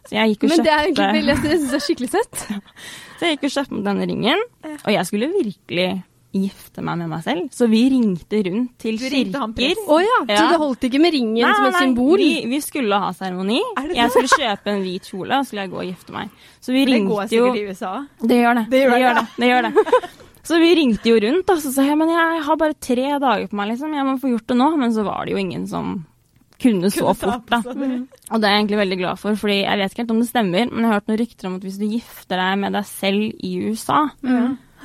Speaker 3: Så jeg gikk og
Speaker 1: Men det er egentlig
Speaker 3: kjøpte,
Speaker 1: veldig, jeg synes det er skikkelig søtt.
Speaker 3: så jeg gikk og kjøpte denne ringen, og jeg skulle virkelig gifte meg med meg selv. Så vi ringte rundt til
Speaker 2: Du ringte han
Speaker 3: kirker.
Speaker 1: Å ja, så
Speaker 3: Ja.
Speaker 1: det holdt ikke med ringen som et symbol?
Speaker 3: Vi, vi skulle ha seremoni.
Speaker 2: Er det
Speaker 3: Jeg skulle kjøpe en hvit kjole, og skulle jeg gå og gifte meg. Så vi
Speaker 2: Det går
Speaker 3: ringte jo
Speaker 2: sikkert i USA.
Speaker 3: Det gjør det.
Speaker 2: Det gjør det, ja.
Speaker 3: det. det, gjør det. Så vi ringte jo rundt, og så sa jeg men jeg har bare tre dager på meg, liksom. Jeg må få gjort det nå. Men så var det jo ingen som kunne så
Speaker 2: Kunne ta
Speaker 3: fort,
Speaker 2: på
Speaker 3: da. Mm.
Speaker 2: seg det.
Speaker 3: Og det er jeg egentlig veldig glad for, fordi jeg vet ikke helt om det stemmer, men jeg har hørt noen rykter om at hvis du gifter deg med deg selv i USA,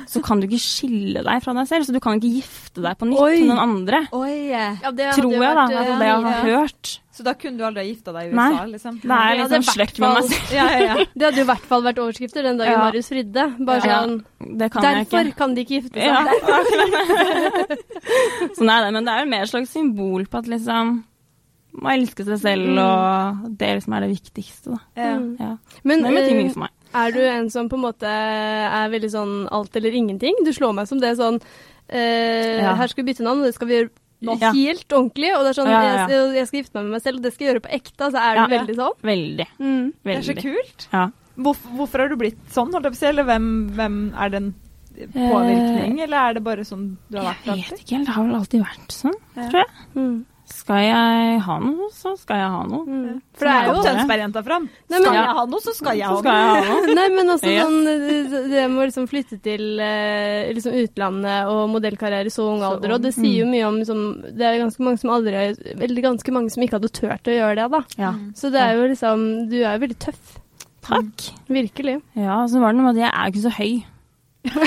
Speaker 3: så kan du ikke skille deg fra deg selv, så du kan ikke gifte deg på nytt
Speaker 1: Oi.
Speaker 3: med noen andre.
Speaker 2: Oi.
Speaker 1: Ja, det hadde
Speaker 3: Tror
Speaker 1: jo
Speaker 3: jeg, da. altså,
Speaker 1: vært,
Speaker 3: Det
Speaker 1: eh,
Speaker 3: er det jeg har
Speaker 1: ja.
Speaker 3: hørt.
Speaker 2: Så da kunne du aldri ha gifta deg i USA,
Speaker 3: Nei.
Speaker 2: liksom?
Speaker 3: Det er
Speaker 1: Ja, det
Speaker 3: litt
Speaker 1: er
Speaker 3: sånn slekt med
Speaker 1: hvertfall-
Speaker 3: meg selv.
Speaker 2: Ja, ja, ja.
Speaker 1: Det hadde jo i hvert fall vært overskrifter den dagen
Speaker 3: Ja.
Speaker 1: Marius fridde. Bare
Speaker 3: Ja.
Speaker 1: sånn
Speaker 3: Det kan
Speaker 1: Derfor
Speaker 3: jeg ikke.
Speaker 1: kan de ikke gifte seg.
Speaker 3: Ja. så nei, nei, men det er jo mer et slags symbol på at liksom må elske seg selv, og det er liksom er det viktigste, da.
Speaker 2: ja.
Speaker 1: Mm.
Speaker 3: Ja.
Speaker 1: Men
Speaker 3: Det betyr
Speaker 1: eh,
Speaker 3: mye for meg.
Speaker 1: er du en som på en måte er veldig sånn alt eller ingenting? Du slår meg som det sånn eh,
Speaker 3: Ja.
Speaker 1: Her skal vi bytte navn, og det skal vi gjøre nå.
Speaker 3: Ja.
Speaker 1: helt ordentlig. Og det er sånn
Speaker 3: Ja, ja, ja.
Speaker 1: Jeg, jeg skal gifte meg med meg selv, og det skal jeg gjøre på ekte. Så er
Speaker 3: Ja.
Speaker 1: du veldig sånn.
Speaker 3: Veldig.
Speaker 1: Mm.
Speaker 2: Det er så
Speaker 3: Veldig.
Speaker 2: kult.
Speaker 3: Ja.
Speaker 2: Hvorfor, hvorfor har du blitt sånn, holdt jeg på å si? Eller hvem, hvem er det en påvirkning, eller er det bare sånn du har vært
Speaker 3: Eh. Jeg vet
Speaker 2: alltid?
Speaker 3: ikke helt, det har vel alltid vært sånn.
Speaker 1: Mm.
Speaker 3: Skal jeg ha noe, så skal jeg ha noe.
Speaker 1: Mm. For det er jo
Speaker 2: Kom
Speaker 3: Sånn er det.
Speaker 2: Tønsberg-jenta fram.
Speaker 1: Nei, men-
Speaker 2: Skal jeg ha noe, så skal jeg
Speaker 3: Så
Speaker 2: ha
Speaker 3: skal
Speaker 2: noe.
Speaker 3: jeg ha noe.
Speaker 1: Nei, men også
Speaker 3: Ja.
Speaker 1: sånn det- det med å liksom flytte til eh, liksom utlandet og modellkarriere i så ung
Speaker 2: Så
Speaker 1: alder,
Speaker 2: ung.
Speaker 1: og det sier jo
Speaker 3: Mm.
Speaker 1: mye om liksom, Det er ganske mange som aldri har Eller ganske mange som ikke hadde turt å gjøre det, da.
Speaker 3: Ja.
Speaker 2: Mm.
Speaker 1: Så det er jo liksom Du er jo veldig tøff.
Speaker 3: Takk.
Speaker 1: Virkelig.
Speaker 3: Ja, og så var det noe med at jeg er jo ikke så høy.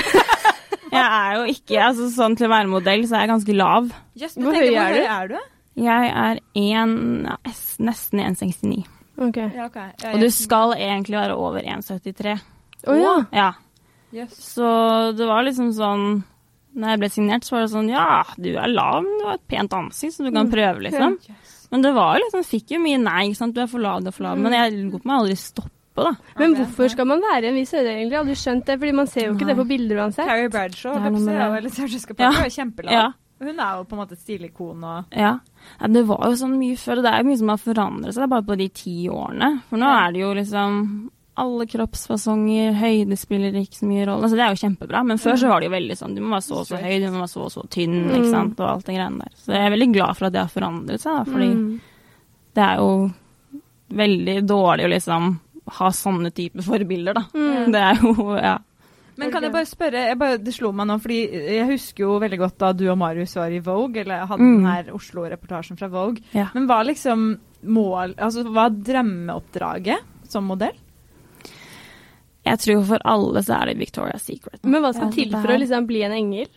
Speaker 3: Jeg er jo ikke altså Sånn til å være modell, så er jeg ganske lav.
Speaker 2: Yes, men
Speaker 1: Hvor
Speaker 2: tenk,
Speaker 1: høy
Speaker 2: hvor
Speaker 1: er du?
Speaker 2: høy er du?
Speaker 3: Jeg er en, ja, s- nesten 1,69.
Speaker 1: OK.
Speaker 2: Ja, ok. Ja,
Speaker 3: Og du
Speaker 2: ja.
Speaker 3: skal egentlig være over 1,73.
Speaker 1: Å ja.
Speaker 3: Ja.
Speaker 2: Yes.
Speaker 3: Så det var liksom sånn Når jeg ble signert, så var det sånn Ja, du er lav, men du har et pent ansikt, så du kan prøve, liksom.
Speaker 2: Yes.
Speaker 3: Men det var liksom Fikk jo mye nei, ikke sant. Du er for lav, du er for lav. Men jeg lot meg aldri stoppe, da.
Speaker 1: Men
Speaker 2: Ok.
Speaker 1: hvorfor skal man være i en viss høyde, egentlig? Jeg har aldri skjønt det, fordi man ser jo ikke det på bilder uansett.
Speaker 2: Carrie Bradshaw,
Speaker 3: Det er
Speaker 2: holdt jeg på å
Speaker 3: noe
Speaker 2: si,
Speaker 3: med
Speaker 2: ja,
Speaker 3: det.
Speaker 2: eller Sarah Jessica
Speaker 3: Ja.
Speaker 2: Parker, er kjempelav.
Speaker 3: Ja.
Speaker 2: Hun er jo på en måte et stilikon og
Speaker 3: Ja. ja. Det var jo sånn mye før, og det er jo mye som har forandret seg bare på de ti årene. For nå
Speaker 2: Ja.
Speaker 3: er det jo liksom alle kroppsfasonger, høyde spiller ikke så mye rolle. Altså, det er jo kjempebra, men før så var det jo veldig sånn du må være så og så høy, du må være så og så tynn,
Speaker 1: Mm.
Speaker 3: ikke sant, og alt det greiene der. Så jeg er veldig glad for at det har forandret seg, da, fordi
Speaker 1: Mm.
Speaker 3: det er jo veldig dårlig å liksom ha sånne typer forbilder, da.
Speaker 1: Mm.
Speaker 3: Det er jo Ja.
Speaker 2: Men kan jeg bare spørre, jeg bare, det slo meg nå, fordi jeg husker jo veldig godt da du og Marius var i Vogue, eller hadde
Speaker 3: Mm.
Speaker 2: den her Oslo-reportasjen fra Vogue.
Speaker 3: Ja.
Speaker 2: Men hva liksom mål, altså hva er drømmeoppdraget som modell?
Speaker 3: Jeg tror for alle så er det Victoria's Secret.
Speaker 1: Men hva skal
Speaker 3: Ja,
Speaker 1: til
Speaker 3: det
Speaker 1: for å
Speaker 3: er-
Speaker 1: liksom bli en engel?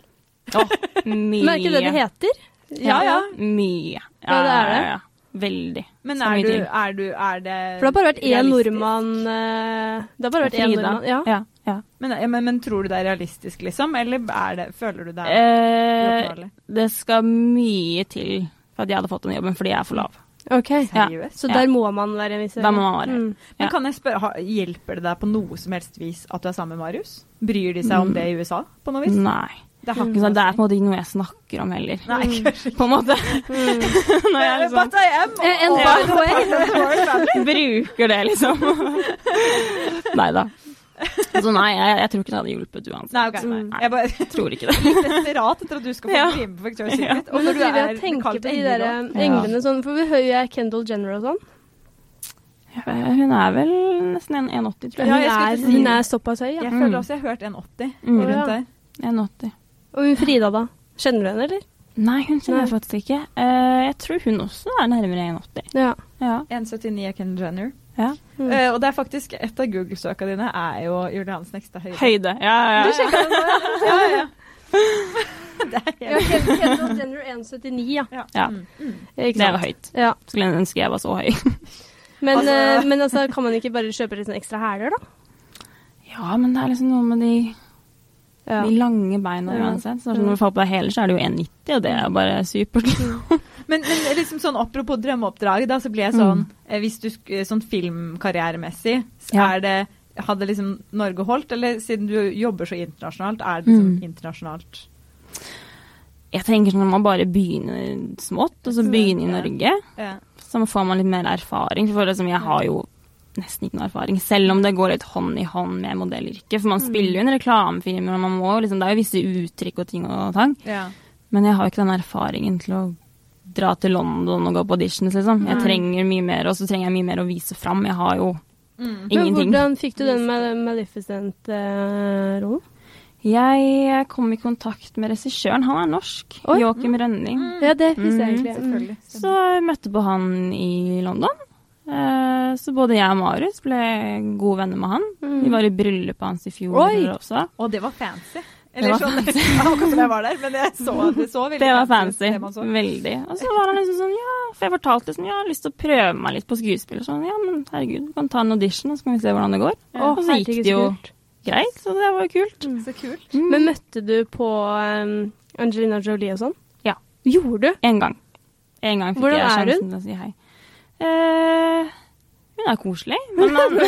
Speaker 3: Mye.
Speaker 1: Men er ikke det det heter?
Speaker 2: Ja, ja.
Speaker 3: Mye.
Speaker 1: Ja, det er det.
Speaker 3: Veldig.
Speaker 2: Men
Speaker 3: Skal
Speaker 2: er
Speaker 3: mye
Speaker 2: du,
Speaker 3: til.
Speaker 2: er du, er det
Speaker 1: For det har bare vært én
Speaker 2: realistisk?
Speaker 1: nordmann eh, Det har bare vært én
Speaker 3: Frida.
Speaker 1: nordmann. Ja.
Speaker 3: Ja. ja.
Speaker 2: Men, men, men tror du det er realistisk, liksom? Eller er det, føler du det er
Speaker 3: Eh,
Speaker 2: uoppnåelig?
Speaker 3: det skal mye til for at jeg hadde fått den jobben, fordi jeg er for lav.
Speaker 1: OK.
Speaker 3: ja.
Speaker 2: Seriøst?
Speaker 1: Så
Speaker 3: Ja.
Speaker 1: der må man være en viss
Speaker 3: Da må man være.
Speaker 1: Mm.
Speaker 3: Ja.
Speaker 2: Men kan jeg spørre, har- hjelper det deg på noe som helst vis at du er sammen med Marius? Bryr de seg om
Speaker 3: Mm.
Speaker 2: det i USA på noe vis?
Speaker 3: Nei.
Speaker 2: Det har
Speaker 3: Ikke
Speaker 2: ikke
Speaker 3: sant? Det er på
Speaker 2: noe å
Speaker 3: en
Speaker 2: si.
Speaker 3: måte ikke noe jeg snakker om heller,
Speaker 2: Nei, kanskje
Speaker 3: på en måte.
Speaker 1: Mm.
Speaker 3: Når jeg liksom
Speaker 2: But I am
Speaker 1: Eh, and
Speaker 2: all-
Speaker 1: by the way-
Speaker 2: all part of it.
Speaker 3: bruker det, liksom. Nei da. Så nei, jeg, jeg tror ikke det hadde hjulpet uansett.
Speaker 2: Nei, ok.
Speaker 1: Mm.
Speaker 2: Jeg bare
Speaker 3: Jeg tror ikke det.
Speaker 2: litt desperat etter at du skal få
Speaker 3: Ja.
Speaker 2: bli med på Victoria's Secret.
Speaker 1: Men
Speaker 2: Og
Speaker 1: nå
Speaker 2: når du
Speaker 1: driver jeg
Speaker 2: er
Speaker 1: og tenker
Speaker 2: kalt
Speaker 1: på de
Speaker 2: engel
Speaker 1: der
Speaker 2: også.
Speaker 1: eh, englene sånn, for hvor høy er Kendall Jenner og sånn?
Speaker 3: Eh, Hun er vel nesten en 1,80, tror
Speaker 1: Hun,
Speaker 2: Ja,
Speaker 3: jeg.
Speaker 2: jeg skulle
Speaker 1: er, sånn-
Speaker 2: til å si
Speaker 1: hun
Speaker 2: det.
Speaker 1: er såpass høy, ja.
Speaker 2: Jeg
Speaker 3: Mm.
Speaker 2: føler også jeg har hørt 1,80
Speaker 3: Mm.
Speaker 2: rundt
Speaker 1: Ja.
Speaker 2: der.
Speaker 3: 1,80.
Speaker 1: Og hun Frida, da? Kjenner du henne, eller?
Speaker 3: Nei, hun kjenner jeg
Speaker 1: Nei.
Speaker 3: faktisk ikke. Eh, jeg tror hun også er nærmere 1,80.
Speaker 1: Ja.
Speaker 3: Ja.
Speaker 2: 1,79 er Kendall Jenner.
Speaker 3: ja.
Speaker 1: Mm.
Speaker 2: Eh, og det er faktisk et av Google-søka dine er jo Julie Hansen Ekstad Høyde.
Speaker 3: Høyde. Ja, ja, ja.
Speaker 2: Ja, ja.
Speaker 1: Ja, Kendal Jenner 1,79, ja.
Speaker 3: Ja.
Speaker 2: Mm.
Speaker 1: Ikke
Speaker 3: Det er
Speaker 1: sant?
Speaker 3: høyt.
Speaker 1: Ja.
Speaker 3: Skulle ønske jeg var så høy.
Speaker 1: Men,
Speaker 2: Altså-
Speaker 1: eh, men altså, kan man ikke bare kjøpe litt sånn ekstra hæler, da?
Speaker 3: Ja, men det er liksom noe med de,
Speaker 1: Ja.
Speaker 3: de lange beina
Speaker 1: Ja.
Speaker 3: uansett. Så sånn når du får på deg hæler, så er det jo 1,90, og det er bare supert.
Speaker 2: Men, men liksom sånn apropos drømmeoppdrag, da, så blir jeg sånn
Speaker 3: Mm.
Speaker 2: eh, Hvis du sk- eh, sånn filmkarrieremessig, så
Speaker 3: Ja.
Speaker 2: er det Hadde liksom Norge holdt, eller siden du jobber så internasjonalt, er det liksom
Speaker 3: Mm.
Speaker 2: internasjonalt?
Speaker 3: Jeg tenker sånn at man bare begynner smått, og så begynner i Norge.
Speaker 2: Ja.
Speaker 3: Så får man litt mer erfaring. For liksom, jeg har jo nesten ikke noe erfaring, selv om det går litt hånd i hånd med modellyrket. For man spiller jo en reklamefilmer, og man må, jo liksom, det er jo visse uttrykk og ting og tang.
Speaker 2: ja.
Speaker 3: Men jeg har jo ikke den erfaringen til å dra til London og gå på auditions, liksom. Jeg trenger mye mer, og så trenger jeg mye mer å vise fram. Jeg har jo
Speaker 2: Mm.
Speaker 1: Men
Speaker 3: ingenting.
Speaker 1: hvordan fikk du den eh, med Maleficent-rollen?
Speaker 3: Jeg kom i kontakt med regissøren, han er norsk.
Speaker 1: Oi.
Speaker 3: Joakim Rønning.
Speaker 1: ja, det visste jeg
Speaker 3: Mhm,
Speaker 1: egentlig. Mm.
Speaker 2: Mm. Selvfølgelig.
Speaker 3: Så jeg møtte på han i London. Eh, Så både jeg og Marius ble gode venner med han.
Speaker 1: Mm.
Speaker 3: Vi var i bryllupet hans i fjor
Speaker 1: Oi.
Speaker 3: også.
Speaker 2: Og det var fancy. Eller
Speaker 3: var
Speaker 2: sånn Jeg var ikke som jeg var der, men jeg så, det så veldig
Speaker 3: Det var
Speaker 2: fancy ut,
Speaker 3: fancy.
Speaker 2: det man så.
Speaker 3: Veldig. Og så var han liksom sånn, ja, for jeg fortalte liksom, ja, jeg har lyst til å prøve meg litt på skuespill. Og sånn, ja, men herregud, du kan ta en audition, og så kan vi se hvordan det går.
Speaker 1: Å,
Speaker 3: Og så gikk
Speaker 1: herregud,
Speaker 3: det jo
Speaker 1: så kult.
Speaker 3: greit, så det var jo kult.
Speaker 2: Så kult.
Speaker 1: Men
Speaker 3: Mm.
Speaker 1: møtte du på eh, Angelina Jolie og sånn?
Speaker 3: Ja.
Speaker 1: Gjorde du?
Speaker 3: En gang. En gang fikk
Speaker 1: Hvordan
Speaker 3: jeg
Speaker 1: er
Speaker 3: sjansen
Speaker 1: hun?
Speaker 3: til å si hei. Eh, hun er koselig, men, man,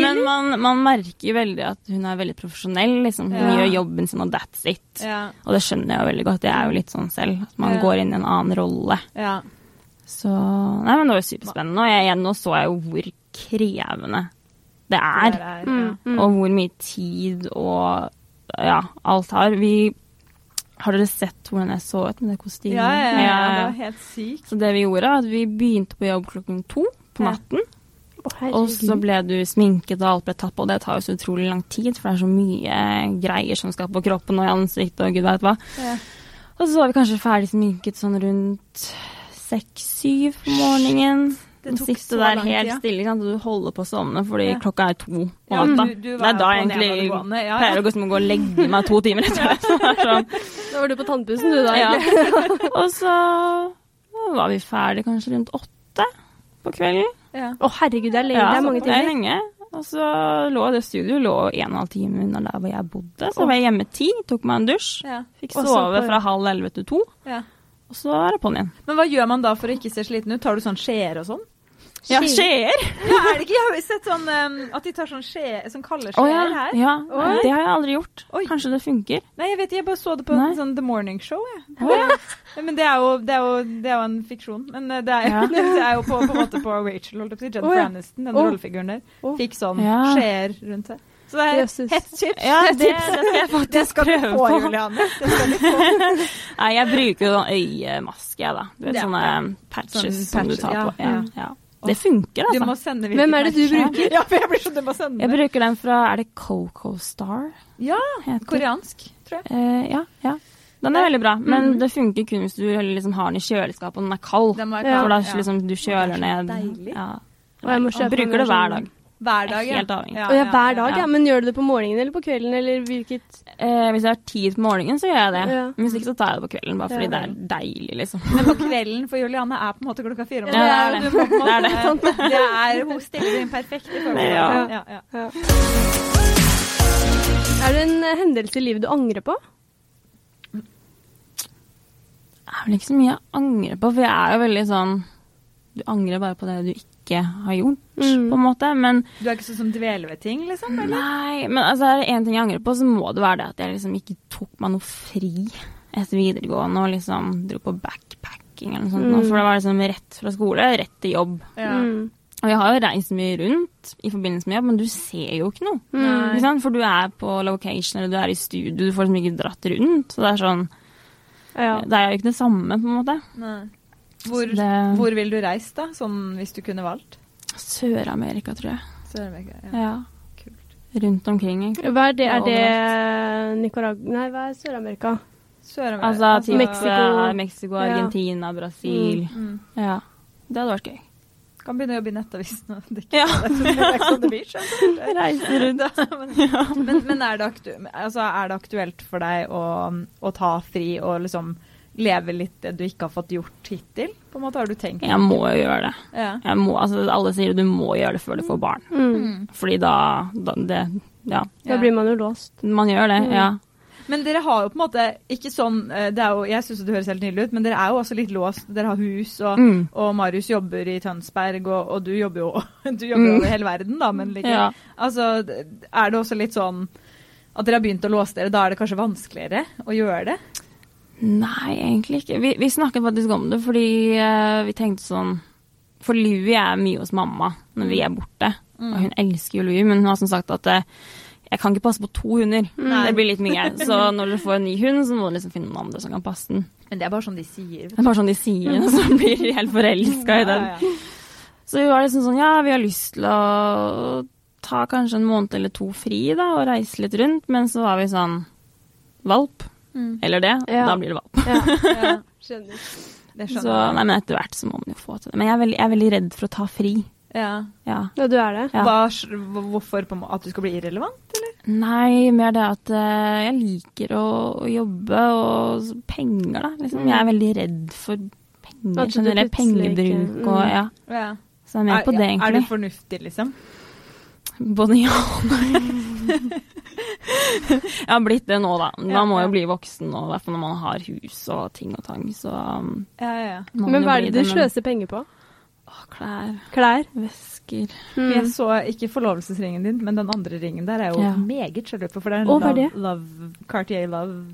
Speaker 3: men man, man merker jo veldig at hun er veldig profesjonell. Liksom. Hun
Speaker 2: Ja.
Speaker 3: gjør jobben sin, og that's it.
Speaker 2: Ja.
Speaker 3: Og det skjønner jeg jo veldig godt. Jeg er jo litt sånn selv. At man
Speaker 2: Ja.
Speaker 3: går inn i en annen rolle.
Speaker 2: ja.
Speaker 3: Så Nei, men det var jo superspennende. Og jeg, igjen, nå så jeg jo hvor krevende det er.
Speaker 2: Det der, ja.
Speaker 1: Mm, mm.
Speaker 3: Og hvor mye tid og ja, alt har. Vi Har dere sett hvordan jeg så ut med det kostymet?
Speaker 2: Ja, ja, ja,
Speaker 3: Ja,
Speaker 2: det
Speaker 3: ja.
Speaker 2: var helt sykt.
Speaker 3: Så det vi gjorde, var at vi begynte på jobb klokken to på
Speaker 2: Ja.
Speaker 3: natten.
Speaker 1: Å, herregud.
Speaker 3: Og så ble du sminket, og alt ble tatt på. Og det tar jo så utrolig lang tid, for det er så mye greier som skal på kroppen og i ansiktet og gud veit hva.
Speaker 2: Ja.
Speaker 3: Og så var vi kanskje ferdig sminket sånn rundt seks-syv på morgenen.
Speaker 2: Det
Speaker 3: Det
Speaker 2: tok så
Speaker 3: Sitte der
Speaker 2: lang tid,
Speaker 3: helt
Speaker 2: ja.
Speaker 3: stille, ikke sant? og du holder på å sovne fordi
Speaker 2: Ja.
Speaker 3: klokka er to på
Speaker 2: Ja,
Speaker 3: natta.
Speaker 2: du- du
Speaker 3: det
Speaker 2: var
Speaker 3: er da
Speaker 2: på
Speaker 3: jeg egentlig
Speaker 2: nedadgående, ja, ja.
Speaker 3: pleier å gå, som å gå og legge meg to timer etter. Så det er sånn,
Speaker 1: Da var du på tannpussen, sånn du, da.
Speaker 3: ja.
Speaker 1: egentlig.
Speaker 3: Og så var vi ferdig kanskje rundt åtte på kvelden.
Speaker 2: Ja.
Speaker 1: Å, herregud, det er lenge.
Speaker 3: Ja,
Speaker 1: det er mange
Speaker 3: det er
Speaker 1: timer.
Speaker 3: lenge. Og så lå det studioet lå en og en halv time unna der hvor jeg bodde. Så var jeg hjemme ti, tok meg en dusj.
Speaker 2: Ja.
Speaker 3: Fikk
Speaker 1: Og så
Speaker 3: sove
Speaker 1: på-
Speaker 3: fra halv elleve til to,
Speaker 2: Ja.
Speaker 3: og så er det på'n igjen.
Speaker 2: Men hva gjør man da for å ikke se sliten ut? Tar du sånn skjeer og sånn?
Speaker 3: Ja,
Speaker 1: Shit.
Speaker 3: skjeer!
Speaker 2: Ja, er det ikke? Jeg har jo sett sånn em, at de tar sånn skje, sånn kalde skjeer
Speaker 3: Å ja.
Speaker 2: her.
Speaker 3: ja.
Speaker 2: Oi.
Speaker 3: Det har jeg aldri gjort.
Speaker 2: Oi.
Speaker 3: Kanskje det funker.
Speaker 2: Nei, jeg vet, jeg bare så det på
Speaker 3: Nei.
Speaker 2: en sånn The Morning Show, jeg.
Speaker 3: Å ja.
Speaker 2: Ja, Men det er, jo, det, er jo, det er jo en fiksjon. Men eh, det er,
Speaker 3: Ja.
Speaker 2: det er jo på, på en måte på Rachel, holdt jeg på å si. Jennifer
Speaker 1: Å, ja.
Speaker 2: Aniston,
Speaker 1: Å.
Speaker 2: den rollefiguren der,
Speaker 1: Å.
Speaker 2: fikk sånn
Speaker 3: Ja.
Speaker 2: skjeer rundt seg. Så det er
Speaker 1: Jesus.
Speaker 2: hett chips.
Speaker 3: Ja, det, det skal jeg
Speaker 2: Det
Speaker 3: faktisk
Speaker 2: skal du få,
Speaker 3: prøve på.
Speaker 2: Juliane. Det skal du få.
Speaker 3: Nei, jeg bruker jo sånn øyemaske, jeg, da. Du vet,
Speaker 2: Ja.
Speaker 3: sånne eh, patches
Speaker 2: Sånn
Speaker 3: som du
Speaker 2: patch-
Speaker 3: tar
Speaker 2: ja,
Speaker 3: på. Ja.
Speaker 2: ja.
Speaker 3: Ja. Det funker,
Speaker 2: Du
Speaker 3: altså.
Speaker 2: må sende hvilket
Speaker 1: Hvem er det du
Speaker 2: merke.
Speaker 1: bruker?
Speaker 2: Ja, for jeg blir sånn, du må sende
Speaker 3: Jeg
Speaker 2: det.
Speaker 3: bruker den fra Er det Coco Star?
Speaker 2: Ja,
Speaker 3: heter
Speaker 2: koreansk, tror jeg.
Speaker 3: Eh, ja, ja. Den er veldig bra, men det funker kun hvis du liksom har den i kjøleskapet og den er kald.
Speaker 2: Mm. Den må jeg
Speaker 1: Ja.
Speaker 3: For da
Speaker 2: kalle-
Speaker 3: liksom du kjøler
Speaker 2: så
Speaker 3: ned.
Speaker 2: deilig.
Speaker 3: Ja.
Speaker 1: Og jeg må kjøpe den
Speaker 3: Bruker
Speaker 1: sånn-
Speaker 3: det hver
Speaker 1: versjonen.
Speaker 3: dag.
Speaker 2: Hver dag, ja.
Speaker 3: Helt avhengig.
Speaker 1: Å ja, hver dag,
Speaker 3: ja.
Speaker 1: ja. Men gjør du det på morgenen eller på kvelden, eller hvilket
Speaker 3: Eh, hvis jeg har tid på morgenen, så gjør jeg det.
Speaker 1: Ja.
Speaker 3: Men Hvis ikke, så tar jeg det på kvelden, bare fordi
Speaker 1: Ja.
Speaker 3: det er deilig, liksom.
Speaker 2: Men på kvelden, for Juliane er på en måte klokka fire om
Speaker 1: Ja,
Speaker 2: morgenen.
Speaker 3: det er det.
Speaker 2: Du må på en
Speaker 3: Det er det.
Speaker 2: måte- Det er Hun stiller inn perfekt i forhold til
Speaker 3: Ja.
Speaker 2: det. Ja, ja.
Speaker 1: ja. Er det en eh, hendelse i livet du angrer på?
Speaker 3: Det er vel ikke så mye jeg angrer på, for jeg er jo veldig sånn Du angrer bare på det du ikke har gjort,
Speaker 1: Mm.
Speaker 3: på en måte. Men
Speaker 2: Du er ikke sånn som dveler ved ting, liksom? Eller?
Speaker 3: nei, men altså, er det én ting jeg angrer på, så må det være det at jeg liksom ikke tok meg noe fri etter videregående og liksom dro på backpacking eller noe sånt. nå,
Speaker 1: Mm.
Speaker 3: For det var liksom rett fra skole, rett til jobb.
Speaker 2: Ja.
Speaker 1: Mm.
Speaker 3: Og jeg har jo reist mye rundt i forbindelse med jobb, men du ser jo ikke noe.
Speaker 2: Nei.
Speaker 3: Ikke sant? For du er på location, eller du er i studio, du får liksom ikke dratt rundt. Så det er sånn
Speaker 1: Ja.
Speaker 3: Det er jo ikke det samme, på en måte.
Speaker 2: Nei. Hvor,
Speaker 3: Så det-
Speaker 2: hvor vil du reise, da? Sånn hvis du kunne valgt?
Speaker 3: Sør-Amerika, tror jeg.
Speaker 2: Sør-Amerika. Ja.
Speaker 3: Ja.
Speaker 2: Kult.
Speaker 3: Rundt omkring, egentlig.
Speaker 1: Hva er det? Er det Nicaragua Nei, hva er Sør-Amerika?
Speaker 2: Sør-Amerika.
Speaker 3: Altså typ
Speaker 1: Mexico.
Speaker 3: Mexico, Mexico
Speaker 1: Ja.
Speaker 3: Argentina, Brasil.
Speaker 2: Mm.
Speaker 3: Ja. Det hadde vært gøy.
Speaker 2: Kan begynne å jobbe i Nettavisen og drikke.
Speaker 3: Ja.
Speaker 2: Det er ikke sånn det blir, skjønner du.
Speaker 3: Reise rundt.
Speaker 2: Men, men er, det aktu altså, er det aktuelt for deg å, å ta fri og liksom leve litt det du ikke har fått gjort hittil? På en måte har du tenkt
Speaker 3: Jeg må jo gjøre det.
Speaker 2: Ja.
Speaker 3: Jeg må, altså, alle sier du må gjøre det før du får barn.
Speaker 1: Mm.
Speaker 2: Mm.
Speaker 3: Fordi da, da det, Ja,
Speaker 1: Da blir man jo låst.
Speaker 3: man gjør det. Ja.
Speaker 2: Men dere har jo på en måte ikke sånn eh, det er jo, Jeg syns det høres helt nydelig ut, men dere er jo også litt låst. Dere har hus, og,
Speaker 3: Mm.
Speaker 2: og Marius jobber i Tønsberg, og, og du jobber jo du jobber jo
Speaker 3: Mm.
Speaker 2: over hele verden, da, men likevel.
Speaker 3: ja.
Speaker 2: Altså, d- er det også litt sånn at dere har begynt å låse dere? Da er det kanskje vanskeligere å gjøre det?
Speaker 3: Nei, egentlig ikke. Vi, vi snakket faktisk om det fordi eh, vi tenkte sånn For Louie er mye hos mamma når vi er borte. Og hun elsker jo Louie, men hun har som sagt at eh, jeg kan ikke passe på to hunder.
Speaker 2: Nei.
Speaker 3: Det blir litt mye. Så når du får en ny hund, så må du liksom finne noen andre som kan passe den.
Speaker 2: Men det er bare sånn de sier.
Speaker 3: Det er bare sånn de sier, og så blir de helt forelska i den. Så vi var liksom sånn Ja, vi har lyst til å ta kanskje en måned eller to fri, da, og reise litt rundt. Men så var vi sånn Valp.
Speaker 2: Mm.
Speaker 3: Eller det.
Speaker 1: Ja.
Speaker 3: Da blir det valp.
Speaker 2: Ja,
Speaker 1: Skjønner.
Speaker 2: det
Speaker 3: Så,
Speaker 2: skjønner jeg.
Speaker 3: nei, men etter hvert så må man jo få til det. Men jeg er veldig, jeg er veldig redd for å ta fri.
Speaker 2: Ja.
Speaker 3: Ja.
Speaker 1: Ja, du er det.
Speaker 3: Ja.
Speaker 2: Hva, hvorfor på, en må- at du skal bli irrelevant?
Speaker 3: Nei, mer det at eh, jeg liker å, å jobbe og s- penger, da. Liksom. Jeg er veldig redd for
Speaker 1: At
Speaker 3: penger
Speaker 1: du
Speaker 3: generelt.
Speaker 1: plutselig ikke-
Speaker 3: Pengebruk og
Speaker 1: mm.
Speaker 3: ja.
Speaker 2: Ja.
Speaker 3: Så jeg er mer på
Speaker 2: Er
Speaker 3: det,
Speaker 2: du
Speaker 3: egentlig.
Speaker 2: fornuftig, liksom?
Speaker 3: Både ja og nei. jeg har blitt det nå, da.
Speaker 2: Ja,
Speaker 3: Man må
Speaker 2: ja.
Speaker 3: jo bli voksen nå, i hvert fall når man har hus og ting og tang. Så um,
Speaker 2: Ja, ja.
Speaker 3: må man
Speaker 1: Men
Speaker 3: jo
Speaker 1: hva er
Speaker 3: bli
Speaker 1: det du
Speaker 3: men-
Speaker 1: sløser penger på?
Speaker 3: Å, Klær,
Speaker 1: Klær? Mm.
Speaker 3: vesker
Speaker 2: Jeg så ikke forlovelsesringen din, men den andre ringen der er jo
Speaker 3: Ja.
Speaker 2: meget sjalu på, for det er en
Speaker 1: Å, hva er
Speaker 2: love,
Speaker 1: det?
Speaker 2: love, Cartier Love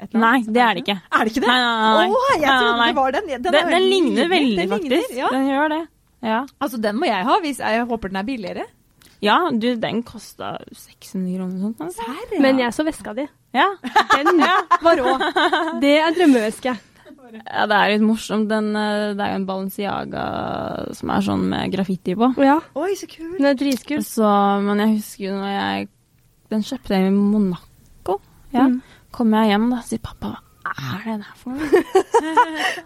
Speaker 2: et eller
Speaker 3: Nei,
Speaker 2: annet.
Speaker 3: det er det ikke.
Speaker 2: Er det ikke det?
Speaker 3: Nei, nei, nei, nei.
Speaker 2: Å, jeg
Speaker 3: Nei,
Speaker 2: trodde
Speaker 3: nei,
Speaker 2: det var den. Den,
Speaker 3: Den,
Speaker 2: er
Speaker 3: den,
Speaker 2: veldig
Speaker 3: ligner veldig,
Speaker 2: Den ligner,
Speaker 3: faktisk.
Speaker 2: ja.
Speaker 3: Den gjør det. Ja,
Speaker 2: Altså, den må jeg ha, hvis jeg håper den er billigere.
Speaker 3: ja du, den kosta 600 kroner og sånt. altså.
Speaker 2: Serr?
Speaker 1: Men jeg så veska di.
Speaker 3: Ja.
Speaker 1: Den var rå. Det er drømmeveske.
Speaker 3: ja, det er litt morsomt. Den, eh, det er jo en Balenciaga som er sånn med graffiti på.
Speaker 1: Ja,
Speaker 2: Oi, så kult.
Speaker 1: den er dritkul.
Speaker 3: Så, men jeg husker jo når jeg Den kjøpte jeg i Monaco. Ja.
Speaker 1: Mm.
Speaker 3: Kom jeg hjem, da, og sier pappa hva er det der for noe?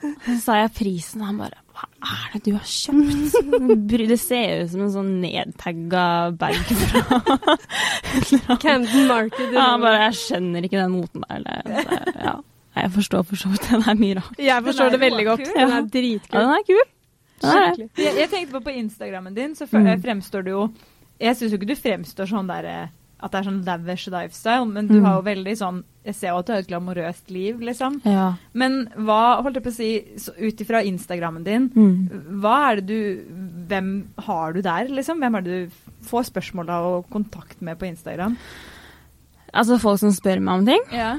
Speaker 3: Så sa jeg prisen, og han bare hva er det du har kjøpt? Bry- Det ser jo ut som en sånn nedtagga bag fra
Speaker 1: Camden Market. i
Speaker 3: Ja, han
Speaker 1: London.
Speaker 3: bare, jeg skjønner ikke den moten der. Eller, så, ja. Nei, Jeg forstår for så vidt den er mye rar.
Speaker 1: Jeg forstår
Speaker 2: Den er
Speaker 1: det veldig godt.
Speaker 2: råkul.
Speaker 1: Den
Speaker 3: Ja.
Speaker 1: er
Speaker 3: Ja,
Speaker 1: dritkul.
Speaker 3: den er kul. Den er det.
Speaker 1: Skikkelig.
Speaker 2: Jeg, jeg tenkte på på Instagrammen din, så fø-
Speaker 3: Mm.
Speaker 2: fremstår du jo Jeg syns jo ikke du fremstår sånn der eh, at det er sånn lavish lifestyle, men du
Speaker 3: Mm.
Speaker 2: har jo veldig sånn Jeg ser jo at du har et glamorøst liv, liksom.
Speaker 3: Ja.
Speaker 2: Men hva, holdt jeg på å si, så ut ifra Instagrammen din
Speaker 3: Mm.
Speaker 2: hva er det du Hvem har du der, liksom? Hvem er det du får spørsmål av og kontakt med på Instagram?
Speaker 3: Altså, folk som spør meg om ting.
Speaker 2: Ja.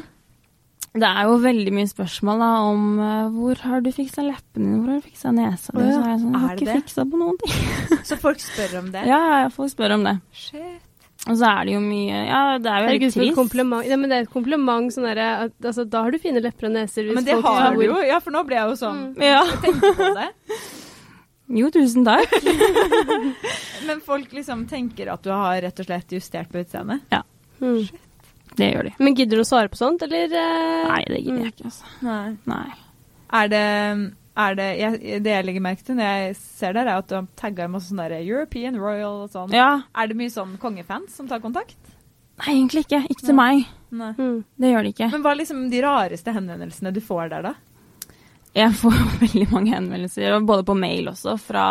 Speaker 3: Det er jo veldig mye spørsmål da, om eh, hvor har du fiksa leppene dine, hvor har du fiksa nesa di?
Speaker 2: Å, ja.
Speaker 3: Så er jeg sånn, jeg
Speaker 2: Er
Speaker 3: har
Speaker 2: det
Speaker 3: ikke
Speaker 2: det?
Speaker 3: fiksa på noen ting.
Speaker 2: Så folk spør om det?
Speaker 3: Ja, ja, folk spør om det.
Speaker 2: Shit.
Speaker 3: Og så er det jo mye Ja, det er jo
Speaker 1: Herregud,
Speaker 3: veldig
Speaker 1: for et
Speaker 3: trist.
Speaker 1: kompliment. Ja, men det er et kompliment sånn derre at altså, Da har du fine lepper og neser. hvis
Speaker 2: Men det
Speaker 1: folk
Speaker 2: har
Speaker 1: tror-
Speaker 2: du jo. Ja, for nå ble jeg jo sånn
Speaker 3: Ja.
Speaker 2: tenker på det.
Speaker 3: Jo, tusen takk.
Speaker 2: Men folk liksom tenker at du har rett og slett justert på utseendet?
Speaker 1: Mm.
Speaker 3: Det gjør de.
Speaker 1: Men gidder du å svare på sånt, eller? eh?
Speaker 3: Nei, det gidder jeg ikke, altså.
Speaker 2: Nei.
Speaker 3: Nei.
Speaker 2: Er det, er det jeg, Det jeg legger merke til når jeg ser der, er at du har tagga i masse sånn derre European Royal og sånn.
Speaker 3: Ja.
Speaker 2: Er det mye sånn kongefans som tar kontakt?
Speaker 3: Nei, egentlig ikke. Ikke til meg.
Speaker 2: Nei.
Speaker 1: Mm.
Speaker 3: Det gjør de ikke.
Speaker 2: Men hva er liksom de rareste henvendelsene du får der, da?
Speaker 3: Jeg får jo veldig mange henvendelser, og både på mail også, fra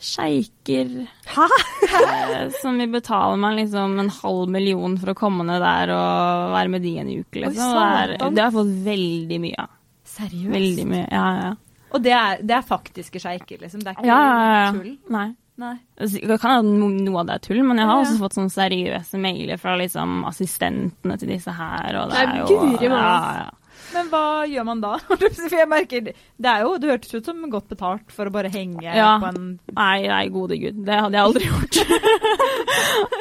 Speaker 3: sjeiker eh, som vil betale meg liksom en halv million for å komme ned der og være med de en uke. Liksom.
Speaker 2: Oi,
Speaker 3: det,
Speaker 2: satan.
Speaker 3: er, det har jeg fått veldig mye av.
Speaker 2: Seriøst?
Speaker 3: Veldig mye. Ja, ja.
Speaker 2: Og det er, det er faktiske sjeiker, liksom? Det er
Speaker 3: ja,
Speaker 2: ikke
Speaker 3: ja, ja.
Speaker 2: tull?
Speaker 3: Nei.
Speaker 2: Nei.
Speaker 3: Altså, Det kan hende no- noe av det er tull, men jeg har
Speaker 2: Ja, ja.
Speaker 3: også fått sånne seriøse mailer fra liksom, assistentene til disse her. Og det
Speaker 1: Nei,
Speaker 3: er jo,
Speaker 1: guri malla.
Speaker 3: ja, ja.
Speaker 2: Men hva gjør man da? For jeg merker Det er jo, det hørtes ut som godt betalt for å bare henge
Speaker 3: Ja.
Speaker 2: på en
Speaker 3: Nei, nei, gode gud. Det hadde jeg aldri gjort.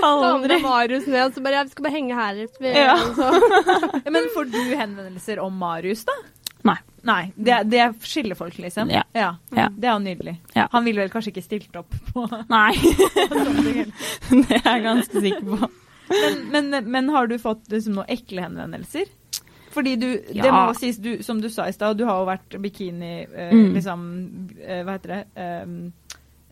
Speaker 1: Ta
Speaker 3: aldri.
Speaker 1: med Marius ned, så bare Jeg skal bare henge her litt. Sånn. Vi-
Speaker 3: Ja.
Speaker 1: så-
Speaker 2: Ja, Men får du henvendelser om Marius, da?
Speaker 3: Nei.
Speaker 2: Nei, Det, det skiller folk, liksom?
Speaker 3: Ja. Ja.
Speaker 2: Det er jo nydelig.
Speaker 3: Ja.
Speaker 2: Han ville vel kanskje ikke stilt opp Sånn på
Speaker 3: Nei,
Speaker 2: men,
Speaker 3: det er jeg ganske sikker på.
Speaker 2: men, men har du fått liksom, noen ekle henvendelser? Fordi du, det må
Speaker 3: Ja.
Speaker 2: sies, du, som du sa i stad, du har jo vært bikini eh,
Speaker 3: Mm.
Speaker 2: liksom, eh, Hva heter det? Um,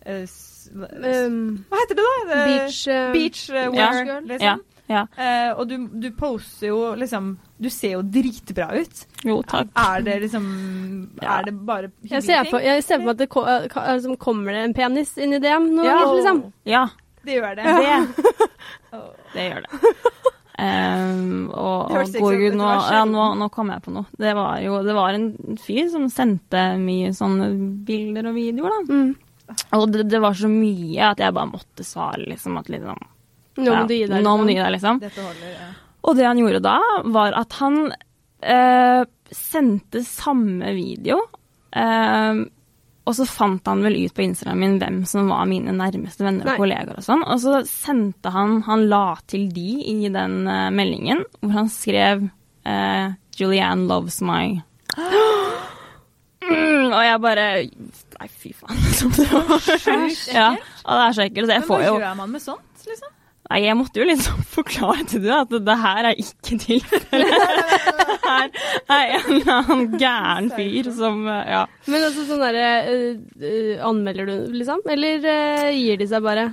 Speaker 2: eh, s-
Speaker 1: Um,
Speaker 2: Hva heter det, da? Eh,
Speaker 1: beach, eh,
Speaker 2: Beach eh,
Speaker 3: Ja.
Speaker 2: wear, liksom.
Speaker 3: Ja. ja.
Speaker 2: Eh, og du, du poser jo liksom Du ser jo dritbra ut.
Speaker 3: Jo, takk.
Speaker 2: Er det liksom
Speaker 3: Ja.
Speaker 2: Er det bare hyggelige
Speaker 1: Jeg ser,
Speaker 2: ting?
Speaker 1: på, jeg ser for meg at det ko- eh, ka- eh, som kommer det en penis inn i DM nå,
Speaker 2: Ja.
Speaker 1: liksom.
Speaker 3: Ja,
Speaker 2: Det gjør det.
Speaker 3: det,
Speaker 2: Åh.
Speaker 3: det gjør det. Ehm, og
Speaker 2: Det
Speaker 3: og
Speaker 2: hørtes ikke
Speaker 3: går
Speaker 2: ut
Speaker 3: gud,
Speaker 2: som-
Speaker 3: nå,
Speaker 2: det var
Speaker 3: ja,
Speaker 2: sjelden.
Speaker 3: nå, nå kom jeg på noe. Det var jo det var en fyr som sendte mye sånne bilder og videoer, da.
Speaker 1: Mm.
Speaker 3: Og det, det var så mye at jeg bare måtte svare, liksom. At liksom
Speaker 1: Nå må
Speaker 3: ja,
Speaker 1: du gi deg.
Speaker 3: Nå må du
Speaker 1: liksom.
Speaker 3: gi deg, liksom.
Speaker 2: Dette holder. Ja.
Speaker 3: Og det han gjorde da, var at han eh, sendte samme video. eh, og så fant han vel ut på Instagram min hvem som var mine nærmeste venner og
Speaker 1: Nei.
Speaker 3: kollegaer og sånn. Og så sendte han Han la til de i den eh, meldingen hvor han skrev eh, Julianne loves my mm, Og jeg bare Nei, fy faen. Liksom, det var
Speaker 2: Sjukt
Speaker 3: Ja, og det er så ekkelt. Så jeg
Speaker 2: Men
Speaker 3: får
Speaker 2: hva
Speaker 3: jo
Speaker 2: gjør man med sånt, liksom?
Speaker 3: Nei, jeg måtte jo liksom forklare til det at det her er ikke tilfellet. Det her er en eller annen gæren fyr som eh, Ja.
Speaker 1: Men altså sånn derre eh, eh, Anmelder du, liksom? Eller eh, gir de seg bare?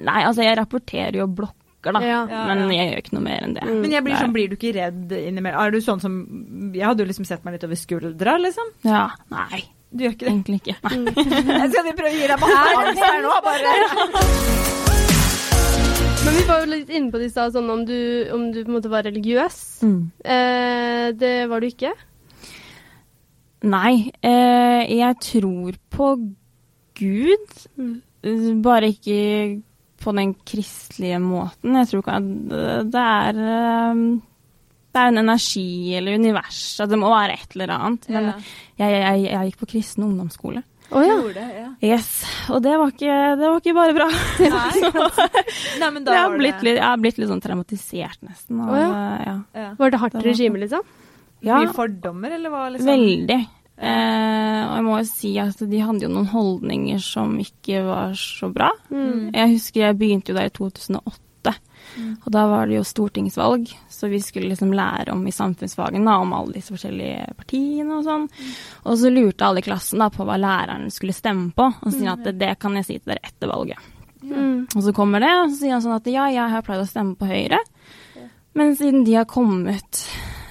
Speaker 3: Nei, altså, jeg rapporterer jo blokker, da.
Speaker 1: Ja.
Speaker 3: Men jeg gjør ikke noe mer enn det.
Speaker 1: Mm.
Speaker 2: Men jeg blir
Speaker 3: Nei.
Speaker 2: sånn, blir du ikke redd innimellom? Er du sånn som Jeg hadde jo liksom sett meg litt over skuldra, liksom.
Speaker 3: Ja. Nei,
Speaker 2: Du gjør ikke det?
Speaker 3: egentlig ikke. Nei.
Speaker 2: Skal vi prøve å gi deg masse angst her nå? Bare.
Speaker 1: Men vi var jo litt inne på det i stad, sånn om du, om du på en måte var religiøs.
Speaker 3: Mm.
Speaker 1: Eh, det var du ikke.
Speaker 3: Nei, eh, jeg tror på Gud, bare ikke på den kristelige måten. Jeg tror ikke at det- det er eh, Det er en energi eller univers, at det må være et eller annet. Men
Speaker 2: Ja.
Speaker 3: jeg, jeg, jeg gikk på kristen ungdomsskole.
Speaker 1: Å ja.
Speaker 2: Gjorde det, ja.
Speaker 3: Yes, og det var ikke, det var ikke bare bra.
Speaker 2: Nei. Nei, men da
Speaker 3: jeg, har
Speaker 2: var
Speaker 3: blitt
Speaker 2: det
Speaker 3: litt, jeg har blitt litt sånn traumatisert nesten. Og,
Speaker 1: Å
Speaker 3: ja.
Speaker 2: ja.
Speaker 1: Var det hardt
Speaker 3: Det var-
Speaker 1: regime, liksom?
Speaker 3: Ja,
Speaker 2: Mye fordommer, eller hva? Liksom?
Speaker 3: veldig. Eh, og jeg må jo si at de hadde jo noen holdninger som ikke var så bra.
Speaker 1: Mm.
Speaker 3: Jeg husker jeg begynte jo der i 2008, og da var det jo stortingsvalg. Så vi skulle liksom lære om i samfunnsfagen, da, om alle disse forskjellige partiene og sånn. Og så lurte alle i klassen da på hva læreren skulle stemme på, og så sier han at det, det kan jeg si til dere etter valget.
Speaker 1: Mm.
Speaker 3: Og så kommer det, og så sier han sånn at ja, jeg har pleid å stemme på Høyre, men siden de har kommet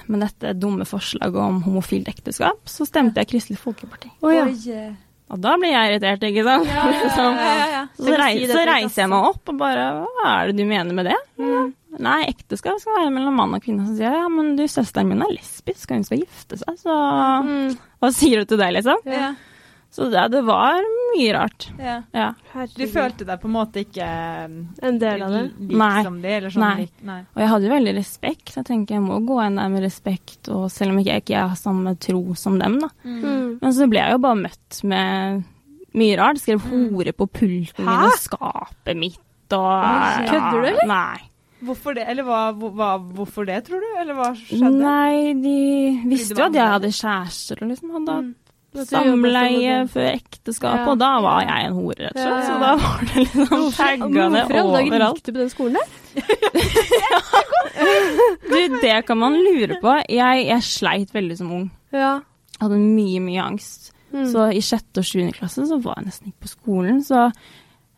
Speaker 3: med dette dumme forslaget om homofilt ekteskap, så stemte jeg Kristelig Folkeparti.
Speaker 1: Å ja.
Speaker 2: Oi, eh.
Speaker 3: Og da blir jeg irritert, ikke sant? Sånn. Så,
Speaker 1: Tenk å
Speaker 3: rei,
Speaker 1: si det
Speaker 3: så
Speaker 1: til
Speaker 3: reiser jeg
Speaker 1: klassen.
Speaker 3: meg opp og bare Hva er det du mener med det? Nei, ekteskap skal være mellom mann og kvinne. Så sier jeg ja, men du, søsteren min er lesbisk, og hun skal gifte seg, så
Speaker 1: Mm.
Speaker 3: hva sier du til det, liksom?
Speaker 2: Ja,
Speaker 3: Så det, det var mye rart.
Speaker 2: ja.
Speaker 3: Ja.
Speaker 2: Du følte deg på en måte ikke
Speaker 1: En del av det.
Speaker 2: lik
Speaker 3: Nei.
Speaker 2: som de, eller sånn
Speaker 3: Nei.
Speaker 2: lik Nei.
Speaker 3: Og jeg hadde jo veldig respekt. Jeg tenker jeg må gå inn der med respekt, og selv om ikke jeg ikke har samme tro som dem, da.
Speaker 1: Mm.
Speaker 3: Men så ble jeg jo bare møtt med mye rart. Skrev
Speaker 1: Mm.
Speaker 3: hore på pulten min
Speaker 2: Hæ?
Speaker 3: og skapet mitt og
Speaker 1: Oi, kødder du, eller?
Speaker 3: Nei.
Speaker 2: Hvorfor det, eller hva, hvor- hva, hvorfor det, tror du? Eller hva skjedde?
Speaker 3: Nei, de visste
Speaker 2: Fordi du var
Speaker 3: jo at jeg hadde
Speaker 2: annerledes.
Speaker 3: kjærester og liksom hadde
Speaker 1: Mm.
Speaker 3: hatt
Speaker 1: At du jobbet som
Speaker 3: samleie
Speaker 1: modell.
Speaker 3: før ekteskapet,
Speaker 1: Ja.
Speaker 3: og da var jeg en hore, rett og
Speaker 1: Ja.
Speaker 3: slett. Så da var det liksom tagga det
Speaker 1: Hvorfor i alle dager
Speaker 3: overalt.
Speaker 1: gikk du på den skolen der?
Speaker 3: Du, det kan man lure på. Jeg, jeg sleit veldig som ung.
Speaker 1: Ja.
Speaker 3: Jeg hadde mye, mye angst.
Speaker 1: Mm.
Speaker 3: Så i sjette og sjuende klasse så var jeg nesten ikke på skolen. Så,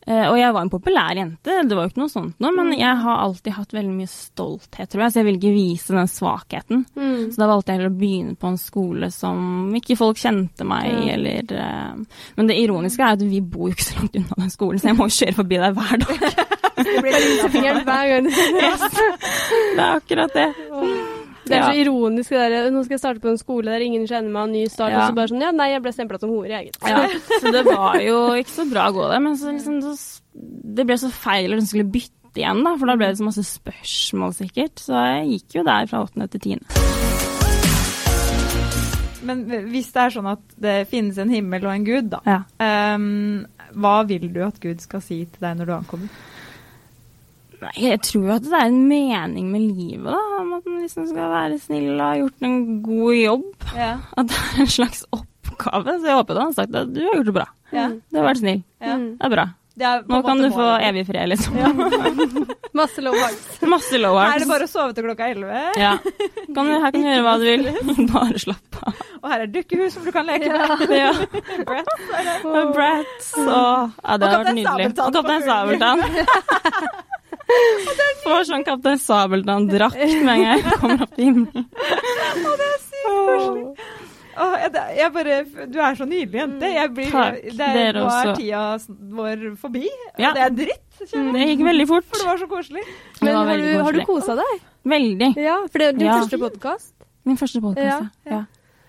Speaker 3: eh, og jeg var en populær jente, det var jo ikke noe sånt nå,
Speaker 1: Mm.
Speaker 3: men jeg har alltid hatt veldig mye stolthet, tror jeg, så jeg ville ikke vise den svakheten.
Speaker 1: Mm.
Speaker 3: Så da valgte jeg heller å begynne på en skole som ikke folk kjente meg i,
Speaker 1: Ja.
Speaker 3: eller eh, Men det ironiske er at vi bor jo ikke så langt unna den skolen, så jeg må jo kjøre forbi der hver dag.
Speaker 1: Det blir litt fingeren hver gang.
Speaker 3: Det er akkurat det.
Speaker 1: Det er
Speaker 3: Ja.
Speaker 1: så ironisk det der Nå skal jeg starte på en skole der ingen kjenner meg, og ny start,
Speaker 3: Ja.
Speaker 1: og så bare sånn Ja, nei, jeg ble stempla som hore, jeg, gitt.
Speaker 3: Ja, så det var jo ikke så bra å gå der, men så liksom, så s- det ble så feil at hun skulle bytte igjen, da, for da ble det så masse spørsmål sikkert. Så jeg gikk jo der fra åttende til tiende.
Speaker 2: Men hvis det er sånn at det finnes en himmel og en gud, da.
Speaker 3: Ja.
Speaker 2: ehm, hva vil du at Gud skal si til deg når du ankommer?
Speaker 3: Nei, Jeg tror jo at det er en mening med livet, da, om at man liksom skal være snill og ha gjort en god jobb.
Speaker 2: Ja,
Speaker 3: At det er en slags oppgave, så jeg håper jo han har sagt at du har gjort det bra.
Speaker 2: ja,
Speaker 3: Du har vært snill.
Speaker 2: ja.
Speaker 1: Mm.
Speaker 3: Det er bra.
Speaker 2: Det er på
Speaker 3: Mm, Nå
Speaker 2: en
Speaker 3: kan
Speaker 2: måte
Speaker 3: du få
Speaker 2: målet.
Speaker 3: evig fred, liksom.
Speaker 1: Masse low vibes.
Speaker 3: Masse low
Speaker 2: Her er det
Speaker 3: arms.
Speaker 2: bare å sove til klokka 11,
Speaker 3: Ja. Kan, du- her kan du gjøre hva du vil. Bare slapp av.
Speaker 2: og her er dukkehus som du kan leke med.
Speaker 3: Ja.
Speaker 2: Brett.
Speaker 3: Og Bratz og Ja, det
Speaker 2: Mm. Og
Speaker 3: hadde vært
Speaker 2: Kaptein
Speaker 3: nydelig.
Speaker 2: Sabeltann
Speaker 3: Og Kaptein
Speaker 2: på
Speaker 3: Sabeltann. Får sånn Kaptein Sabeltann-drakt med en gang jeg kommer opp i himmelen.
Speaker 2: Åh, jeg, jeg bare, du er så nydelig jente. Jeg blir,
Speaker 3: Mm. Takk,
Speaker 2: jeg, det er,
Speaker 3: dere
Speaker 2: nå er
Speaker 3: også.
Speaker 2: tida s- vår forbi,
Speaker 3: Ja.
Speaker 2: og det er dritt. kjenner jeg.
Speaker 3: Det gikk veldig
Speaker 2: For
Speaker 3: fort.
Speaker 2: det var så koselig.
Speaker 3: Det
Speaker 1: Men
Speaker 3: var
Speaker 1: har du,
Speaker 3: veldig
Speaker 1: har du
Speaker 3: koselig.
Speaker 1: kosa deg?
Speaker 3: Veldig.
Speaker 1: Ja, for det er din
Speaker 3: Ja.
Speaker 1: første podkast.
Speaker 3: Min første podkast.
Speaker 2: Ja,
Speaker 3: Ja. ja.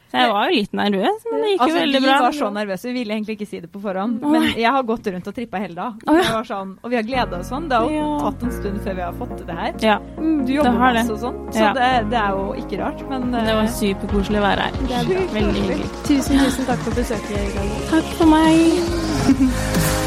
Speaker 3: Så jeg var jo litt nervøs, men det gikk jo
Speaker 2: Altså,
Speaker 3: veldig
Speaker 2: vi
Speaker 3: bra.
Speaker 2: var så nervøse. Vi ville egentlig ikke si det på forhånd,
Speaker 3: Nei.
Speaker 2: men jeg har gått rundt og trippa hele dag.
Speaker 3: Å, ja.
Speaker 2: Jeg var sånn, og vi har gleda oss sånn. Det har jo
Speaker 3: Ja.
Speaker 2: tatt en stund før vi har fått til det her.
Speaker 3: Ja.
Speaker 2: Du jobber
Speaker 3: har
Speaker 2: med
Speaker 3: det.
Speaker 2: oss og sånn, så
Speaker 3: Ja.
Speaker 2: det, det er jo ikke rart, men
Speaker 3: Det
Speaker 2: eh,
Speaker 3: var superkoselig å være her.
Speaker 2: sjukt
Speaker 3: Veldig
Speaker 2: koselig.
Speaker 3: hyggelig.
Speaker 1: Tusen, tusen takk for besøket. Gandhi.
Speaker 3: Takk for meg.